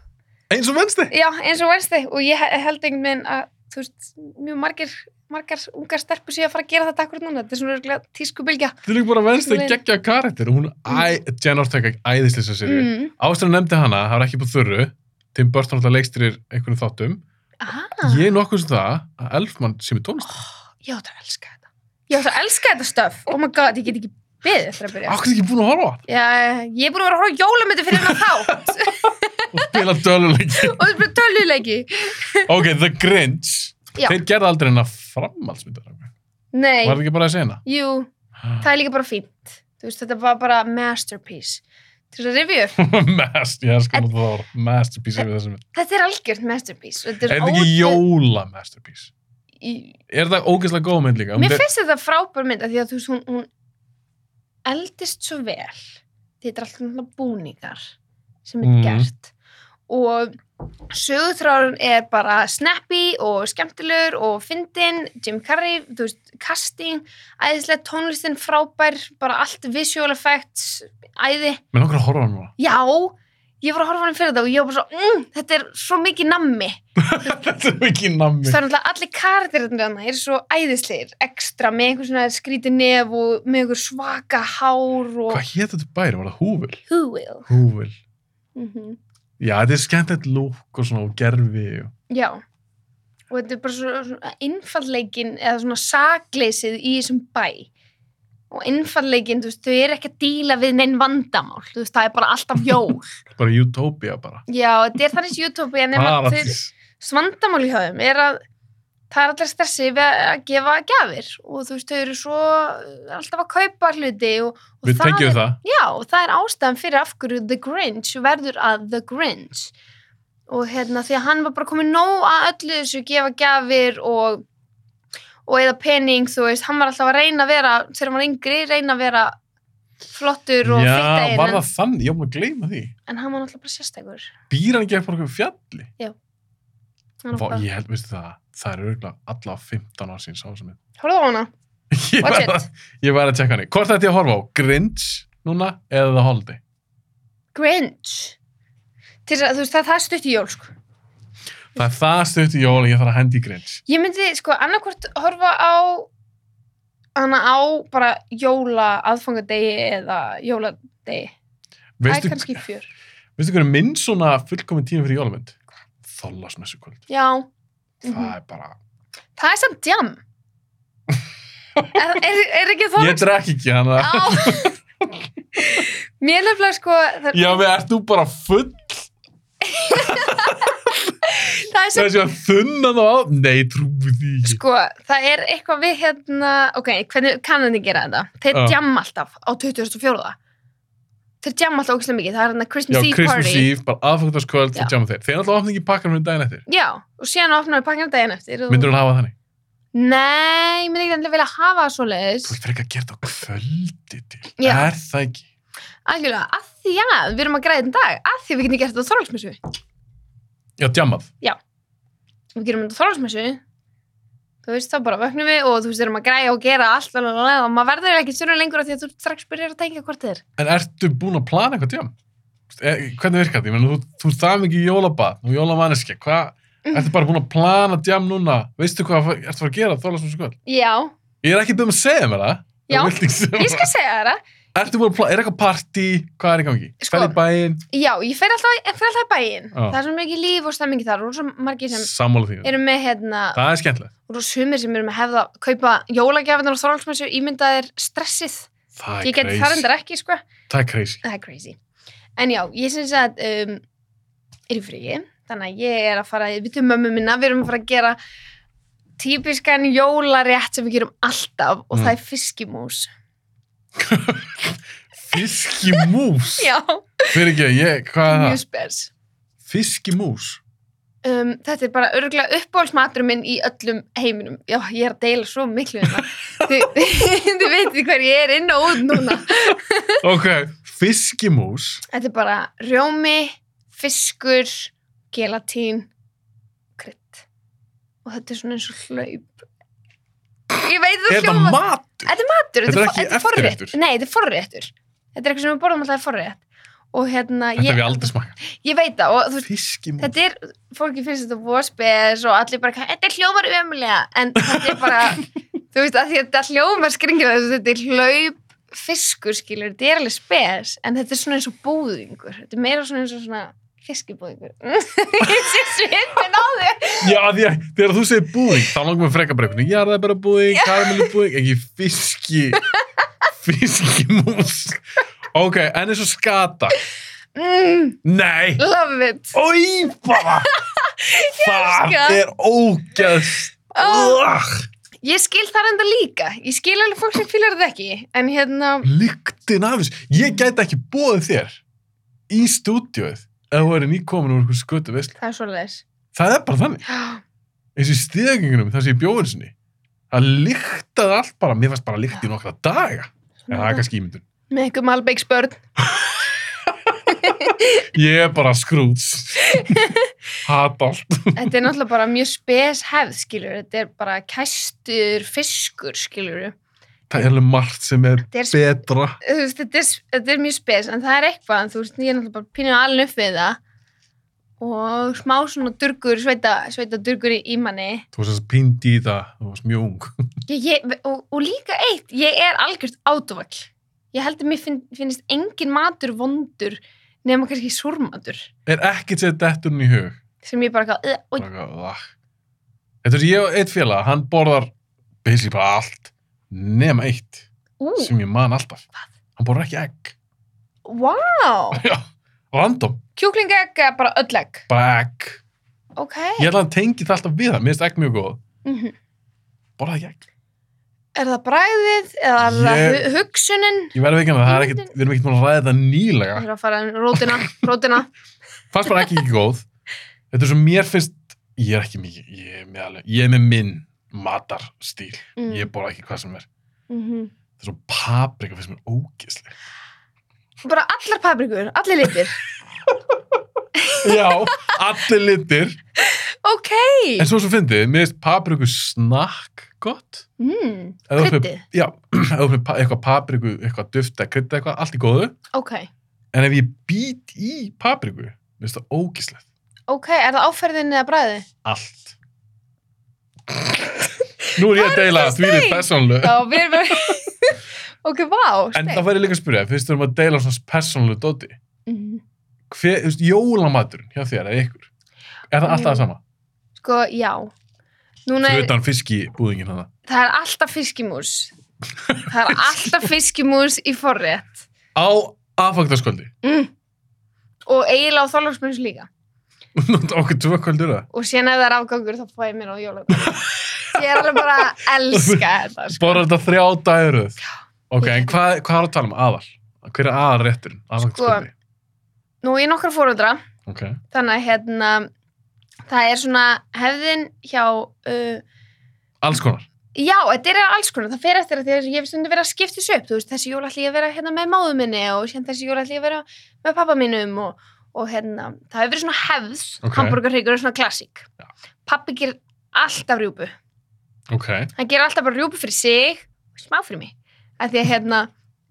Eins og Wednesday. Já, eins og vensti. Og ég he- held einhvern veginn að, þú veist, mjög margir margar ungar stelpur séu að fara að gera þetta akkur núna, þetta er svona örugglega tískubylgja. Þetta er líka bara venst að Leið. gegja karakter. Hún, Mm. æ, Jen Ortega, æðislega sér. Mm. Ástæðan nefndi hana, það var ekki búið þurru. Tim Burton alltaf leikstýrir einhvern þáttum. Ah, Ég er nokkuð sem það að Elfman sem er tónlist. Ég átt að elska þetta. Ég átt að elska þetta stöf. Oh my god, ég get ekki beðið eftir að byrja. Akkur ekki búin að horfa á hann Já, ég er búin að vera að horfa á jólamöndu fyrir hennar þá og spila döluleiki. og það er bara töluleiki. ok, The Grinch. Já. Þeir gerði aldrei hennar framhaldsmyndar. Nei, Var það ekki bara að segja jú, það er líka bara fínt. Þú veist, þetta var bara masterpiece. Til þess að review upp, Mast, ég elskar nú það orð. Masterpiece er við þessum. þetta er algjört masterpiece. og Þetta Er er þetta ekki jóla masterpiece? Í... Er það ógeðslega góð mynd líka? Hún Mér er- finnst þetta frábær mynd af því að þú veist, hún, hún eldist svo vel þetta er alltaf náttúrulega búningar sem er Mhm. gert og sögutráðurinn er bara snappy og skemmtilegur og fyndin, Jim Carrey þú veist, casting, æðislega tónlistin frábær, bara allt visual effects, æði Mér langar að horfa á hann núna. já, ég var að horfa á hann fyrir þetta og ég var bara svo, mm, þetta er svo mikið nammi Þetta er ekki nammi. Það er náttúrulega allir karakterinn þarna er svo æðislegir, ekstra með einhver svona skríti nef og með einhver svaka hár og Hvað hétt þetta bæri? Var það húvil? who will. Húvil. Mm Já, þetta er skemmtilegt lúk og svona og gerfi. Og... Já, og þetta er bara svo, svona innfallegin eða svona sakleysið í þessum bæ og innfallegin, þú veist, þau eru ekki að díla við neinn vandamál, þú veist, það er bara alltaf jól. Bara utopia bara. Já, þetta er þannig YouTube en nema þeir Paradís. svandamál í höfum er að það er allir stressi við að gefa gjafir og þú veist, þau eru svo eh, alltaf að kaupa hluti og, og Við tengjum er, það. Já, og það er ástæðan fyrir af hverju The Grinch verður að The Grinch og hérna því að hann var bara komið nóg að öllu þessu gefa gjafir og og eða pening, þú veist, hann var alltaf að reyna að vera, þegar hann var yngri, reyna að vera flottur og fyrta Já, var einn en, það þannig? Ég var búin að gleyma því. en hann var alltaf bara sérstækur Býr hann ekki eftir okkur fjalli? Hann var Vá, bara- ég held, veistu það, það er örgulega alla 15 ár sín sá sem ég. Horfðu á hana, Ég Watch var, it. að, ég var að tjekka hann. Hvort ætti ég að horfa á? Grinch núna eða The Holiday? Grinch Til þess að, þú veist, það, það er stutt í jól sko. Það er það stutt í jól, ég þarf að hendi í Grinch. ég myndi, sko, annarkvort horfa á hana á bara jóla aðfangadegi eða jóladegi það er Veistu, kannski fjör veistu hvernig minn svona fullkomin tíma fyrir jólamönd? Þollasmessu kvöld. já, Það Mhm. er bara... það er samt jam er, er, er ekki þóra Ég drekk ekki hann að... mér nefnilega sko það, Já, við ert nú bara full það er samt þessi að þunna þá á. Nei, trúi því ekki. Sko, það er eitthvað við hérna, ok, hvernig kannan þið gera þetta? Þeir Já. uh. djamma alltaf á 24. Þeir djamma alltaf ógislega mikið, það er hérna Já, Christmas Eve Christmas party. Eve, bara aðfangtaskvöld, Já. það tjáma þeir. Þeir náttúrulega opna ekki pakkar fyrir daginn eftir. Já, og síðan opnar við pakkan daginn eftir. Og... Myndur hún hafa þannig? Nei, ég myndi ekki endilega vilja hafa það svo leiðis. Þú ert frekar að gera þetta á kvöldi til. Já. Er það ekki? Algjörlega, að því að við erum að græða þetta dag, að því að við getum gert þetta á þorvaldsmessu. Já, djamað. Við gerum þetta á þorvaldsmessu, þú veist, þá bara vöknum við og þú veist, erum að græða og gera allt og, og, og maður verður ekki sörun lengur af því að þú strax byrjar að tengja hvort þið er. En ertu búin að plana eitthvað djam? E, hvernig virkar þetta? Ég meina, þú, þú ert það mikið jólabat og jólamanneskja. Hvað? Mhm. Ertu bara búin að plana djam núna? Veistu hvað ertu að fara að gera þólasmesskvöld? Já, Ég er ekki beðum að segja mér það. Já. Ég, ég skal segja þér það. Ertu búin að plana, er eitthvað partí, hvað er í gangi? Sko. Sko, í bæinn, Já, ég fer alltaf, ég fer alltaf í bæinn. Já. Það er svo mikið líf og stemmingi þar og svo margir sem sammála því. eru með hérna, Það er skemmtilegt. og svo sumir sem eru með hefða að kaupa jólagjafinar og þorvaldsmessu ímyndaðir stressið. Það Ég er geti þar crazy. endur ekki, sko. Það er crazy. Það er crazy. En já, ég syns að um, er í fríi, þannig að ég er að fara, við veitum mömmu minna, við erum að fara að gera típiskan jólarétt sem við gerum alltaf og Mm. það er fiskimús. Fiskimús. Já, Fyrir ekki, ég, hvað er mjög það? spes. Fiskimús. um, þetta er bara örgulega uppbólsmatur minn í öllum heiminum já, ég er að deila svo miklu hérna þið, þið veitir hver ég er inn og út núna Ok, fiskimús. þetta er bara rjómi, fiskur gelatín krydd og þetta er svona eins og hlaup ég veit Er það þetta hljóma matur? þetta er matur, Þetta er for- ekki forrétt. eftirréttur? nei, þetta er forréttur þetta er eitthvað sem við borðum alltaf forrétt og hérna Þetta ég, hef ég aldrei smakað. ég veit það og þú veist, Fiskimús. þetta er, fólki finnst þetta vospes og allir bara, þetta er hljómar ömulega en þetta er bara, þú veist að því að þetta hljómar skringir þessu, þetta er hlaup fiskur skilur, þetta er alveg spes en þetta er svona eins og búðingur þetta er meira svona eins og svona fiskibúðingur ég sé svipin á þér Já, því að þegar þú segir búing, þá langar mér freka bara eitthvað, já, það er bara búing, karamellu búing, ekki fiski, fiskimús. Ok, en eins og skata. mm, Nei, love it oi, bara, það elska. er ógæðst. oh, Oh. ég skil þar enda líka ég skil alveg fólk sem fylgur þetta ekki en hérna, Lyktin af þessu. Ég gæti ekki búið þér í stúdíóið ef þú eru nýkomin úr einhvers skötu veist. það er svoleiðis Það er bara þannig. Eins og í stíðagengunum, það sé í bjóðinu sinni. Það lyktaði allt bara, mér fannst bara lykt í nokkra daga. En það er kannski ímyndun. með einhver malbeigsbörn Ég er bara skrúts. Hata allt. þetta er náttúrulega bara mjög spes hefð, skilur, þetta er bara kæstur fiskur, skilur Það er alveg margt sem er þetta er, betra. þú veist, þetta, er, þetta er mjög spes en það er eitthvað, en þú veist, ég er náttúrulega bara pínu alveg upp við það og smá svona durgur, sveita, sveita durgur í manni Þú varst þess að pindi í það. Þú varst mjög ung. ég, ég, og, og líka eitt, ég er algjört átuvall ég held að mér finn, finnist engin matur vondur nema kannski súrmatur Er ekkert sér detturinn í hug. sem ég bara gaf, og Bara eitthvað, "Ugh." Þetta er ég og eitt félag, hann borðar basically bara allt, nema eitt ú, sem ég man alltaf. Hvað? Hann borðar ekki egg. wow Já, random, kjúklingegg eða bara öll egg bara egg. ok, Ég held að hann tengi það alltaf við það, mér finnst egg mjög góð. mhm Borðar ekki egg. Er það bræðið eða er það Ég- hu- hugsunin? Ég verði ekki að það er ekkert, við erum ekkert múin að ræða þetta nýlega. Það er að fara en rótina, rótina. fannst bara ekki ekki góð þetta er svo mér finnst ég er ekki mikið, ég er með, alveg, ég er með minn matarstíl, Mm. ég borða ekki hvað sem er Mm þetta er svo paprika finnst mér ógisli Bara allar paprikur, allir litir. já, allir litir Ok. en svo sem fyndið, mér finnst papriku snakk gott Mm, Ef þú ert með- kryddið. já, ef þú ert með pa- eitthvað papriku, eitthvað dufta, krydda eitthvað, allt í góðu Ok. en ef ég být í papriku mér finnst það ógislegt, Ok, er það áferðin eða bræðið? allt nú er ég að deila því er steik. persónlu Já, við erum bara... ok, vá, En steik. það væri líka að spyrja, fyrst við erum að deila svona persónulegu dóti. Mhm. Hver, þú veist, jólamaturinn hjá þér eða ykkur, er það alltaf það sama? Sko, já. Núna Fyrir er, utan fiskibúðingin hana. það er alltaf fiskimús. það er alltaf fiskimús í forrétt. Á aðfagtarskvöldi. Mm. Og eiginlega á þorlagsmunns líka. Okkur tvö kvöldur það. og síðan ef það er afgangur þá fá ég mér á jólagóð ég er alveg bara að elska þetta sko. Bara þetta þrjá daguröð. Ok, Ég- en hvað, hvað er að tala um aðal? Hver er aðalrétturinn? Aðfagtarskvöldi. nú ég nokkra fóröldra Ok. þannig að hérna það er svona hefðin hjá uh, Alls konar. já, þetta er alls konar, það fer eftir að því að ég hef stundu verið að skipta þessu upp, þú veist, þessi jól ætli ég að vera hérna með máðu minni og síðan þessi jól ætli ég að vera með pappa mínum og, og hérna, það hefur verið svona hefð Ok. okay. hamburgarhyggur er svona klassík Já. pappi gerir alltaf rjúpu Ok. hann gerir alltaf bara rjúpu fyrir sig og smá fyrir mig af því að hérna,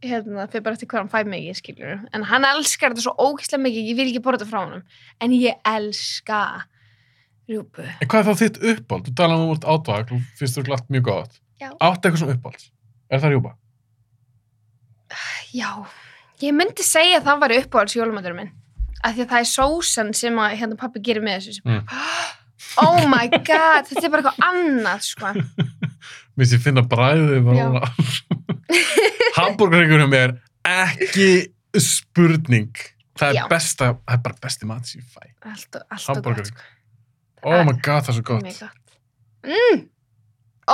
hérna fyrir bara eftir hvað hann fæ mikið skilur en hann elskar þetta svo ógeðslega mikið ég vil ekki borða þetta frá honum en ég elska rjúpu En hvað er þá þitt uppáld? Þú talaði um úr átvag og finnst þú glatt mjög gott. Já. Áttu eitthvað svona uppáld? Er það rjúpa? já, ég myndi segja að það var uppáhalds jólumatur minn af því að það er sósan sem að hérna pappi gerir með þessu sem Mm. oh my god, þetta er bara eitthvað annað sko. Mér finnst ég finna bræðið Já. bara Hamburgerreikunum er ekki spurning Það er Já. besta, það er bara besti mat sem ég fæ allt og, allt og Hamburger. gott sko. Oh my god, það er svo gott Mjög gott mm.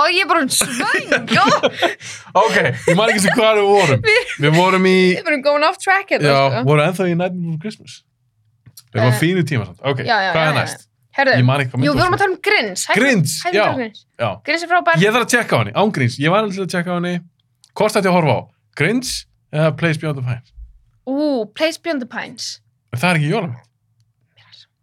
og ég er bara svöng og Ok, ég man ekki sem hvað við vorum Við vorum í, við erum going off track já, hérna sko. vorum ennþá í Night Before Christmas Við varum Eh. á fínu tíma samt Ok, Já, já, hvað já, er já, næst? Herðu, Ég man ekki hvað jú, mynd við vorum að var tala um grins. svo. Grinds, hæ, já, Grins. já grins er frábær. Ég þarf að tjekka á henni, án Grinds Ég var alltaf að tjekka á henni Hvort ætti ég að horfa á? Grinds eða Place Beyond the Pines? Ú, Place Beyond the Pines. En það er ekki jólum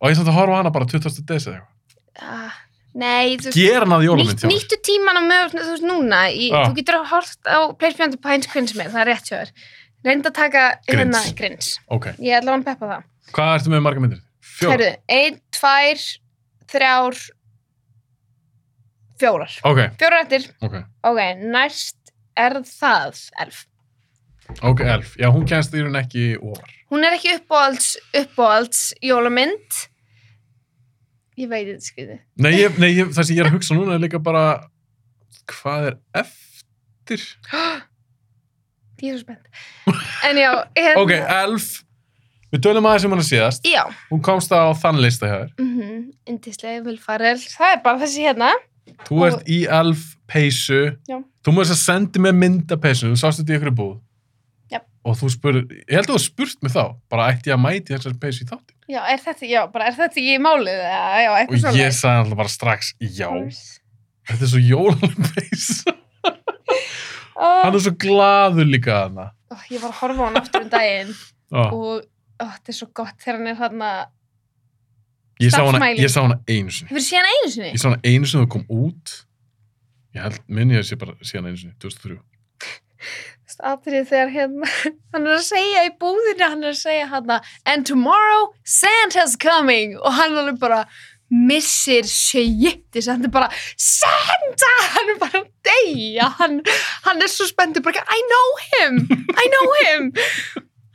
Og ég samt að horfa á hana bara 20. des eða eitthvað Ah, nei, þú gera hann að jólamynd nýtt, hjá mér. nýttu tíman á mögur, þú veist, núna. Í, Já. Þú getur að horft á Place Beyond the Pines grins með, það er rétt hjá þér. Reynda að taka Grins. hérna grins. Ok, Ég ætla að hann peppa það. hvað ertu með marga myndir? Herðu, ein, tvær, þrjár, fjórar. Ok, Fjórar eftir. ok, Ok, næst er það elf. ok, elf. Já, hún kennst í raun ekki ofar. Hún er ekki uppáhalds, uppáhalds jólamynd. Ég veit þetta skriði. Nei, ég, nei ég, það sem ég er að hugsa núna er líka bara, hvað er eftir? Ég er svo spennt. En já, hérna. Ok, elf. Við tölum aðeins um hana síðast. Já, Hún komst á þann lista hjá þér. mhm, mm indislega, vil farel. Það er bara þessi hérna. Þú ert í elf peysu. Já. Þú múið þess að sendi með myndapeysu, þú sást þetta í ykkur búð. Já. Og þú spurði, ég held að þú spurt mig þá, bara ætti ég að mæti þessar peysu í þátti. Já, er þetta, já, bara er þetta ekki í málið? eða- Já, Og eitthvað ég svona. sagði alltaf bara strax, já, þetta er svo jólalega peysa. Hann er svo glaður líka þarna. Ó, ég var að horfa á hann aftur um daginn Ó. og ó, þetta er svo gott þegar hann er þarna Ég sá, hana, Starfsmæling. ég sá hana einu sinni. hefur séð hann einu Ég sinni? sá hana einu sinni og kom út. Ég held, minn ég að sé bara sé hana einu sinni, 2003. aðrið þegar hérna hann er að segja í búðinu, hann er að segja hann and tomorrow Santa's coming og hann alveg bara missir sjöttis hann er bara Santa hann er bara að deyja hann, hann er svo spenntur bara I know him, I know him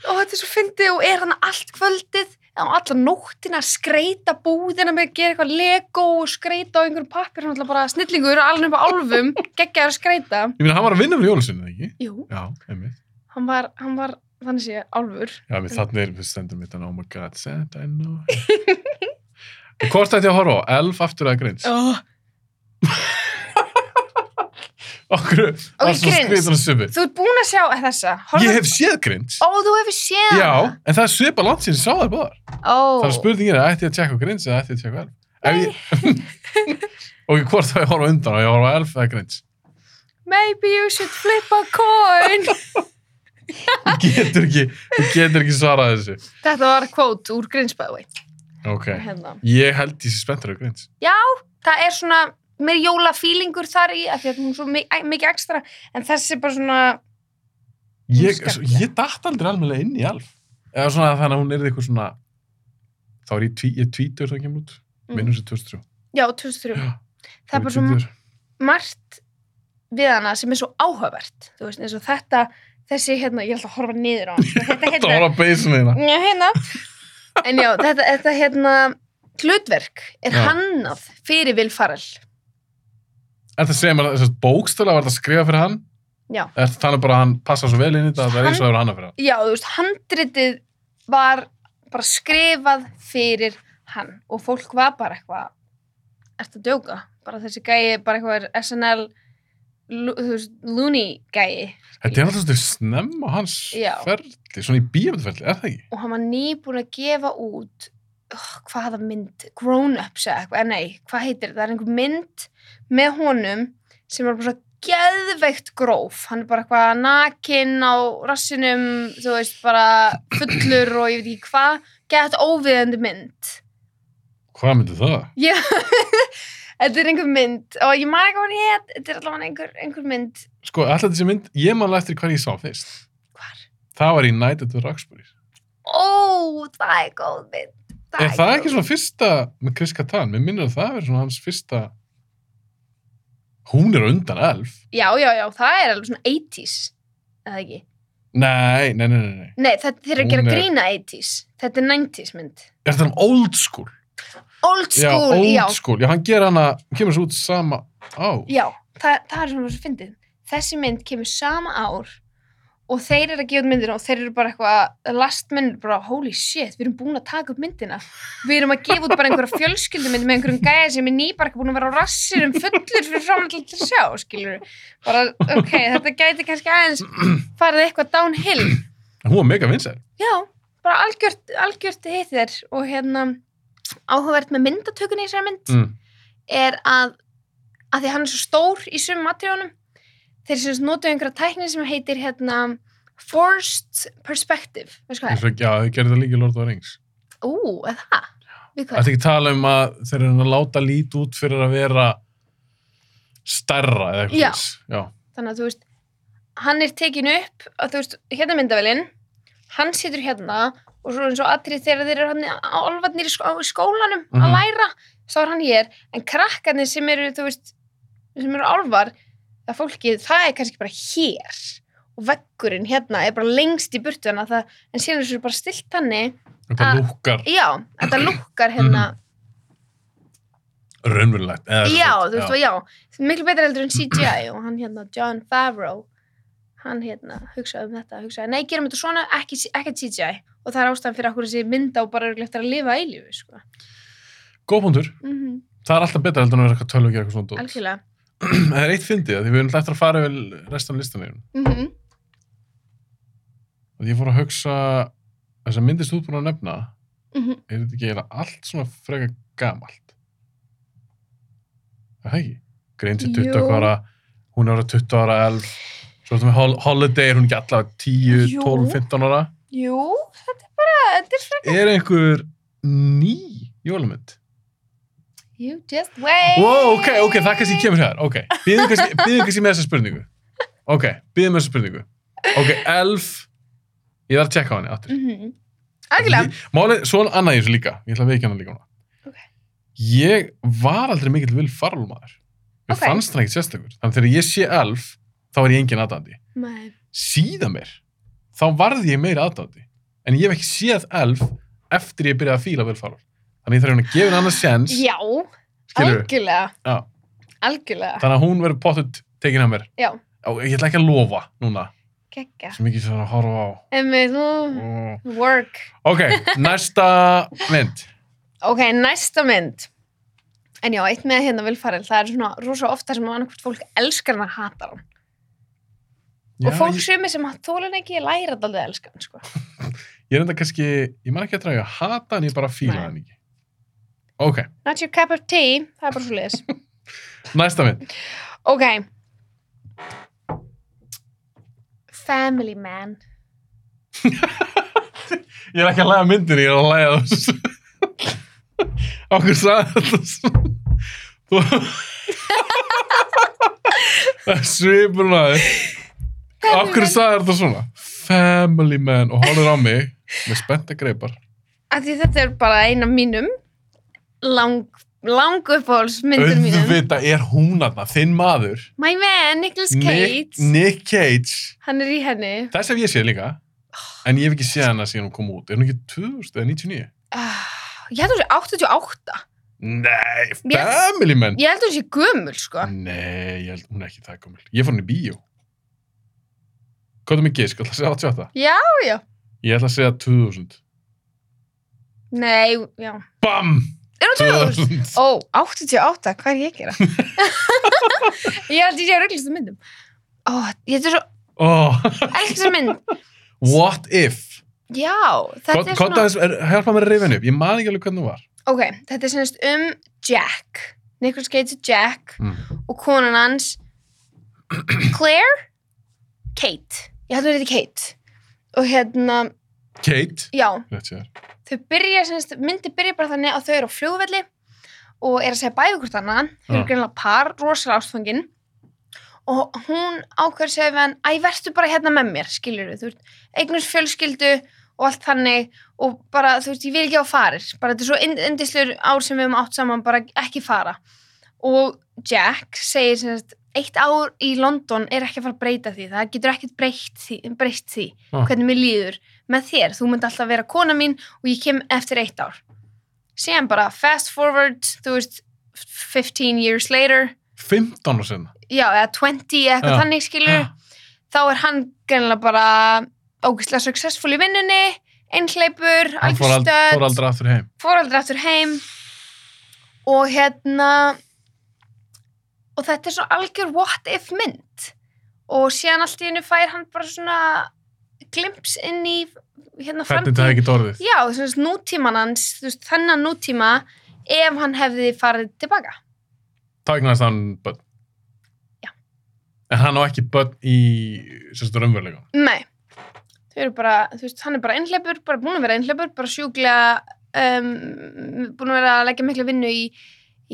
og þetta er svo fyndið og er hann allt kvöldið á alla nóttina að skreita búðina með að gera eitthvað lego og skreita á einhverjum pappir hann er alltaf bara snillingur alveg upp á álfum geggjaður að skreita Ég meina, hann var að vinna fyrir jólusinni, ekki? Jú, Já, einmitt. hann var, hann var þannig sé álfur Já, mér þarna er, við stendum mitt, oh my god, Santa, I know. Og hvort ætti ég að horfa á? Elf aftur að grins. oh. Okkur, það er svo Grins. skriðan að subu. þú ert búin að sjá eh, þessa Horfðu- Ég hef séð grins. ó þú hefur séð Já, hana. en það er svipa langt síðan ég sá það báðar. ó Það er spurningin, er, ætti ég að tjekka á grins eða ætti ég að tjekka á elf? Ef Ég... og hvort það ég að horfa á undan og ég að horfa á elf eða grins? maybe you should flip a coin Þú getur ekki, þú getur ekki svarað þessu. þetta var kvót úr Grinsbæði Ok. hérna. Ég held ég sé spenntur á grins. það er svona meir jólafílingur þar í af því að hún er svo mi- æ- mikið ekstra en þessi er bara svona Hún er Ég, skemmtileg. ég datt aldrei alveg inn í alf. Eða svona þannig að hún er eitthvað svona, þá er ég, tví, ég tvítur það kemur út. Mm. Minnum sér 2003. já 2003 Já, það er bara svona margt við hana sem er svo áhugavert þú veist eins og þetta þessi hérna ég ætla að horfa niður á hann þetta Þetta var á beysinu hérna. Já, hérna. En já, þetta, þetta hérna, hlutverk er Já. hannað fyrir Will Farrell. Er það segja mér að þessast bókstöla var þetta að skrifa fyrir hann? Já. Er það þannig bara að hann passa svo vel inn í þetta að það er eins og það eru hann að fyrir hann? Já, þú veist, handritið var bara skrifað fyrir hann og fólk var bara eitthvað, ertu að djóka? Bara þessi gæi, bara eitthvað er SNL, lú- þú veist, loony gæi Þetta er alltaf svolítið snemma á hans Já. ferli, svona í bíomöndferli, er það ekki? og hann var nýbúin að gefa út oh, hvaða mynd, Grown Ups eða eitthvað, Eh, nei, hvað heitir þetta, það er einhver mynd með honum sem er bara svo geðveikt gróf hann er bara eitthvað nakinn á rassinum, þú veist, bara fullur og ég veit ekki hvað gett óviðandi mynd Hvað myndi það? Já, þetta er einhver mynd og ég maður ekki hvað hann hétt, þetta er allavega einhver, einhver mynd Sko, alltaf þessi mynd, ég man alveg eftir hvað ég sá hann fyrst. hvar? Það var í Night at the Roxbury. Ó, það er góð mynd Er það góð ekki svona fyrsta með Chris Kattan? Mér minnir að það verið svona hans fyrsta hún er á undan elf. Já, já, já, það er alveg svona 80s, eða ekki? Nei, nei, nei, nei, nei. Nei, þetta þeir eru að gera Hún er- grína 80s, þetta er 90s mynd. Er það um old school? Old já, school, old já, school. Já, hann ger hana, hann kemur svo út sama á. já, það, það er svona svo fyndið. Þessi mynd kemur sama ár og þeir eru að gefa út myndina og þeir eru bara eitthvað last minute, bara holy shit, við erum búin að taka upp myndina. Við erum að gefa út bara einhverja fjölskyldumynd með einhverjum gæja sem er nýbarka búin að vera á rassirum fullur fyrir framlega til að sjá, skilur Bara, ok, þetta gæti kannski aðeins farið eitthvað downhill. En Hún var mega vinsæl. Já, bara algjört, algjört hitt þér og hérna áhugavert með myndatökunni í þessari mynd Mm. er að, að því að hann er svo stór í sumum matríunum þeir sem notu einhverja tækni sem heitir hérna forced perspective veist Ég hvað það er? svo- Já, þau gerði það líka í Lord of the Rings. Ú, er það? Við Það hvað? er ekki að tala um að þeir eru að láta lít út fyrir að vera stærra eða eitthvað. Já. svoleiðis. Já. Þannig að þú veist hann er tekin upp að þú veist, hérna myndavélinn hann situr hérna og svo eins og atrið þegar þeir eru hann álfarnir í skó- á- í skólanum Mhm. að læra þá er hann hér, en krakkarnir sem eru þú veist, sem eru álfar það fólkið, það er kannski bara hér og veggurinn hérna er bara lengst í burtu hana það, en síðan er svo bara stilt þannig Þetta Ah. lúkar já, þetta lukkar hérna raunverulegt. eða sem já, sagt, þú veist, og já miklu betra heldur en CGI og hann hérna John Favreau hann hérna hugsaði um þetta, hugsaði, nei, gerum þetta svona ekki, ekki CGI og það er ástæðan fyrir okkur þessi mynda og bara örugglega eftir að lifa eilífi sko. Góð punktur. mm -hmm, Það er alltaf betra heldur en að vera eitthvað tölvu að gera eitthvað svona dót. algjörlega Það er eitt fyndið, af því við erum eftir að fara yfir restan listanum. mm að ég fór að hugsa þess að myndist þú búin að nefna Mhm. er þetta ekki eiginlega allt svona freka gamalt er það ekki? Grein til 20 Jú. ára hún er ára 20 ára elf svo ertu með Hol- Holiday er hún ekki allavega 10, Jú. 12, 15 ára jú, þetta er bara þetta er frekar, er einhver ný jólamynd? you just wait Wow, ok, ok, það kannski kemur hér ok, býðum kannski, býðum kannski með þessa spurningu ok, býðum með þessa spurningu ok, elf ég þarf að tjekka á henni aftur mm algjörlega, Ég- Málið, svo er annað í þessu líka, ég ætla að veikja hana líka núna. Ok. Ég var aldrei mikill vil farlmaður. Ég Ok. fannst hann ekkert sérstakur. Þannig að þegar ég sé elf, þá er ég engin aðdandi. Nei. Síðan mér, þá varði ég meira aðdandi. En ég hef ekki séð elf eftir ég byrjaði að fíla vil farlmaður. Þannig ég þarf hérna að gefa henni annað sjens, já, skilur algjörlega Já. algjörlega, Þannig að hún verður pottet tekin að mér. já, Á, ég ætla ekki að lofa núna, geggja sem ekki svona að horfa á. emmi, þú, Mm. work Ok, næsta mynd. Ok, næsta mynd. En já, eitt með hérna vilfaril, það er svona rosa ofta sem annarkvort fólk elskar hann að hata hann. Já, og fólk ég- sumi sem hann þólan ekki læra þetta alveg að elska hann, sko. Ég er enda kannski, ég man ekki eftir að ég hata hann, ég bara fíla Nei. hann ekki. Ok, Not your cup of tea, það er bara svo liðis. næsta mynd. Ok. Family man. Ég er ekki að læga myndir, ég er að læga þessu. Okkur sagði þetta svo. Þú... Það er svipur maður. Okkur sagði þetta svona. Family man og horfir á mig með spennta greipar. Af því þetta er bara eina mínum, lang, lang uppáhalsmyndin mínum. Auðvitað er hún aðna, þinn maður. My man, Nicolas Nick, Cage. Nick Cage. Hann er í henni. Þess hef ég séð líka. Ah. En ég hef ekki séð hana síðan hún kom út. Er hún ekki 2000 eða 99? Uh, ég held að það sé 88. Nei, Mér- family menn Ég held að það sé gömul, sko. Nei, ég held, hún er ekki það komil Ég fór henni í bíó Hvað er mig gisk, ætla að segja 88 Já, já. Ég ætla að segja 2000 Nei, já. BAM! Er hún 2000? 2000 Ó, 88, hvað er ég að gera? ég held ég sé að rugglista myndum. Ó, ég þetta er svo, oh, elska þessa mynd. What if? Já, þetta Hvað er hvað svona, það er, hjálpa mér að reyfa henni upp Ég man ekki alveg hvernig hún var ok, þetta er sennast um Jack, Nicolas Cage er Jack mm. og konan hans, Claire? Kate, ég held að hún heiti Kate. Og hérna, Kate já, Rétt sér þau byrja, sennast, myndi byrja bara þannig að þau eru á flugvelli og er að segja bæði hvort annan þau eru Já. greinlega par, rosalega ástfangin og hún ákveður segja við hann, æ, vertu bara hérna með mér skilur við, þú veist, eignus fjölskyldu og allt þannig og bara, þú veist, ég vil ekki á farir bara þetta er svo ynd- yndislegur ár sem við höfum átt saman bara ekki fara og Jack segir sem sagt, eitt ár í London er ekki að fara að breyta því það getur ekkert breytt því, breytt því Ah. hvernig mér líður með þér þú myndi alltaf vera kona mín og ég kem eftir eitt ár síðan bara fast forward þú veist, 15 years later 15 ára sinna já, eða 20 eða eitthvað Já. þannig skilur þá er hann greinlega bara ógeðslega successful í vinnunni einhleipur, Hann fór, ald, algjörstöð fór aldrei aftur heim fóraldri aftur heim og hérna og þetta er svo algjör what if mynd og síðan allt í hennu fær hann bara svona glimps inn í hérna Hvernig það hefði framtíð ekki orðið já, þess að nútíman hans þú veist, þennan nútíma ef hann hefði farið tilbaka Þá eignast hann börn Já. En hann á ekki börn í Sérstu raunverulegan nei, þau eru bara þú veist, hann er bara einhleipur, bara búin að vera einhleipur bara sjúklega um, búin að vera að leggja miklu vinnu í,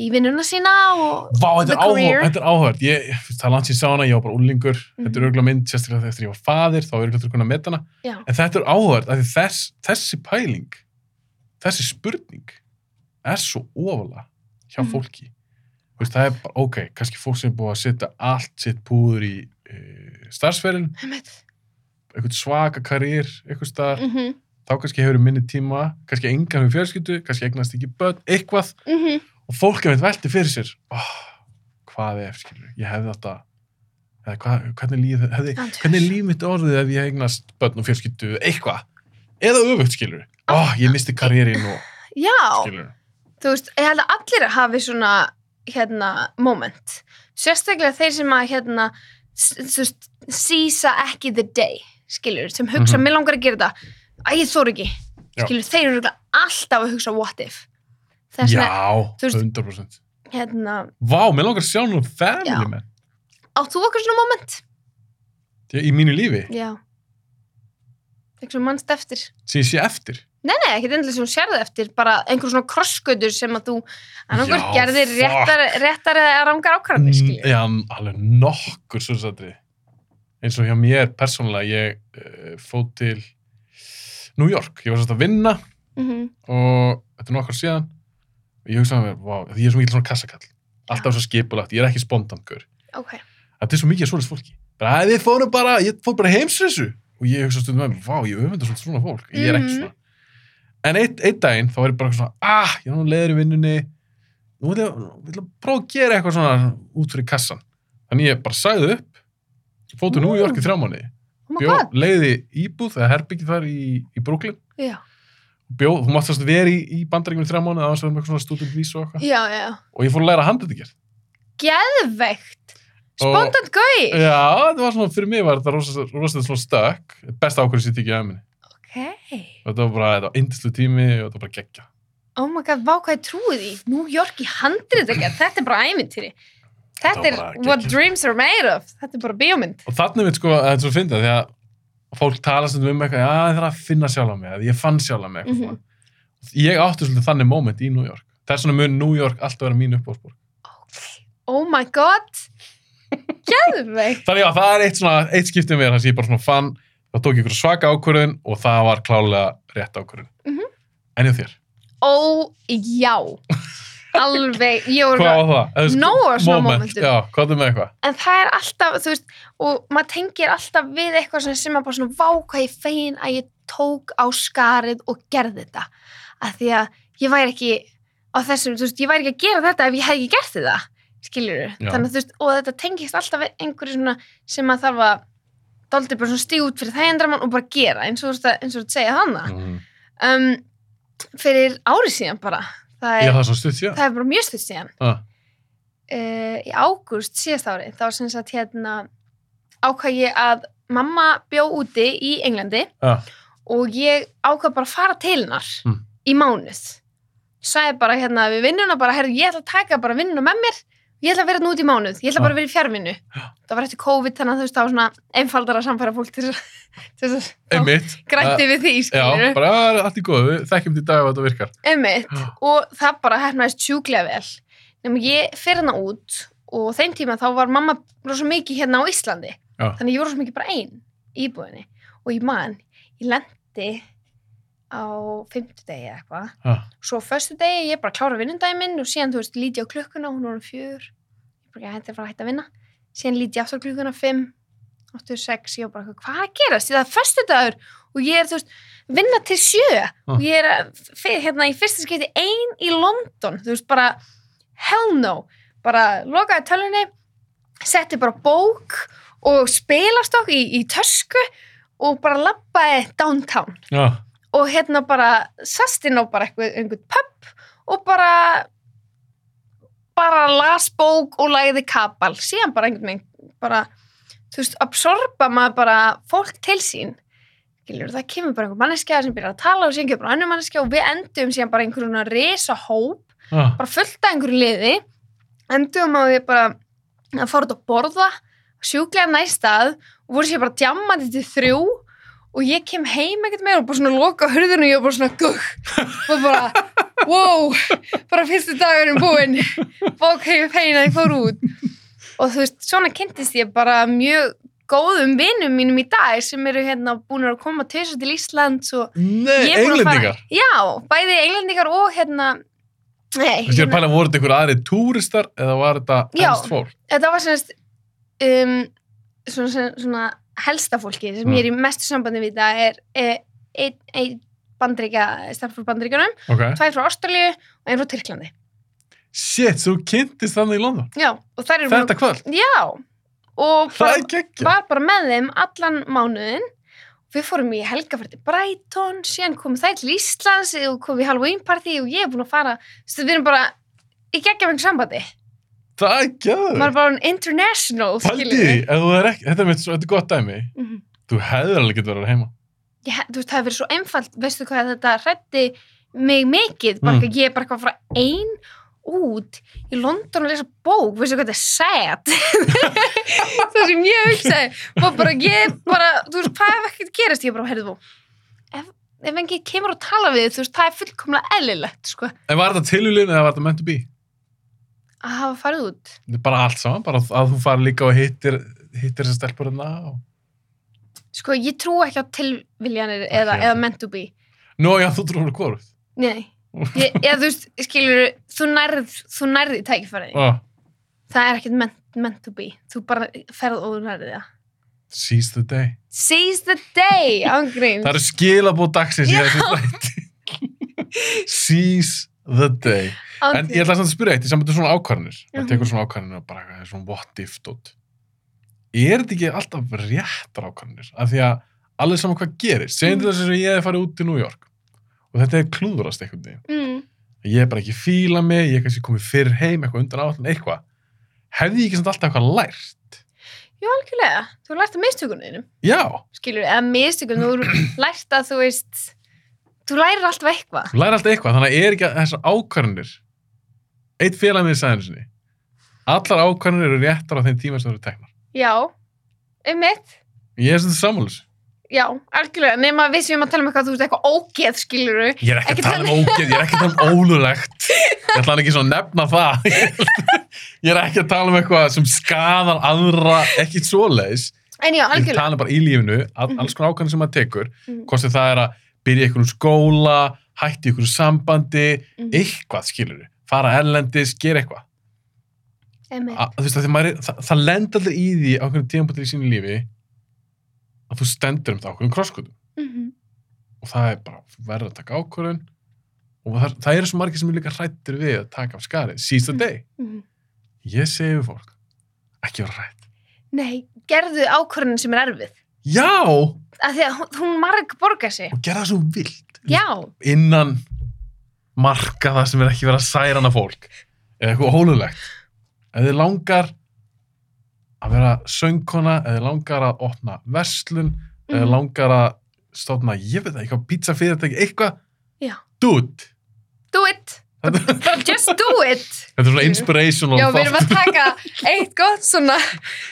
í vinnuna sína og Vá, þetta The er, áhuga, Career. þetta er áhugavert. Ég, það er langt síðan sá hana, ég var bara úlingur. Þetta er Mhm. örgulega mynd, sérstaklega þegar ég var faðir, þá er örgulega þurrkun að meta hana. Já. En þetta er áhugavert, af því þess, þessi pæling, þessi spurning, er svo ofalega hjá Mhm. fólki. Þú Veist, það er bara, ok, kannski fólk sem er búið að setja allt sitt púður í uh, starfsferðin, einmitt. eitthvað svaka karýr, eitthvað staðar, Mhm, þá kannski hefur minni tíma, kannski engan við fjölskyldu, kannski eignast ekki börn, eitthvað, mhm. og fólk er veit velti fyrir sér oh, hvað ef, skilur, ég hefði þetta eða hvað, hvernig líf hefði, Andrews. hvernig líf mitt orðið ef ég eignast börn og fjölskyldu, eða eitthvað eða öfugt, skilur, oh, ég misti karriérin og, Já, skilur þú veist, ég held að allir hafi svona, hérna, moment. Sérstaklega þeir sem að, hérna, s- þú veist, sísa ekki the day, skilur, sem hugsa, Mhm. mér langar að gera þetta, að ég þór ekki, Já. skilur, þeir eru örugglega alltaf að hugsa what if. Þess vegna, þú já, veist- 100% hérna, vá, mér langar að sjá nú Já. family menn átt þú okkur svona moment? í mínu lífi, Já. Eitthvað sem mannst eftir. sem ég sé eftir Nei, nei, ekkert endilega sem hún sérði eftir, bara einhver svona krossgötur sem að þú annarkur Já, gerðir fuck. réttar, réttar eða rangar Mm, ákvarðanir, skilur. já, alveg nokkur svo satri eins og hjá mér persónulega ég uh, fóð til New York, ég var svolítið að vinna Mm -hmm. og þetta er nokkar síðan og ég hugsaði með mér, vá, því ég er svo mikið svona kassakall alltaf svo skipulagt, ég er ekki spontangur Ok. þetta er svo mikið af svoleiðis fólki bara, "Æ, við fórum bara, ég fór bara heimsreysu og ég hugsaði stundum með mér, vá, ég öfenda svona svona fólk ég er ekki Mhm. svona en eitt, eitt daginn þá er ég bara eitthvað svona, ah, ég er nú leiður í vinnunni nú vil ég, vil ég prófa að gera eitthvað svona út fyrir kassan þannig ég bara sagði upp fóttu New York í þrjá mánuði Mm. Oh my bjó, god. leiði íbúð, eða herbyggi þar í, í Brooklyn Já, bjóð, þú mátt þess að vera í, í bandaríkjum í þrjá mánuði aðeins að vera með eitthvað svona student vís og eitthvað já, já. og ég fór að læra handritagerð Geðveikt. Og- Eh. Spontant gauð. já, þetta var svona, fyrir mig var þetta rosa- rosalega svona stökk besta ákvörðu sér ekki að minni Ok. og þetta var bara, þetta var indislu tími og þetta var bara geggja Oh my god, vá hvað ég trúið í. New York í handrið ekki. Þetta er bara æmintýri. Þetta Þetta er var bara what geggjað. dreams are made of. Þetta er bara bíómynd. og þannig mitt sko, að þetta er svo fyndið því að fólk tala stundum um eitthvað, já, það er að finna sjálf á mig eða ég fann sjálf á mig eitthvað Mhm. svona. ég átti svolítið þannig moment í New York það er svona mun New York alltaf vera mín uppbóðsbór Oh my god. Geðveikt. þannig já, það er eitt, svona, eitt skiptið mér þannig að ég bara svona fann, þá tók ég einhverja svaka ákvörðun og það var klálega rétt ákvörðun Mhm. en ég þér Ó, já. Alveg, ég voru Hvað var það? Eða sko- Nóg af svona momentum. Já, hvað er með eitthvað? en það er alltaf, þú veist, og maður tengir alltaf við eitthvað svona sem er bara svona vá hvað ég fegin að ég tók á skarið og gerði þetta. Af því að ég væri ekki á þessum, þú veist, ég væri ekki að gera þetta ef ég hefði ekki gert þetta, skilur Já. Þannig að þú veist, og þetta tengist alltaf við einhverju svona sem maður þarf að dálítið bara svona stíg út fyrir þægindramann og bara gera, eins og þú veist að, eins og þú veist að segja þannig. Mhm. Um, fyrir ári síðan bara, það Ég er, það er svo stutt síðan. það er bara mjög stutt síðan Ah, uh, í ágúst síðast ári þá sem sagt hérna ákvað ég að mamma bjó úti í Englandi ah. og ég ákvað bara að fara til hennar Mm. í mánuð sagði bara hérna við vinnuna bara herru ég ætla að taka bara vinnuna með mér ég ætla að vera nú út í mánuð, ég ætla Ah. bara að vera í fjárvinnu það var eftir COVID þannig að þú veist það var svona einfaldara að samfæra fólk til þess að- til þess að Einmitt. Eh, grætti við því Já, skilur bara "Ah, allt í góðu. Við þekkjum þetta í dag að þetta virkar. Einmitt. Já. Og það bara hefnaðist sjúklega vel. Nefnum ég fer hana út og þeim tíma þá var mamma rosa mikið hérna á Íslandi. Já. Þannig ég var rosa mikið bara einn í íbúðinni. Og ég man, ég lendi á fimmtudegi eða eitthvað. Ah. Svo á föstudegi ég bara klára vinnundaginn minn og síðan þú veist líti ég á klukkuna, hún var um fjör. Ég bara hætti að fara að hætta að vinna. Síðan líti ég aftur á klukkuna fimm, áttu sex, ég var bara hvað er að gerast? Því Það er föstudagur og ég er þú veist vinna til sjö og ég er að, fyr, hérna í fyrsta skipti ein í London þú veist bara hell no bara lokaði tölunni setti bara bók og spilastokk í, í tösku og bara labbaði downtown Já. og hérna bara sast inn á bara eitthvað einhvern pub og bara bara las bók og lagði kapal síðan bara einhvern veginn bara, þú veist, absorba maður bara fólk til sín Gilur, það kemur bara einhver manneskja sem byrjar að tala og síðan kemur bara önnur manneskja og við endum síðan bara einhverjum svona resa hóp Ah. bara fullt af einhverju liði endum að við bara að fara út að borða sjúklega næstað og voru sér bara djammandi til þrjú og ég kem heim ekkert meira og bara svona loka hurðinu og ég var bara svona gugg og bara wow, bara fyrstu dagurinn búinn bók hefur fegin að ég fór út og þú veist, svona kynntist ég bara mjög góðum vinum mínum í dag sem eru hérna búin að koma tvisur til Íslands og Nei, ég er búin að fara- englendingar. já, bæði englendingar og hérna nei, hérna, Ég er að pæla, voru þetta einhver aðri túristar eða var þetta Já. ennst fólk? þetta var semst um, svona, svona, svona helsta fólki sem Mm. ég er í mestu sambandi við það er eh, einn ein bandrykja, starf frá bandrykjunum Ok. tvær frá Ástralíu og einn frá Tyrklandi Shit, þú kynntist þannig í London. já, og þær eru Þetta kvöld. já, og Það er geggja. var bara með þeim allan mánuðin við fórum í helgafært í Brighton síðan komum þær til Íslands og komum í Halloween party og ég er búin að fara þú veist, við erum bara í geggjafengu sambandi Það er maður geggja. er bara orðinn international Paldi því, ef þú er ekki, þetta er mitt, svo- þetta er gott dæmi. mm -hmm. Þú hefðir alveg getur verið heima. ég, þú veist, það hefur verið svo einfalt, veistu hvað þetta hrætti mig mikið, bara Mm. mm. ég er bara eitthvað frá ein út í London að lesa bók, veistu hvað þetta er sad það sem ég hugsaði og bara ég, bara, þú veist, hvað ef ekkert gerist ég bara, heyrðu þú ef, ef engi kemur og tala við þig, þú veist, það er fullkomlega eðlilegt, sko, En var þetta tilhjulin eða var þetta meant to be? að hafa farið út Þetta er Bara allt saman, bara að þú fari líka og hittir, hittir þessar stelpur hérna og... sko, ég trú ekki á tilviljanir eða, Ekki, eða ekki. meant to be Nó, já, þú trúir hvorugt. nei, ég, eða þú veist, skilur þú nærð, þú nærði tækifærið Oh, það er ekkert meant, meant to be þú bara ferð og þú nærði það seize the day. seize the day, ángríns Það eru skilabóð dagsins í Já. þessu þætti. Seize the day. En ég ætla samt að spyrja eitt, í sambandi við svona ákvarðanir. Það Mhm. tekur svona ákvarðanir og bara eitthvað, svona what if dot. Er þetta ekki alltaf réttar ákvarðanir? Af því að allir saman hvað gerir. Segjum Mm. þetta þess að ég hef farið út í New York og þetta er klúðrast einhvern veginn. mm, Ég er bara ekki að fíla mig, ég er kannski komið fyrr heim, eitthvað undan áallin, eitthvað. Hefði ég ekki samt alltaf eitthvað lært? Jú, algjörlega, þú lært að mistökuninu Já, skilur, eða mistökun, þú lært að þú veist þú lærir alltaf eitthvað þú læri alltaf eitthvað, þannig að er ekki að þessar ákvarðanir eitt félag með sæðinu sinni allar ákvarðanir eru réttar á þeim tíma sem þú eru teknar. já, um mitt Ég er sem þetta sammális. já, algjörlega, nema við sem erum að tala um eitthvað þú veist eitthvað ógeð, skilur Ég er ekki Ekki að tala um ógeð, ég er ekki að tala um ólulegt. Ég ætla hann ekki svona að nefna það. Ég er ekki að tala um eitthvað sem skadar aðra, ekki svoleiðis. en já, Ég er að algjörlega tala bara í lífinu, all, Mhm. alls konar ákvæmni sem maður tekur. Mhm. Hvort sem það er að byrja í einhverjum skóla, hætti í einhverjum sambandi, Mhm, eitthvað skilur við. Fara erlendis, gera eitthvað. einmitt. Að- Þú veist, að maður, er- það, það lend allir í því á einhverjum tíðanbúttir í sínu lífi að þú stendur um það á einhverjum krosskutum. Mhm, og það er bara verður að taka ákvörðun og það, það eru svo margir sem er líka hrættir við að taka af skarið, seize the Mm. day mhm. ég segi við fólk, ekki vera hrætt nei, gerðu ákvörðinu sem er erfið já, og af því að hún, hún marg borga sig gera það svo vilt já, innan marka það sem er ekki verið að særa hana fólk eða eitthvað hólulegt ef þið langar að vera söngkona, ef þið langar að opna verslun, ef þið Mhm. langar að stofna, ég veit það, eitthvað pizza fyrirtæki, eitthvað, Já. dude do it þetta, bara just do it þetta er svona inspirational Já, við þáttur. erum að taka eitt gott svona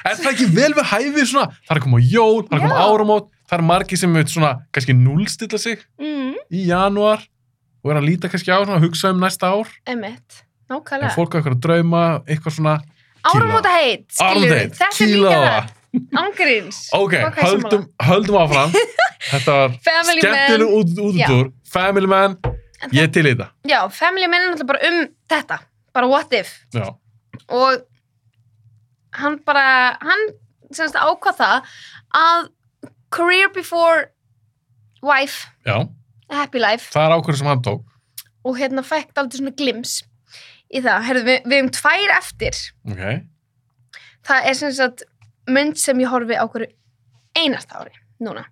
Er það ekki vel við hæfið svona? Það er að koma jól, það er að koma Já. áramót, það er margi sem veit svona kannski núlstilla sig mm. í janúar og er að líta kannski á svona að hugsa um næsta ár. Emmett, En nákvæmlega fólk á eitthvað að drauma, eitthvað svona Áramóta heit, armdeitt, Þetta er líka kílaða. það, ángríns Ok, Ok, höldum, höldum áfram. Þetta var Family man skemmtileg út, útutúr. Family man, En það- ég er til í þetta. Já, family man er náttúrulega bara um þetta bara what if Já. og hann bara, hann semst ákvað það að career before wife, Já, a happy life það er ákvörður sem hann tók. og hérna fækt aldrei svona glims í það, herðu, við, við erum tvær eftir Ok, það er sem sagt mynd sem ég horfi á hverju einasta ári núna.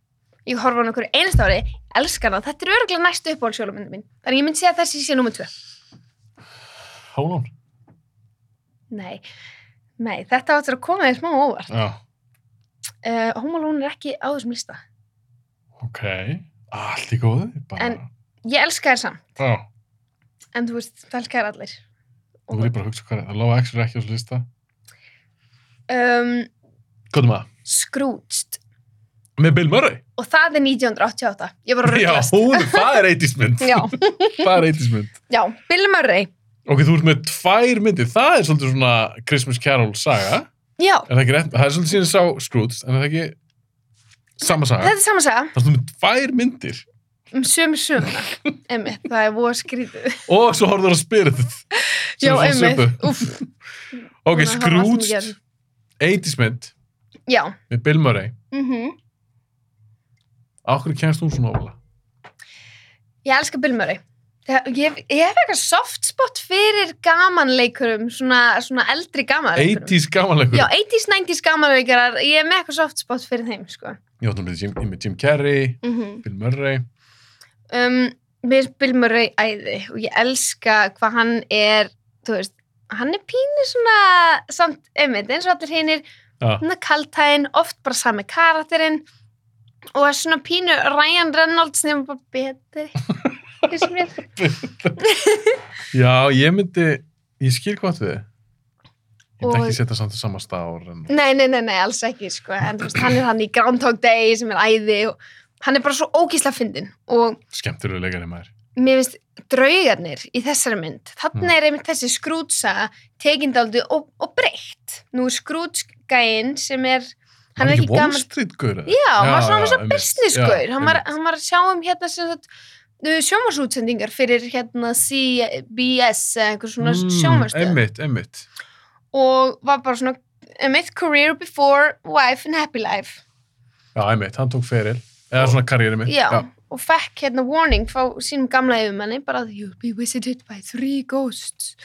Ég horfi á hann á hverju einasta ári, elskar hana. Þetta er örgulega næstu uppáhaldsjólumyndu mín. Þannig að ég myndi segja að þessi sé nummer 2. hólón. Nei, nei, þetta áttur að koma þér smá á óvart. Já, Uh, Home Alone er ekki á þessum lista. ok. Allt í góðu. Bara... En- Ég elska þér samt, Já, en þú veist, það elska þér allir. þú verður bara að hugsa hvað er. Það lága ekki á þessu lista. Um, Góðum að. Scrooged. Með Bill Murray? og það er 1988 ég var að Já, röglast hún, það er 80s mynd. já, Það er 80s mynd. já, Bill Murray Ok, þú ert með tvær myndir. Það er svolítið svona Christmas Carol saga. já, Er það ekki rétt? Það er svolítið síðan sá Scrooge, en er það ekki sama saga? þetta er saman saga Það er með tvær myndir. um sömu söguna einmitt, það er voða skrítið Og svo horfður að spyrja þetta. já, einmitt, uff Ok, Núna, það var allt sem ég Scrooge, gerði. 80s mynd já, með Bill Murray. mhm Á hverju kemst hún svona óla? Ég elska Bill Murray. Þegar- Ég, ég hef eitthvað soft spot fyrir gamanleikurum, svona, svona eldri gamanleikurum. 80s gamanleikur. Já, 80s, 90s gamanleikarar, ég er með eitthvað soft spot fyrir þeim, sko. Já, þú með Jim, með Jim Carrey, Mm Bill Murray. um, mér finnst Bill Murray æði og ég elska hvað hann er, þú veist, hann er pínu svona, samt, einmitt, eins og allir hinnir, Já. hann er kaltæðin, oft bara sami karakterinn og er svona pínu Ryan Reynolds nefnum bara betri, finnst mér. Já, ég myndi, ég skil hvað við. Ég myndi Og- ekki setja samt að sama stár. En... Nei, nei, nei, nei, alls ekki, sko. En þú veist, hann er hann í Groundhog Day sem er æði og hann er bara svo ógísla fyndin. Og Skemmtilega leikari maður. mér finnst draugarnir í þessari mynd, Mm. þannig er einmitt þessi skrútsa tekindaldi og, og breytt. Nú er skrútsgæinn sem er, hann er ekki Wall gaman... Street gaur. eða? Já, hann var svona, svona einmitt. businessgur. Já, Hann, var- einmitt. hann var að sjá um hérna sem þetta sjómasútsendingar fyrir hérna CBS eða einhver svona mm, sjómastöð Einmitt, einmitt. og var bara svona einmitt career before wife and happy life Já, einmitt, hann tók feril. Eða svona karrieri mitt. já, og fekk hérna warning frá sínum gamla yfirmanni bara að you'll be visited by three ghosts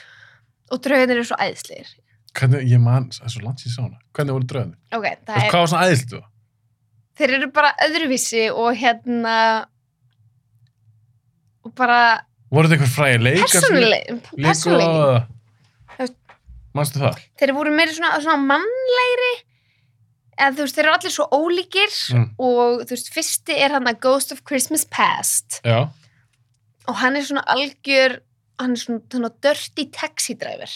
og draugarnir eru svo æðslir Hvernig, ég man, það er svo langt síðan sá hana. Hvernig voru dröðin? ok, Þú það veist, er, hvað var svona æðilt þú? þeir eru bara öðruvísi og hérna og bara Voru þetta eitthvað fræði leikar? persónuleg persónuleg, Líka... Þú veist- Manstu það? þeir voru meiri svona, svona mannlegri eða þú veist, þeir eru allir svo ólíkir Mm. og þú veist, fyrsti er hann að Ghost of Christmas Past Já. og hann er svona algjör hann er svona, svona dirty taxi driver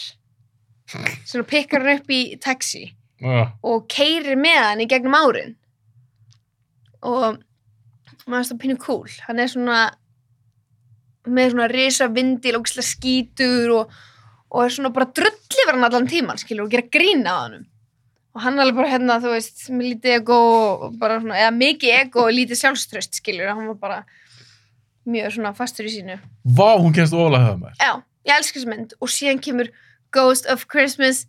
svona pikkar hann upp í taxi Já. og keirir með hann í gegnum árin og maður finnst það pínu cool hann er svona með svona risa vindil og ógislega skítur og, og er svona bara drull yfir hann allan tíman skilur og gera grín á hann og hann er alveg bara hérna þú veist með lítið ego og bara svona eða mikið ego og lítið sjálfströst skilur hann var bara mjög svona fastur í sínu Vá, hún kemst óla höfða maður. já, ég elska þessu mynd og síðan kemur Ghost of Christmas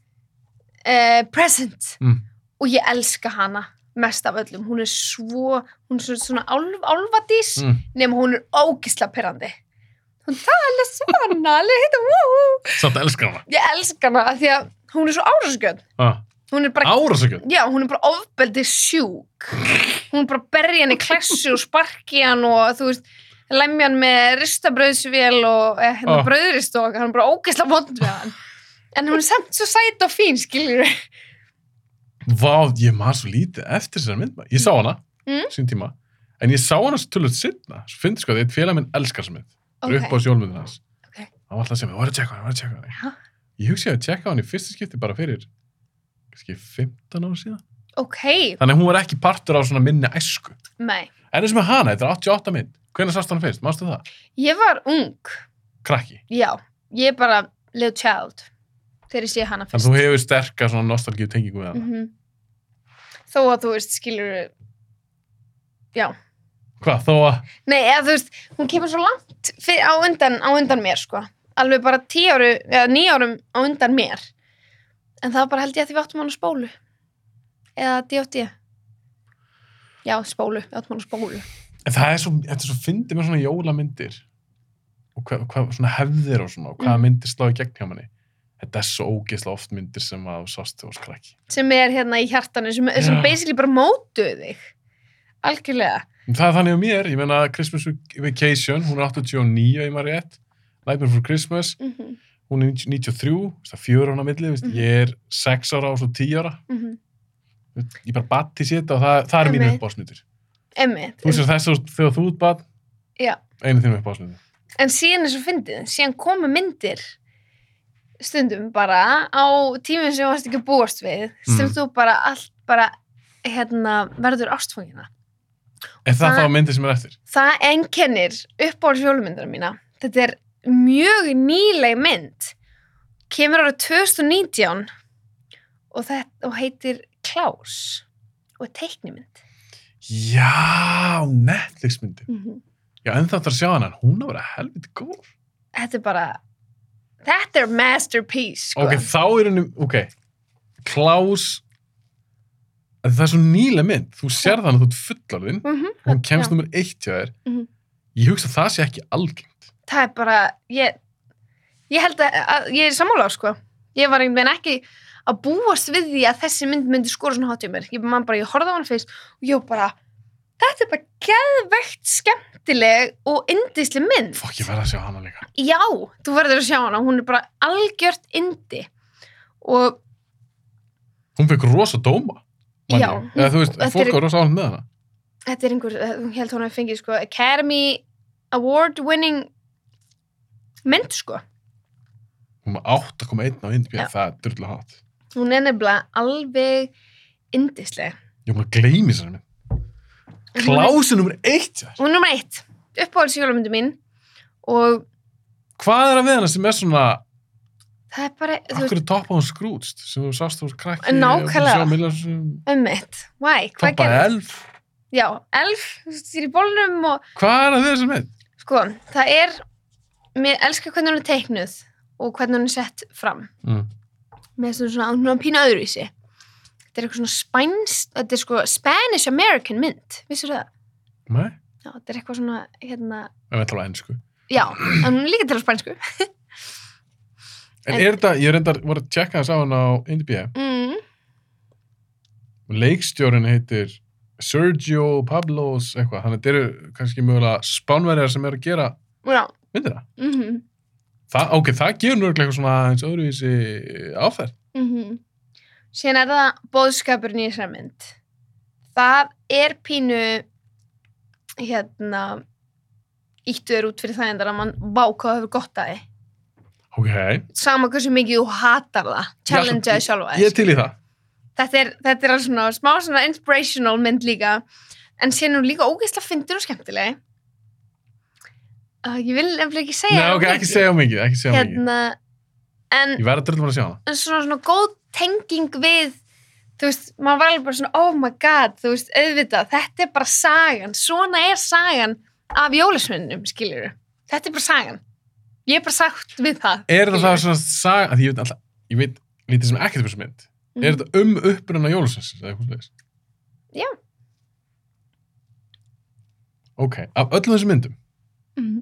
uh, Present Mm. og ég elska hana mest af öllum, hún er svo hún er svona, svona álf, álfadís Mm. nema hún er ógisla perrandi hún tala svona lít, wú. Samt elskar hana. ég elska hana af því að hún er svo árásgjönd Ah. hún er bara Árásugjöld. Já, hún er bara ofbeldi sjúk. Hún er bara berja hann í klessu og sparki hann og þú veist, lemja hann með ristabröðsvél og eh, hérna Ah. oh. bröðrist og hann er bara ógeðsla vond við hann. En hún er samt svo sæt og fín, skiljur við. Vá, ég maður svo lítið eftir þessari mynd. maður. Ég sá hana, Mm. sín tíma, en ég sá hana svo tölvöld sinna. Svo finnst sko að eitt félag minn elskar þessari mynd. Okay. Upp á sjólmyndin hans. Ok. Hann var alltaf að segja mig, var að tjekka hana, var að tjekka hana. Já. Ég hugsi að tjekka hana í fyrsta skipti bara fyrir, kannski 15 ára síðan. Ok, Þannig að hún var ekki partur á svona minni æsku. nei. En eins og með hana, þetta er 88 mynd. Hvernig sást hana fyrst? Mástu það? Ég var ung, Krakki. já. Ég er bara little child þegar ég sé hana Þannig fyrst. að þú hefur sterka svona nostalgíu tengingu við hana. Mhm. Þó að þú veist, skiljur við, Hvað, þó að... Nei, eða þú veist, hún kemur svo langt fyrir, á, undan, á undan mér, sko. Alveg bara tíu áru, eða níu árum á undan mér. En það var bara held ég að því við áttum hann á spólu. Eða D.O.D. Já, spólu, við áttum hann á spólu. En það er svo, þetta er svo fyndið með svona jólamyndir og hvað, hvað svona hefðir og svona og hvaða Mm. myndir slá í gegn hjá manni. Þetta er svo ógeðslega oft myndir sem að þú sást þegar þú skræki. Sem er hérna í hjartanu, sem, sem Já. basically bara mótuðu þig. Algjörlega. En það er þannig á mér, ég meina Christmas Vacation, hún er 89 ef ég maður rétt, Nightmare for Christmas, Mm -hmm, hún er 93, veist það er fjögur ára á milli, veist, Mhm. ég er 6 ára og svo 10 ára, ég bara batti sér þetta og það, það er mínu Einmitt. uppásmyndir. Einmitt. Þú sér þess að þegar þú ert bann, Já. einu þínum uppásmyndir. En síðan er svo fyndið, síðan komu myndir stundum bara á tímum sem þú varst ekki að búast við sem Mm. þú bara allt bara hérna, verður ástfóngina Er það Það- þá myndið sem er eftir? það einkennir uppáhalds jólumyndina mína þetta er mjög nýleg mynd kemur ára 2019 og, það, og heitir Klaus og er teiknimynd Já, Netflix myndið. -hmm. Já, en það þarf að sjá hana. Hún er að vera helviti góð. þetta er bara þetta er masterpiece sko. Ok, þá er henni, ok, Klaus, en það er svo nýlega mynd. Þú sér þannig að þú ert fullarðinn. Mhm, Hún kemst já. nummer eitt hjá þér. Mhm. Ég hugsa að það sé ekki algengt. það er bara ég, ég held að, að ég er sammála sko. ég var einhvern veginn ekki að búast við því að þessi mynd myndi skora svona hátt í mér ég, man bara, ég horfði á hann fyrst og ég var bara þetta er bara geðvegt skemmtileg og indisli mynd Fokk, ég verða að sjá hana líka. já, þú verður að sjá hana hún er bara algjört indi og Hún fekk rosa dóma. man Já, ég. Eða, þú veist, þetta fólk er- var rosa ánum með hana. þetta er einhver, hún held hún að fengið sko Academy Award winning mynd sko Hún var 8,1 á Já. Indbjörn, það er dyrla hát. hún er nefnilega alveg indisleg Ég var að gleymi sér minn. Klaus er nummer eitt. hjá þér. Hún er nummer eitt, uppáhalds jólamyndu mín og Hvað er að við hana sem er svona, það er bara, þú veist, akkur er toppa hún skrútst, sem þú sást þú úr krakki. Nákvæmlega. Nákvæmlega. ummitt, why, hvað Toppa gerir? elf. Já, elf, þú veist, ég er í bólnum og Hvað er að við þessum mynd? sko, það er, mér elskar hvernig hún er teiknuð og hvernig hún er sett fram. Mm. Mér finnst hún svona, hún er pínu öðruvísi. Þetta er eitthvað svona spænst, þetta er sko Spanish-American mynd, vissur það? Nei? Já, þetta er eitthvað svona, hérna, Ef við ætlum að ennsku. já, en hún er líka til á spænsku. En, En- er þetta, ég reyndar, var að tjekka þess á hann á Indbjörn. Mm. leikstjórin heitir Sergio Pablos eitthvað, þannig að þetta eru kannski mögulega spánverjar sem eru að gera Já, myndina. mhm. Það, ok, það gefur nörgulega eitthvað svona eins öðruvísi áferð. Mm Síðan er það bóðskapurinn í þessari mynd. Það er pínu hérna íttuður út fyrir það endar að mann váka og hefur gott að þið. Ok, Sama hversu mikið þú hatar það. Challenge Já, að sjálfa ég er þess. til í það. Þetta er, þetta er alveg svona smá svona inspirational mynd líka. En síðan er hún líka ógeðslega fyndur og skemmtileg. Uh, ég vil nefnilega ekki segja. Nei, of ok, mikið. ekki segja of mikið, ekki segja of mikið. Hérna, en Ég verði að dröldum að sjá hana. en svona, svona góð tenging við þú veist, maður var alveg bara svona oh my god, þú veist, auðvitað, þetta er bara sagan, svona er sagan af jólismenninum, skiljur þetta er bara sagan, ég er bara sagt við það Er þetta skilurðu. það svona saga, að ég veit alltaf, ég veit lítið sem ekkert um þessu mynd. Mhm. Er þetta um upprunna jólusessins eða eitthvað slags? Já. Ok, af öllum þessum myndum, Eh. Mhm.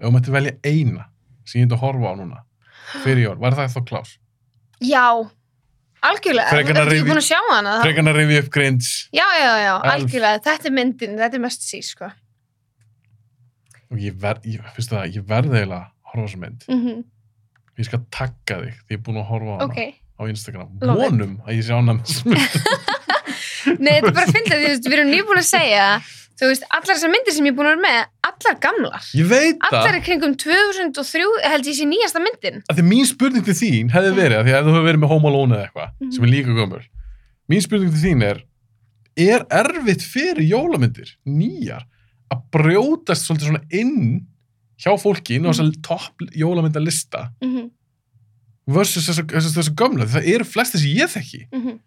ef þú mætti velja eina sem ég hefði að horfa á núna fyrir jól, var það þá klás? já, algjörlega Frekar en að þetta er rifja- búin að sjá hana það- Frekarna rifi upp grinds já, já, já, Elf. algjörlega, þetta er myndin þetta er mest sí, sko og ég verð, ég, fyrst það, ég verð eiginlega að horfa á þessu mynd. mm Ég skal tagga þig því ég er búin að horfa á hana ok, á Instagram. Love it. Vonum að ég sé ánægð með þessu mynd. nei, þetta er bara að finna því, þú veist, við erum nýbúin að segja þú veist, allar þessar myndir sem ég er búin að vera með allar gamlar Ég veit Allar það, er kringum 2003 held ég sé nýjasta myndin. að því mín spurning til þín Mm. hefði verið, að því að þú hefur verið með Home Alone eða eitthvað, Mhm. sem er líka gömul. Mín spurning til þín er, er erfitt fyrir jólamyndir, nýjar, að brjótast svolítið svona inn hjá fólki inn á þessa Mm-hmm. topp jólamyndalista Mm -hmm, versus þessu, þessu, þessu gömla, því það eru flesti sem ég þekki. mm -hmm.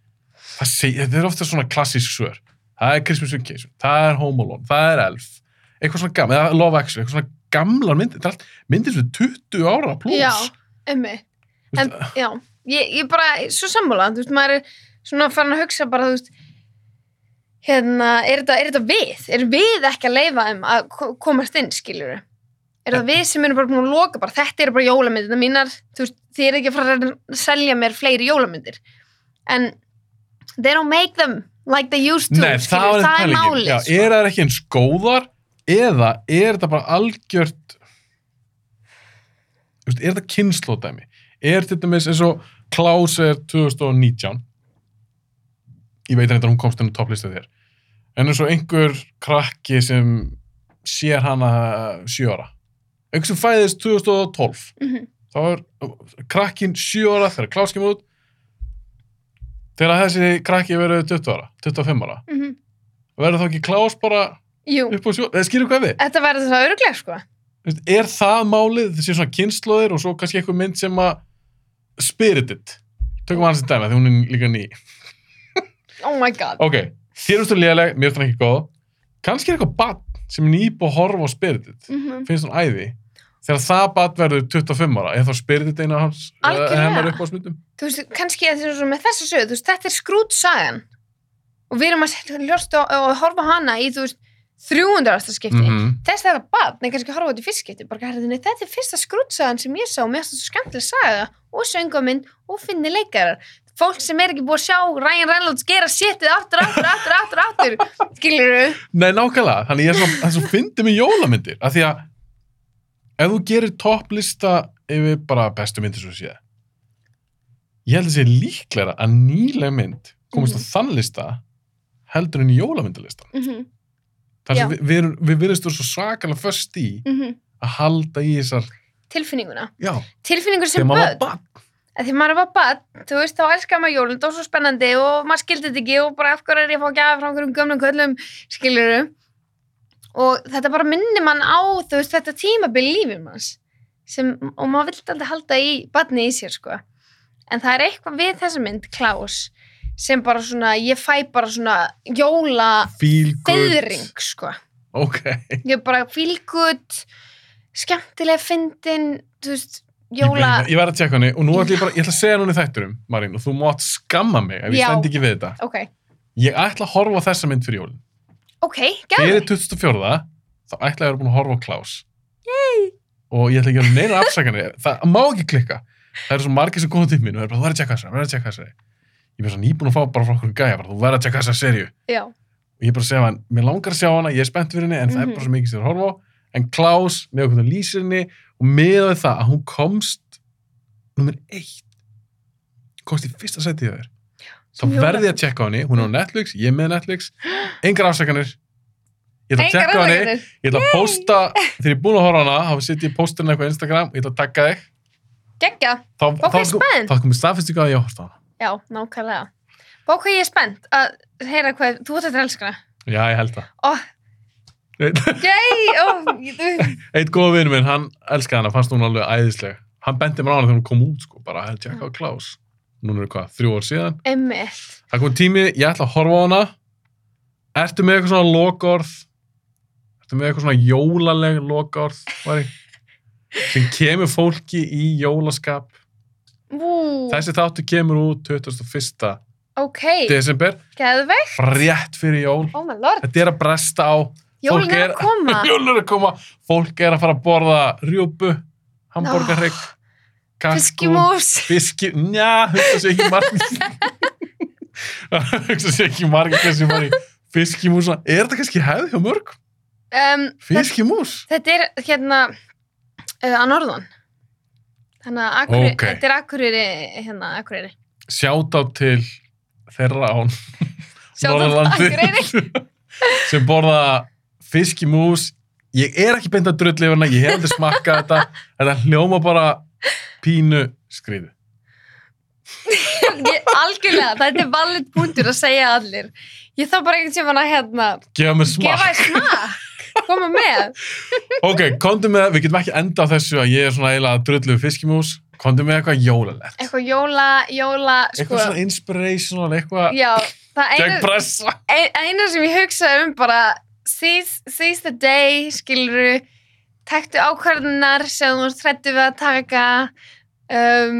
það seg, þetta er ofta svona klassísk svör það er Christmas Vacation, það er Home Alone það er Elf, eitthvað svona gamla eða Love Actually, eitthvað svona gamlar myndir þetta er allt myndir sem er 20 ára pluss Já, emmi. Þú En, veist, já, ég, ég bara, svo sammála, þú veist, maður er svona farin að hugsa bara, þú veist, hérna, er þetta, er þetta við? Er við ekki að leifa þeim að ko- komast inn, skiljur Er það við sem erum bara búin að loka bara, þetta eru bara jólamyndirna mínar, þú veist, þið eru ekki að fara að reyna að selja mér fleiri jólamyndir. En they don't make them like they used to, Nei, það, skilurðu, var það er pælingin. málið. Já, sko. er það ekki eins góðar eða er þetta bara algjört Þú veist, er þetta kynnslódæmi er þetta með eins og Klaus er 2019 ég veit reyndar að hún komst inn á topplistu þér en eins og einhver krakki sem sér hana 7 ára einhver sem fæðist 2012 Mhm. þá er krakkin 7 ára þegar Klaus kemur út þegar þessi krakki verið 20 ára 25 ára Mhm. verður þá ekki Klaus bara Jú, upp á sjó, eða skilur hvað við þetta verður það öruglega, sko. Þú veist, er það málið, þessi svona kynnslóðir og svo kannski eitthvað mynd sem að spirited, tökum hann sem dæma því hún er líka ný, Oh my god. ok þér erstu léleg, mér erstu ekki góð kannski er eitthvað bann sem er nýp og horfa á spirited, Mm finnst hún æði þegar það bann verður 25 ára er þá spirited eina af hans Algjörlega. eh, hennar upp á smutum Þú veist, kannski að þessu með þessa sögu, þú veist, þetta er skrútsagan. Og við erum að ljósta og, og horfa á hana í, þú veist, 300 ásta skipti. Mhm. Þess þetta badn er kannski að horfa út í fyrst skipti. Bara herðinni, þetta er fyrsta skrútsagan sem ég sá, mér finnst þetta svo skemmtileg saga og söngumynd og finni leikarar. Fólk sem er ekki búið að sjá Ryan Reynolds gera sétið aftur, aftur, aftur, aftur, aftur, skilur þú? Nei, nákvæmlega, þannig ég er svo, það er svo fyndi með jólamyndir, af því að ef þú gerir topplista yfir bara bestu myndir svo séð ég held að sé líklega að nýleg mynd komist Mhm. á þann lista heldur en jólamyndalista þar sem Já. við, við, erum- við virðist þú svo svakalega först í að halda í þessar Tilfinninguna. já, Tilfinningur sem þegar maður var börn. bann að því maður var bad, þú veist, þá elskar maður jólund og svo spennandi og maður skildi þetta ekki og bara af hverju er ég að fá að gefa frá einhverjum gömlum köllum skiljurum og þetta bara minnir mann á, þú veist, þetta tímabil lífið manns sem, og maður vilt aldrei halda í badni í sér, sko en það er eitthvað við þessa mynd, Klaus sem bara svona, ég fæ bara svona jóla feel good, feðring, sko ok ég er bara fílgut skemmtilega fyndin, þú veist, Ég- jóla ég, ég verð að tjekka henni og nú ætla ég bara, ég ætla að segja núna í þætturum Marín, og þú mátt skamma mig ef ég Já. stend ekki við þetta ok, ég ætla að horfa á þessa mynd fyrir jólin ok, gæði fyrir 24. þá ætla ég að vera búin að horfa á Klaus Yay. og ég ætla ekki að gera neina afsakanir það má ekki klikka það eru svo margir sem koma til mín og er bara þú verður að tjekka þessa, þú verður að tjekka þessa ég er bara svona nýbúin að fá bara frá okkur gæja bara, þú verður að tjekka þessa serju já og ég bara segja hann, mér langar að sjá hana, ég er spennt fyrir henni en það er Mhm. bara svo mikið sem ég er að horfa á en Klaus, með okkur þú lýsir henni og meðað það að hún komst nummer eitt komst í fyrsta setið þér þá Sem jóla- verði ég að tjekka á henni, hún er á Netflix ég er með Netflix, engar afsakanir ég ætla að Engar tjekka á henni afsakanir. ég ætla að posta, þegar ég er búin að horfa á hana þá setjum ég posturinn eitthvað á Instagram, ég ætla að tagga þig Gekkja. þá, Vá, hvað ég er spennt. þá komið staðfestingu að ég horfst á hana Já, nákvæmlega. Bá hvað ég er spennt að heyra hvað þú ert að elska hana. já, ég held það Ó, Eitt- gei, ó, ég- þú- Eitt góð vinur minn, hann elskaði hana, fannst hún alveg æðisleg. Hann bendi mér á hana þegar hún kom út, sko, bara að tjekka á Klaus. Núna eru hvað, þrjú ár síðan. einmitt. Það kom tími, ég ætla að horfa á hana. Ertu með eitthvað svona lokorð? Ertu með eitthvað svona jólaleg lokorð, Mari? Sem kemur fólki í jólaskap. Ú, Þessi þáttu kemur út 21. ok, desember, geðvegt. rétt fyrir jól. Oh my lord, Þetta er að bresta á. jólin fólk er er- að koma. Jólun er að koma, fólk er að fara að borða rjúpu, hambúrgarrygg, kalkún, Fiskimús. fiski, njá, hugsa sér ekki margir, hugsa sér ekki margir hversu margir, fiskimúsa, er þetta kannski hefð hjá mörg? Um, þetta, Fiskimús? þetta er hérna uh, að norðan. Þannig að akurri, Ok. þetta er akureyri, hérna, akureyri. Sjáta til þeirra án Norðurlandi. akureyri. sem borða fiskimús, ég er ekki beint að drulli yfir hana, ég hef aldrei smakkað þetta, þetta hljóma bara pínu skriðu. Ég- Algjörlega, þetta er valið punktur að segja allir. Ég þarf bara einhvern tímann að hérna, Gefa mér smakk. gefa þér smakk, koma með. Ok, komdu með, við getum ekki enda á þessu að ég er svona eiginlega að drullu við fiskimús. Komdu með eitthvað jólalegt. eitthvað jóla, jóla sko, Eitthvað svona inspirational, eitthvað já, það gegn einu, pressa. ein- einu sem ég hugsaði um bara seize, seize the day skiluru, taktu ákvarðunar sem þú ert hrættu við að taka um,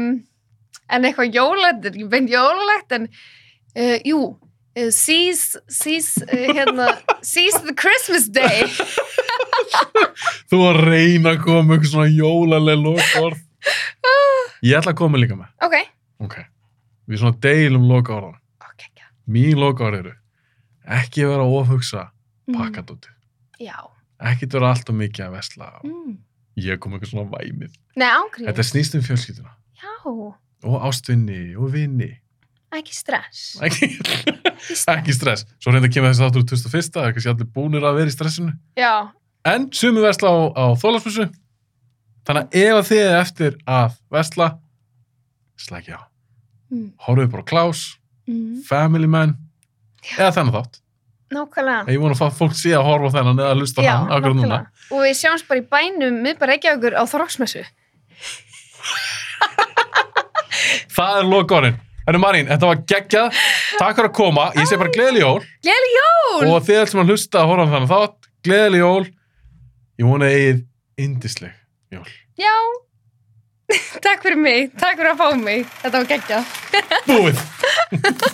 en eitthvað jólætt er ekki beint jólætt en uh, jú uh, seize, seize uh, hérna, seize the Christmas day Þú að reyna að koma með eitthvað svona jólaleg lokaorð. Ah. Ég ætla að koma líka með. ok, Ok, við svona deilum lokaorðan. ok, já Mín lokaorð eru ekki vera að ofhugsa mm, pakkadóti. já Ekki vera alltaf mikið að vesla. mm. Ég kom með eitthvað svona væmið. Nei, ángrið, Þetta snýst um fjölskylduna já, og ástvinni og vinni. ekki stress Ekki, ekki stress, ekki stress. Svo reynda að kemur þessi þáttur úr 2001. Það er kannski allir búnir að vera í stressinu. já, En sumi vesla á, á þólasmessu. Þannig að ef að þið er eftir að vesla, slækja á. mm, Horfið bara á Klaus, mm. Family Man, eða þennan þátt. nákvæmlega. Ég vona að fá- fólk sé að horfa á þennan eða að hlusta á hann akkur núna. Og við sjáumst bara í bænum, við bara ekki okkur á þróksmessu. Það er lokaorinn. Hennu Marín, þetta var geggjað. Takk fyrir að koma. Ég segi bara gleðileg jól. Gleðileg jól! Og þið ætlum að hlusta að horfa á þannig þátt. Gleðileg jól. Ég vona að eigið indisleg jól. Já. takk fyrir mig, takk fyrir að fá mig. Þetta var geggjað. Búið!